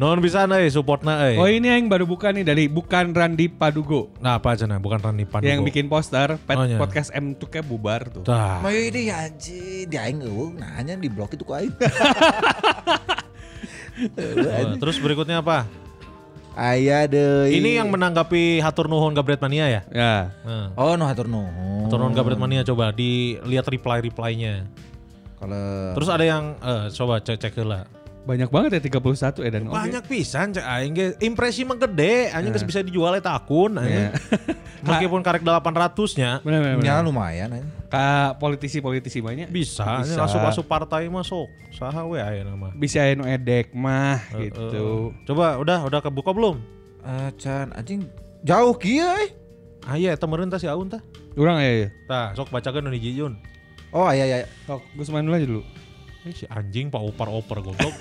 [SPEAKER 7] Nuhun pisan euy supportna euy.
[SPEAKER 6] (laughs) Oh ini yang baru buka nih dari bukan Randi Padugo
[SPEAKER 7] Nah apa aja nah bukan Rani Pandugo.
[SPEAKER 6] yang bikin poster pet-
[SPEAKER 7] Oh, iya.
[SPEAKER 6] podcast M tuh kayak bubar tuh.
[SPEAKER 7] Tah.
[SPEAKER 5] Mau ini ya anjing, dia aing eueuh nanya di blok itu ku aing.
[SPEAKER 7] Eh, Terus berikutnya apa?
[SPEAKER 5] Aya deui.
[SPEAKER 7] Ini yang menanggapi Hatur Nuhun Gabret Mania ya?
[SPEAKER 6] Ya.
[SPEAKER 7] Nah.
[SPEAKER 5] Oh, no hatur nuhun.
[SPEAKER 7] Turun Gabret Mania coba dilihat reply-reply-nya.
[SPEAKER 5] Kalau
[SPEAKER 7] Terus ada yang eh, coba cek cek heula.
[SPEAKER 6] Banyak banget ya 31 ya dan oke.
[SPEAKER 7] Banyak pisan cek aing ge. Impresi mah gede, anjing geus bisa dijual eta akun anjing. Meskipun karek 800 nya
[SPEAKER 6] Bener bener. bener.
[SPEAKER 5] nyala lumayan anjing.
[SPEAKER 6] Ka politisi-politisi banyak
[SPEAKER 7] bisa,
[SPEAKER 6] Bisa.
[SPEAKER 7] asup-asup partai mah sok. Saha we ayeuna mah.
[SPEAKER 6] bisa anu edek mah gitu.
[SPEAKER 7] Eh, Coba udah udah kebuka belum?
[SPEAKER 5] Ah, can anjing jauh kieu eh.
[SPEAKER 7] Aya Ah, iya, eta meureun tah si Aun tah.
[SPEAKER 6] Orang ya. ya.
[SPEAKER 7] Tah, sok bacakeun nu hiji Jun.
[SPEAKER 5] Oh, aya aya.
[SPEAKER 6] Sok Gus Manuel aja dulu.
[SPEAKER 7] Eh, si anjing pak oper-oper goblok.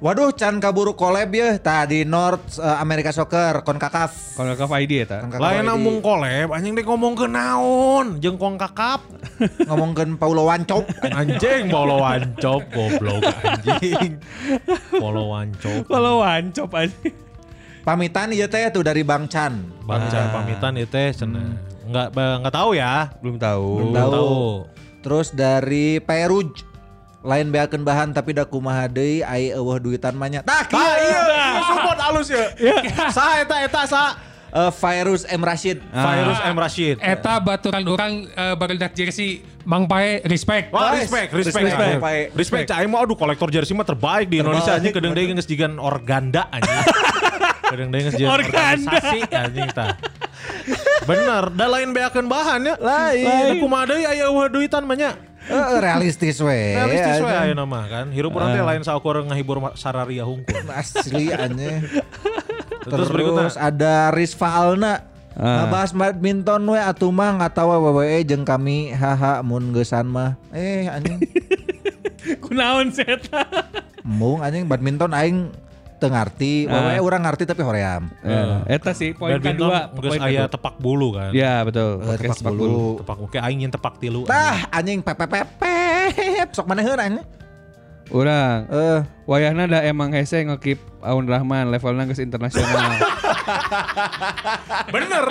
[SPEAKER 5] Waduh, can kaburu collab ya tadi North eh, America Soccer CONCACAF.
[SPEAKER 6] Kalau ke ID ya ta.
[SPEAKER 5] CONCACAF
[SPEAKER 7] Lain
[SPEAKER 5] di-
[SPEAKER 7] mung koleb, anjing deh ngomong ke naon, jengkong kakap.
[SPEAKER 5] ngomongkeun Paulo
[SPEAKER 7] (laughs)
[SPEAKER 5] Wancop.
[SPEAKER 7] Anjing bolo wancop goblok anjing. Bolo wancop.
[SPEAKER 6] Kalau wancop aja. (laughs)
[SPEAKER 5] Pamitan ieu teh tuh dari Bang Chan.
[SPEAKER 7] Bangsa pamitan itu eh, teh cenah. Enggak ba- enggak tahu ya.
[SPEAKER 6] Belum tahu.
[SPEAKER 5] Belum tahu. Terus dari Peruj lain beakeun bahan tapi da kumaha deui ai eueuh duitan mah nya. Nah, Tah
[SPEAKER 7] Ah
[SPEAKER 5] kieu.
[SPEAKER 7] iya, support alus ya. Sa eta eta sa.
[SPEAKER 5] Eh, Virus M Rashid.
[SPEAKER 7] Virus M Rashid.
[SPEAKER 8] Eta baturan orang eh, barudak jersey Mang Pae respect.
[SPEAKER 7] Wah,
[SPEAKER 5] Guys,
[SPEAKER 7] respect, respect,
[SPEAKER 5] respect,
[SPEAKER 7] respect.
[SPEAKER 5] Pak.
[SPEAKER 7] Respect, cai mah aduh kolektor jersey mah terbaik di Indonesia anjing kedeng deui geus jigan organda (laughs) anjing. kedeng deui geus jigan
[SPEAKER 6] Organda.
[SPEAKER 7] organisasi anjing tah. Bener, da lain beakeun bahan ya. Lain, kumaha deui aya eueuh duitan mah nya.
[SPEAKER 5] Eh, realistis we.
[SPEAKER 7] Realistis we
[SPEAKER 5] Anjing.
[SPEAKER 7] ayeuna mah kan. Hirup urang teh lain saukur ngahibur ma- sararia hungkul.
[SPEAKER 5] Asli anjing. Terus,
[SPEAKER 7] Terus berikutnya. Ah.
[SPEAKER 5] ada Rizfa Alna. Ngebahas badminton we atuh E,
[SPEAKER 7] (laughs)
[SPEAKER 5] mah ngatawa WWE jeung kami haha mun geusan mah. Eh anjing.
[SPEAKER 1] kunaon sih eta?
[SPEAKER 5] Mung anjing badminton aing teu ngarti,
[SPEAKER 7] Ah.
[SPEAKER 5] pokoknya urang ngarti tapi hoream.
[SPEAKER 6] Eh, Eta sih poin
[SPEAKER 7] Badminton
[SPEAKER 6] kedua.
[SPEAKER 7] geus
[SPEAKER 6] poin
[SPEAKER 7] aya
[SPEAKER 6] kedua.
[SPEAKER 7] tepak bulu kan.
[SPEAKER 6] Ya betul.
[SPEAKER 5] Eh,
[SPEAKER 6] Podcast
[SPEAKER 5] tepak
[SPEAKER 6] sepak
[SPEAKER 5] bulu.
[SPEAKER 6] bulu.
[SPEAKER 7] Tepak bulu kayak aing yang tepak tilu.
[SPEAKER 5] Tah anjing pepepepep sok mana heun anjing.
[SPEAKER 6] Urang.
[SPEAKER 5] Eh,
[SPEAKER 6] Wayahna da emang hese ngekip Aun Rahman levelna geus internasional.
[SPEAKER 7] Bener.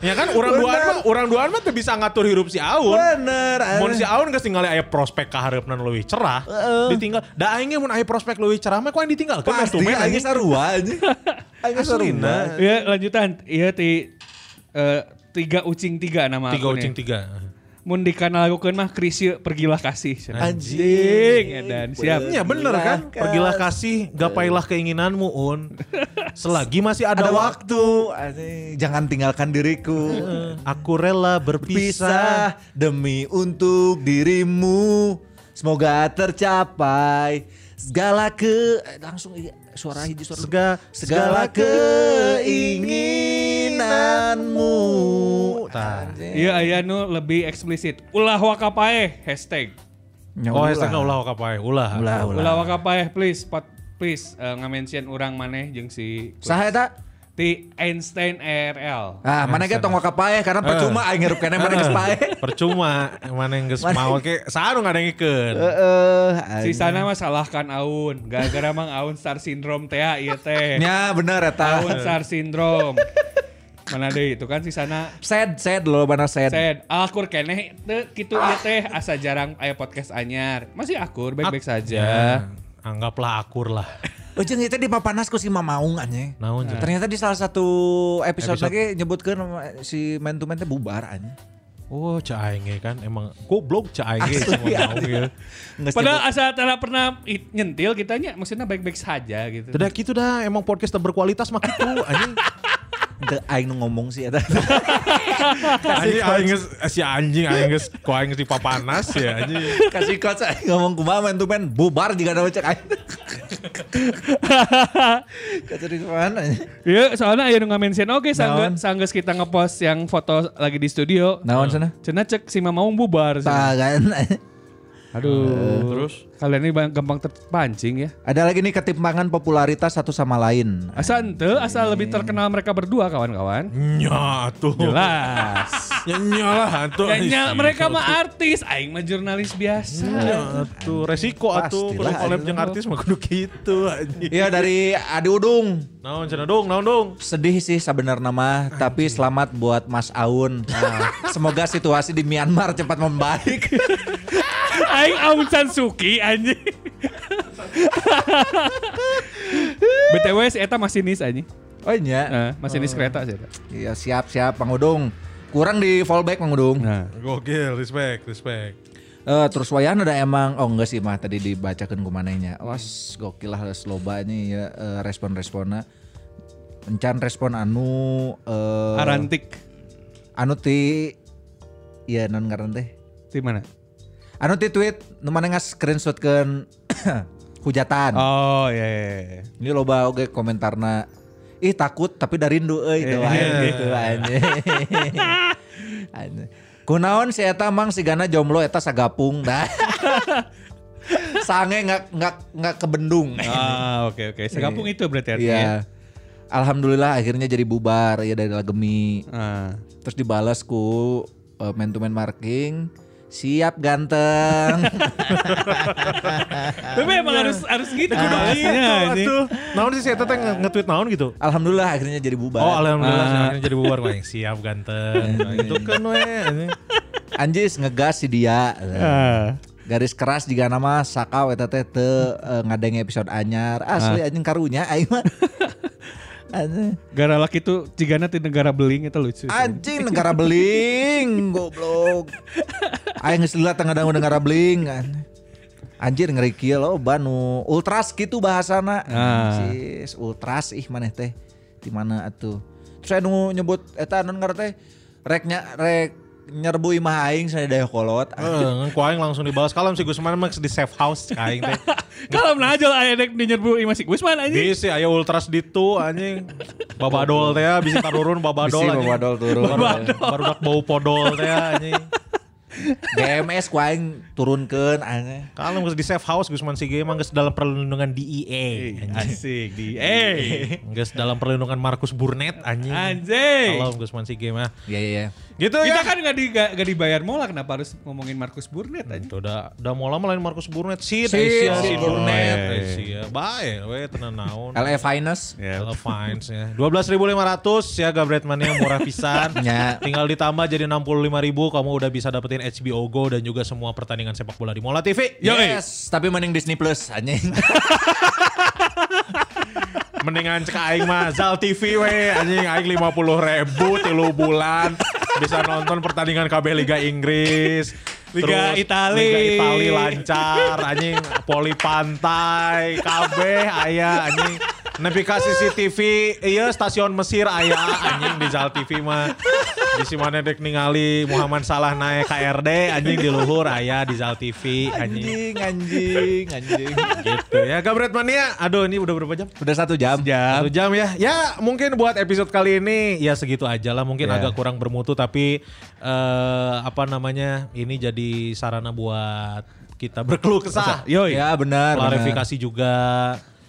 [SPEAKER 7] Ya kan orang duaan mah orang duaan mah teu bisa ngatur hirup si Aun.
[SPEAKER 5] bener.
[SPEAKER 7] Mun si
[SPEAKER 5] anjing.
[SPEAKER 7] Aun geus tinggal aya prospek kahareupna nu leuwih cerah, ditinggal. Da aing ge mun aya prospek leuwih cerah mah kok yang ditinggal kan
[SPEAKER 5] Pasti anjing sarua
[SPEAKER 7] (laughs)
[SPEAKER 5] anjing. Anjing sarua.
[SPEAKER 7] Aslina.
[SPEAKER 6] (laughs) Iya lanjutan. Iya ti eh, tiga ucing tiga nama
[SPEAKER 7] Tiga
[SPEAKER 5] ya.
[SPEAKER 6] akunnya.
[SPEAKER 7] ucing tiga.
[SPEAKER 6] Mun dikenal lakukan mah krisye pergilah kasih.
[SPEAKER 5] Anjing.
[SPEAKER 6] Dan siap.
[SPEAKER 7] Ya bener
[SPEAKER 5] Pergilah
[SPEAKER 7] kan?
[SPEAKER 5] ke-
[SPEAKER 7] Pergilah kasih, gapailah keinginanmu
[SPEAKER 5] (laughs)
[SPEAKER 7] Un. Selagi masih ada,
[SPEAKER 5] Ada
[SPEAKER 7] waktu,
[SPEAKER 5] waktu, anjing. jangan tinggalkan diriku.
[SPEAKER 7] aku rela
[SPEAKER 5] Pisah
[SPEAKER 7] berpisah.
[SPEAKER 5] demi untuk dirimu. Semoga tercapai segala ke eh, langsung iya, suara hiji suara
[SPEAKER 7] Sega,
[SPEAKER 5] segala keinginanmu.
[SPEAKER 7] Tah.
[SPEAKER 6] Iya aya nu lebih eksplisit. Ulah wakapae hashtag.
[SPEAKER 7] Oh, hashtagnya ulah kapae, ulah.
[SPEAKER 5] Ya Ulah, ulah.
[SPEAKER 6] Ulah wakapae please pot, please eh, ngamention orang maneh jeung si
[SPEAKER 5] Saha eta?
[SPEAKER 6] ti Einstein ERL.
[SPEAKER 5] Ah, mana ge tong wakapae karena percuma aing ngirup kene mana geus (laughs) pae.
[SPEAKER 7] Percuma, mana yang geus
[SPEAKER 5] Mana-
[SPEAKER 7] mau ke, sarung ada yang ikut.
[SPEAKER 5] Eh, Heeh.
[SPEAKER 6] Si sana mah salahkan Aun, gara-gara mang Aun Star Syndrome teh ieu teh.
[SPEAKER 5] Nya Ya, bener eta.
[SPEAKER 6] Aun Star Syndrome. Mana deui itu kan si sana
[SPEAKER 5] Sad, sad loh bener sad.
[SPEAKER 6] Sen, ah, akur keneh teu kitu ieu teh asa jarang aya podcast anyar. Masih akur,
[SPEAKER 5] Ah.
[SPEAKER 6] baik-baik
[SPEAKER 5] Ya.
[SPEAKER 6] saja.
[SPEAKER 7] Nah, Anggaplah akur lah.
[SPEAKER 5] Ujung itu di papanas ku si Mamaung anjing.
[SPEAKER 7] Naon, Jun?
[SPEAKER 5] Ternyata di salah satu Nah. episode, lagi nyebutkan nama si man to man teh bubar anjing.
[SPEAKER 7] Oh, caenge kan emang goblok caenge
[SPEAKER 5] Asli,
[SPEAKER 7] sama mau
[SPEAKER 5] asli.
[SPEAKER 7] ya.
[SPEAKER 5] Nges
[SPEAKER 6] Padahal asa tara pernah i- nyentil kitanya, maksudnya baik-baik saja gitu.
[SPEAKER 7] Tidak gitu dah, emang podcast teu berkualitas mah gitu (laughs) anjing.
[SPEAKER 5] nyebut- Teu aing nu ngomong sih eta. (laughs)
[SPEAKER 7] anjing aing geus si anjing aing geus ku aing geus dipapanas ya anjing.
[SPEAKER 5] Kasih coach aing ngomong kumaha man to man bubar jika ada cek aing. (laughs) Kata di mana anjing.
[SPEAKER 6] (laughs) Iya, soalnya ayo nge-mention oke
[SPEAKER 5] Naon?
[SPEAKER 6] sanggeus sanggeus kita ngepost yang foto lagi di studio.
[SPEAKER 5] Naon sana?
[SPEAKER 6] Cenah cek si Mamaung bubar.
[SPEAKER 5] Tah
[SPEAKER 6] cenah.
[SPEAKER 5] kan.
[SPEAKER 6] Aduh. terus kalian ini bang- gampang terpancing ya.
[SPEAKER 5] Ada lagi nih ketimpangan popularitas satu sama lain.
[SPEAKER 6] Asa ente, asa lebih terkenal mereka berdua kawan-kawan.
[SPEAKER 7] Nya
[SPEAKER 6] Oh,
[SPEAKER 7] tuh.
[SPEAKER 6] Jelas.
[SPEAKER 7] Ya nyalah tuh.
[SPEAKER 6] Ya, nya, mereka mah artis, aing mah jurnalis biasa.
[SPEAKER 7] Ya tuh resiko atuh kudu
[SPEAKER 5] Pastilah,
[SPEAKER 7] collab
[SPEAKER 5] anjing.
[SPEAKER 7] jeung artis mah kudu gitu anjing.
[SPEAKER 5] Iya dari Adi Udung.
[SPEAKER 7] Naon cenah dong, naon dong.
[SPEAKER 5] Sedih sih sebenarnya mah, tapi selamat buat Mas Aun.
[SPEAKER 6] (laughs)
[SPEAKER 5] Nah, semoga situasi di Myanmar cepat membaik.
[SPEAKER 1] Aing Aung San Suki
[SPEAKER 6] (laughs)
[SPEAKER 1] anjing.
[SPEAKER 6] BTW si Eta masinis aja.
[SPEAKER 5] Oh iya.
[SPEAKER 6] Nah, masinis kereta sih. Eta.
[SPEAKER 5] Iya siap-siap Mang Udung. Kurang di fallback Mang Udung.
[SPEAKER 6] Nah.
[SPEAKER 7] Gokil, respect, respect.
[SPEAKER 5] Eh, terus Wayan ada emang oh enggak sih mah tadi dibacakan kumananya. Was gokil lah geus loba nih ya eh, respon-responnya. Encan respon anu
[SPEAKER 6] Oh.
[SPEAKER 5] eh,
[SPEAKER 6] Arantik.
[SPEAKER 5] anu ti iya non ngaran teh.
[SPEAKER 6] Di mana?
[SPEAKER 5] Anu ti tweet nu mana screenshotkeun (coughs) hujatan.
[SPEAKER 6] Oh iya iya. (laughs) iya.
[SPEAKER 5] Ini loba oge komentarna ih takut tapi dari rindu euy itu gitu anjing. (laughs) Anjing. Kunaon si eta mang sigana jomblo eta sagapung dah. (laughs) Sange nggak nggak nggak kebendung.
[SPEAKER 6] Ah oke oke. Sekampung itu berarti artinya.
[SPEAKER 5] Iya. Alhamdulillah akhirnya jadi bubar ya dari Lagemi.
[SPEAKER 6] Ah.
[SPEAKER 5] Terus dibalas ku uh, man to man marking siap ganteng. (laughs)
[SPEAKER 6] Tapi emang harus harus gitu kudu
[SPEAKER 7] Gitu
[SPEAKER 6] gini anjing.
[SPEAKER 7] atuh. Naon sih si Eta teh nge- nge-tweet naon gitu?
[SPEAKER 5] Alhamdulillah akhirnya jadi bubar.
[SPEAKER 7] Oh alhamdulillah
[SPEAKER 6] Ah.
[SPEAKER 7] sih, akhirnya jadi bubar Wah, yang siap ganteng Nah, gitu kan we anjing.
[SPEAKER 5] Anjis ngegas si dia.
[SPEAKER 6] Ah.
[SPEAKER 5] Garis keras juga nama Sakau eta teh teu eh, ngadeng episode anyar. Asli anjing karunya aing (laughs) mah. Anjing-
[SPEAKER 6] Gara laki tuh cigana di negara beling itu lucu.
[SPEAKER 5] Anjing negara beling goblok. Aing geus lilat tengah dangu negara beling anjing. Anjir ngeri kieu lo banu ultras gitu bahasana.
[SPEAKER 6] Ah.
[SPEAKER 5] Sis ultras ih maneh teh di mana atuh. Terus anu nyebut eta anu ngarana teh reknya rek nyerbu imah aing sadaya kolot.
[SPEAKER 7] Eh, ku aing langsung dibalas kalem si Gusman mah di safe house ka aing teh.
[SPEAKER 6] Kalau najol aya dek di nyerbu imah si Gusman anjing.
[SPEAKER 7] Bisi aya ultras ditu anjing. Babadol teh ya, bisi tarurun babadol
[SPEAKER 5] Bisi babadol turun.
[SPEAKER 7] Baru bau podol teh ya, anjing.
[SPEAKER 5] GMS ku aing turunkeun aneh.
[SPEAKER 7] Kalau nggak di safe house, gus man si Ge mah nggak dalam perlindungan DEA, anjing.
[SPEAKER 6] Asik di eh
[SPEAKER 7] nggak dalam perlindungan Markus Burnett, anjing.
[SPEAKER 6] anjing.
[SPEAKER 7] Kalau gus man si Ge mah,
[SPEAKER 5] Iya iya iya.
[SPEAKER 7] gitu
[SPEAKER 6] Kita
[SPEAKER 7] ya.
[SPEAKER 6] kan gak, di, nggak- nggak dibayar mola kenapa harus ngomongin Markus Burnett aja.
[SPEAKER 7] Itu udah udah mau lama lain Markus Burnett sih,
[SPEAKER 5] Sid, Sid
[SPEAKER 6] Burnett.
[SPEAKER 7] Asia, baik, we tenan naon.
[SPEAKER 5] LA Finest.
[SPEAKER 6] Ya.
[SPEAKER 7] Kalau fines (laughs) ya. 12.500 ya Gabret Mania murah pisan.
[SPEAKER 5] Ya.
[SPEAKER 7] Tinggal ditambah jadi 65.000 kamu udah bisa dapetin HBO Go dan juga semua pertandingan sepak bola di Mola TV.
[SPEAKER 5] Yes, tapi mending Disney Plus anjing.
[SPEAKER 7] Mendingan cek aing mah Zal TV we anjing aing 50.000 tilu bulan bisa nonton pertandingan KB Liga Inggris.
[SPEAKER 6] Liga Itali.
[SPEAKER 7] Liga Itali lancar anjing poli pantai KB aya anjing Nepi ka CCTV, iya stasiun Mesir aya anjing di Zal TV mah. Di si mana dek ningali Muhammad Salah naik KRD anjing di luhur aya di Zal TV (laughs) anjing.
[SPEAKER 5] anjing, anjing, anjing.
[SPEAKER 7] Gitu ya Gabret Mania. Aduh ini udah berapa jam?
[SPEAKER 5] Udah satu jam.
[SPEAKER 7] Satu jam ya. Ya mungkin buat episode kali ini ya segitu aja lah. Mungkin
[SPEAKER 5] Ya.
[SPEAKER 7] agak kurang bermutu tapi eh apa namanya ini jadi sarana buat kita berkeluh kesah.
[SPEAKER 6] Yoi.
[SPEAKER 5] Ya benar. benar.
[SPEAKER 7] Klarifikasi juga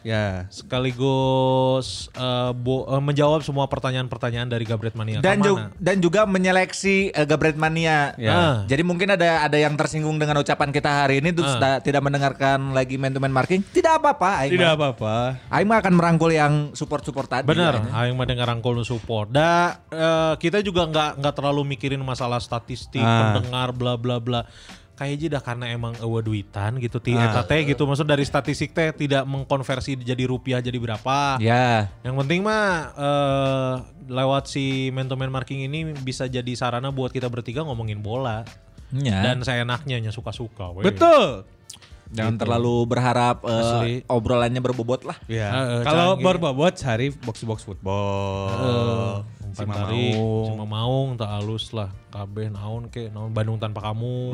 [SPEAKER 6] Ya.
[SPEAKER 7] sekaligus eh, bo- eh, menjawab semua pertanyaan-pertanyaan dari Gabret Mania.
[SPEAKER 5] Dan
[SPEAKER 7] Kemana?
[SPEAKER 5] juga dan juga menyeleksi eh, Gabret Mania.
[SPEAKER 6] Ya.
[SPEAKER 7] Ah.
[SPEAKER 5] Jadi mungkin ada ada yang tersinggung dengan ucapan kita hari ini terus
[SPEAKER 7] Ah.
[SPEAKER 5] ta- tidak mendengarkan lagi man to man marking. Tidak apa-apa Aing. mah.
[SPEAKER 6] Tidak apa-apa.
[SPEAKER 5] Aing mah akan merangkul yang support-support tadi.
[SPEAKER 7] Bener,
[SPEAKER 5] Aing.
[SPEAKER 7] aing mah dengar rangkul nu support. Da, eh, kita juga nggak nggak terlalu mikirin masalah statistik,
[SPEAKER 6] Ah.
[SPEAKER 7] pendengar, bla bla bla. Kayaknya dah karena emang ewa duitan gitu, ti eta teh gitu. Maksud dari statistik teh tidak mengkonversi jadi rupiah jadi berapa.
[SPEAKER 5] Ya.
[SPEAKER 7] Yang penting mah eh, lewat si man to man marking ini bisa jadi sarana buat kita bertiga ngomongin bola.
[SPEAKER 5] Ya.
[SPEAKER 7] Dan seenaknya, nya suka-suka.
[SPEAKER 6] iya.
[SPEAKER 7] weh.
[SPEAKER 6] Betul.
[SPEAKER 5] Jangan terlalu berharap eh,
[SPEAKER 7] gitu. Asli.
[SPEAKER 5] obrolannya berbobot lah.
[SPEAKER 6] Ya.
[SPEAKER 7] Ah, eh,
[SPEAKER 6] Kalau
[SPEAKER 7] canggih.
[SPEAKER 6] berbobot cari box box (laughs) football.
[SPEAKER 7] Cuma
[SPEAKER 6] si Mama
[SPEAKER 7] maung,
[SPEAKER 6] Ung.
[SPEAKER 7] cuma maung tak halus lah. Kabeh naon ke, naon Bandung tanpa kamu.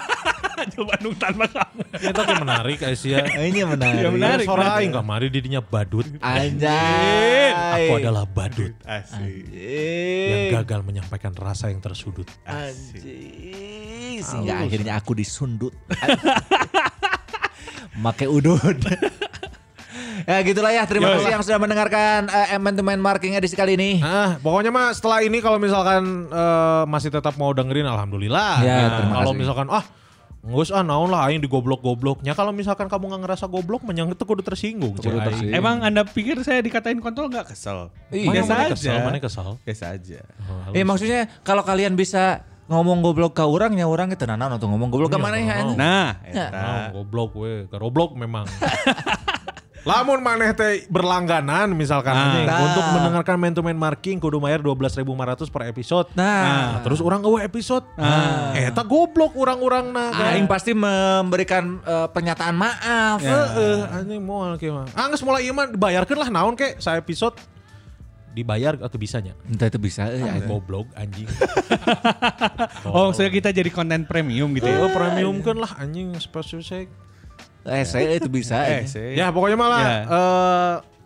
[SPEAKER 7] (laughs)
[SPEAKER 1] Coba nung tanpa kamu.
[SPEAKER 7] Itu kan menarik Aisyah. (laughs) Iya,
[SPEAKER 5] Ini menarik.
[SPEAKER 7] Menarik. Suara aing kamari didinya badut.
[SPEAKER 5] Anjay.
[SPEAKER 7] Aku adalah badut
[SPEAKER 6] Asik.
[SPEAKER 7] yang
[SPEAKER 5] Yang
[SPEAKER 7] gagal menyampaikan rasa yang tersudut.
[SPEAKER 5] Anjing. Sehingga akhirnya aku disundut. (laughs) Make udun. (laughs) ya gitulah ya. Terima kasih yang sudah mendengarkan eh, Man to Man Marking edisi kali ini.
[SPEAKER 7] Ah, pokoknya mah setelah ini kalau misalkan eh, masih tetap mau dengerin alhamdulillah.
[SPEAKER 5] Ya,
[SPEAKER 7] Nah,
[SPEAKER 5] terima
[SPEAKER 7] kalau
[SPEAKER 5] kasih.
[SPEAKER 7] misalkan ah nggak usah naon lah aing digoblok-gobloknya. Kalau misalkan kamu nggak ngerasa goblok, menyang itu kudu tersinggung.
[SPEAKER 5] Kudu
[SPEAKER 7] cek aing.
[SPEAKER 5] tersinggung.
[SPEAKER 6] Emang Anda pikir saya dikatain kontol nggak kesel?
[SPEAKER 5] Iya.
[SPEAKER 7] Mana
[SPEAKER 6] Biasa
[SPEAKER 7] mana
[SPEAKER 6] aja.
[SPEAKER 7] kesel, mana kesel. Oh.
[SPEAKER 6] Biasa aja.
[SPEAKER 5] Eh maksudnya kalau kalian bisa ngomong goblok ke orang ya orang itu nanan untuk ngomong goblok ke mana ya.
[SPEAKER 7] naon.
[SPEAKER 6] Nah,
[SPEAKER 7] Nah,
[SPEAKER 6] eta.
[SPEAKER 7] goblok we, goblok memang. (laughs) Lamun maneh teh berlangganan misalkan anjing.
[SPEAKER 5] Nah.
[SPEAKER 7] untuk mendengarkan man to man marking kudu bayar 12.500 per episode.
[SPEAKER 5] Nah.
[SPEAKER 7] terus orang eueuh episode. Eh, Eta goblok orang-orang nah.
[SPEAKER 5] Ah. Aing pasti memberikan eh, pernyataan maaf.
[SPEAKER 7] Heeh, Eh, anjing moal kieu mah. Ah, geus mulai ieu mah dibayarkeun lah naon kek sa episode dibayar atau bisanya.
[SPEAKER 5] Entah itu bisa eh,
[SPEAKER 7] Ah,
[SPEAKER 5] aing.
[SPEAKER 7] Goblok anjing.
[SPEAKER 6] Oh, maksudnya kita jadi konten premium gitu ya.
[SPEAKER 7] Eueuh premium kan lah anjing spesifik.
[SPEAKER 5] Eh saya itu bisa.
[SPEAKER 6] Eh,
[SPEAKER 5] aing.
[SPEAKER 6] sih.
[SPEAKER 7] Ya pokoknya malah
[SPEAKER 6] Ya.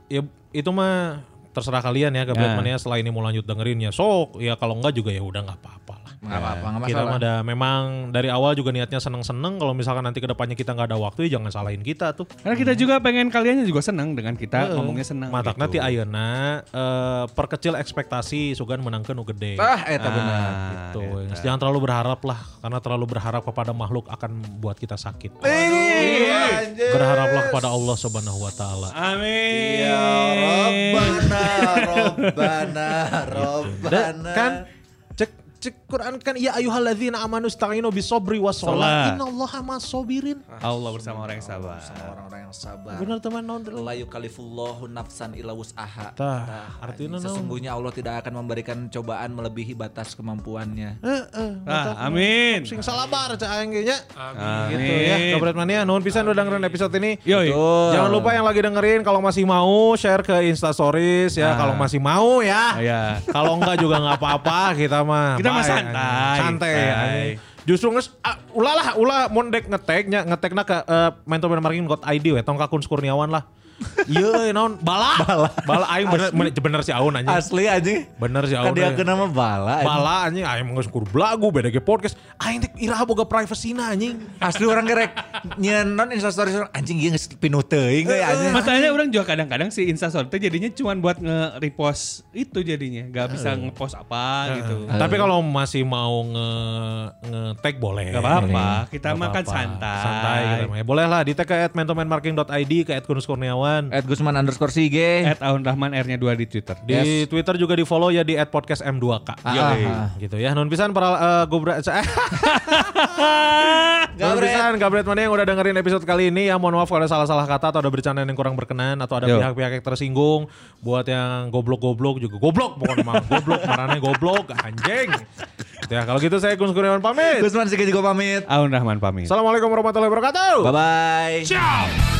[SPEAKER 7] ya itu mah terserah kalian ya Gablet
[SPEAKER 6] Ya.
[SPEAKER 7] Mania setelah ini mau lanjut dengerin ya sok ya kalau enggak juga ya udah nggak apa-apa lah.
[SPEAKER 5] Nggak apa-apa, nggak
[SPEAKER 7] Kita
[SPEAKER 5] masalah.
[SPEAKER 7] mah ada memang dari awal juga niatnya seneng-seneng kalau misalkan nanti kedepannya kita nggak ada waktu ya jangan salahin kita tuh.
[SPEAKER 6] Karena kita juga pengen kalian juga senang dengan kita ngomongnya
[SPEAKER 5] Nah,
[SPEAKER 6] senang.
[SPEAKER 7] Matak nanti
[SPEAKER 6] gitu.
[SPEAKER 7] ayeuna eh, perkecil ekspektasi sugan menangkan nu gede.
[SPEAKER 5] Ah, eta benar.
[SPEAKER 6] Nah,
[SPEAKER 7] Tuh, guys. jangan terlalu berharap lah karena terlalu berharap kepada makhluk akan buat kita sakit.
[SPEAKER 6] Iya.
[SPEAKER 7] Berharaplah kepada Allah Subhanahu wa taala.
[SPEAKER 6] Amin.
[SPEAKER 7] Iya,
[SPEAKER 5] Ya Rabbana, Rabbana, Rabbana.
[SPEAKER 7] Da- Iya. kan cek cek Quran kan ya ayyuhalladzina amanu istaqinu bisobri
[SPEAKER 6] Sholat.
[SPEAKER 7] wasolat innallaha masabirin.
[SPEAKER 6] Allah bersama orang yang sabar.
[SPEAKER 5] Orang-orang yang sabar.
[SPEAKER 7] Benar teman naon
[SPEAKER 5] La yukalifullahu nafsan illa wus'aha.
[SPEAKER 7] Tah,
[SPEAKER 5] Tah,
[SPEAKER 7] artinya
[SPEAKER 5] anjing,
[SPEAKER 7] naon?
[SPEAKER 5] sesungguhnya Allah tidak akan memberikan cobaan melebihi batas kemampuannya.
[SPEAKER 7] Eh.
[SPEAKER 6] Ah, amin.
[SPEAKER 7] Sing salabar cak aing ge nya.
[SPEAKER 6] Amin.
[SPEAKER 7] Gitu ya, kabaret mania nuhun pisan udah dengerin episode ini.
[SPEAKER 6] Yoi.
[SPEAKER 5] Betul.
[SPEAKER 7] Jangan lupa yang lagi dengerin kalau masih mau share ke Insta Stories ya
[SPEAKER 6] Ah.
[SPEAKER 7] kalau masih mau ya. (laughs)
[SPEAKER 6] Ya.
[SPEAKER 7] Kalau enggak juga nggak apa-apa kita mah.
[SPEAKER 6] Kita mah
[SPEAKER 7] Bye,
[SPEAKER 6] santai.
[SPEAKER 7] anjing. Santai.
[SPEAKER 6] Bye.
[SPEAKER 7] anjing. Justru nges ah, ulah lah, ulah mondek ngeteknya, ngetekna ke eh, mentor marketing got ID we, tong ka Kunz Kurniawan lah. Iya, naon bala. Bala. Bala aing bener,
[SPEAKER 5] Asli.
[SPEAKER 7] bener si Aun anjing.
[SPEAKER 5] Asli anjing.
[SPEAKER 7] Bener sih,
[SPEAKER 5] Kan dia
[SPEAKER 7] Aun.
[SPEAKER 5] kena mah bala. anjing.
[SPEAKER 7] Bala anjing, aing mah geus kur belagu beda ge podcast. Aing teh iraha boga privacy-na anjing.
[SPEAKER 5] Asli orang gerek nyenon instastory orang, anjing ieu geus pinuh teuing
[SPEAKER 7] Eh,
[SPEAKER 5] euy eh, anjing.
[SPEAKER 6] Masalahnya orang juga kadang-kadang si instastory teh jadinya cuman buat nge-repost itu jadinya. Gak bisa nge-post apa gitu.
[SPEAKER 7] Tapi kalau masih mau nge nge-tag boleh.
[SPEAKER 6] Gak apa-apa,
[SPEAKER 5] Boleh.
[SPEAKER 6] kita
[SPEAKER 7] Gak
[SPEAKER 6] makan
[SPEAKER 7] apa-apa.
[SPEAKER 6] santai.
[SPEAKER 7] Santai gitu kita mah. Boleh lah, di tag ke @mentomanmarketing.id ke @kunuskurniawan.
[SPEAKER 5] At Gusman underscore sige.
[SPEAKER 6] At Aun Rahman R-nya 2 di Twitter.
[SPEAKER 7] Di Twitter juga di follow ya di @podcastm2k.
[SPEAKER 5] Ah,
[SPEAKER 7] Iya,
[SPEAKER 5] ah, ah.
[SPEAKER 7] gitu ya. Nun pisan para eh, gobra. (laughs) Nun pisan gabret mana yang udah dengerin episode kali ini ya. Mohon maaf kalau ada salah-salah kata atau ada bercandaan yang kurang berkenan atau ada
[SPEAKER 6] Yo.
[SPEAKER 7] pihak-pihak yang tersinggung. Buat yang goblok-goblok juga goblok pokoknya mah. (laughs) goblok marane goblok anjing. Gitu ya. Kalau gitu saya Gus Kurniawan pamit.
[SPEAKER 5] Gusman sige juga pamit.
[SPEAKER 6] Aun Rahman pamit.
[SPEAKER 7] Assalamualaikum warahmatullahi wabarakatuh.
[SPEAKER 5] Bye bye.
[SPEAKER 6] Ciao!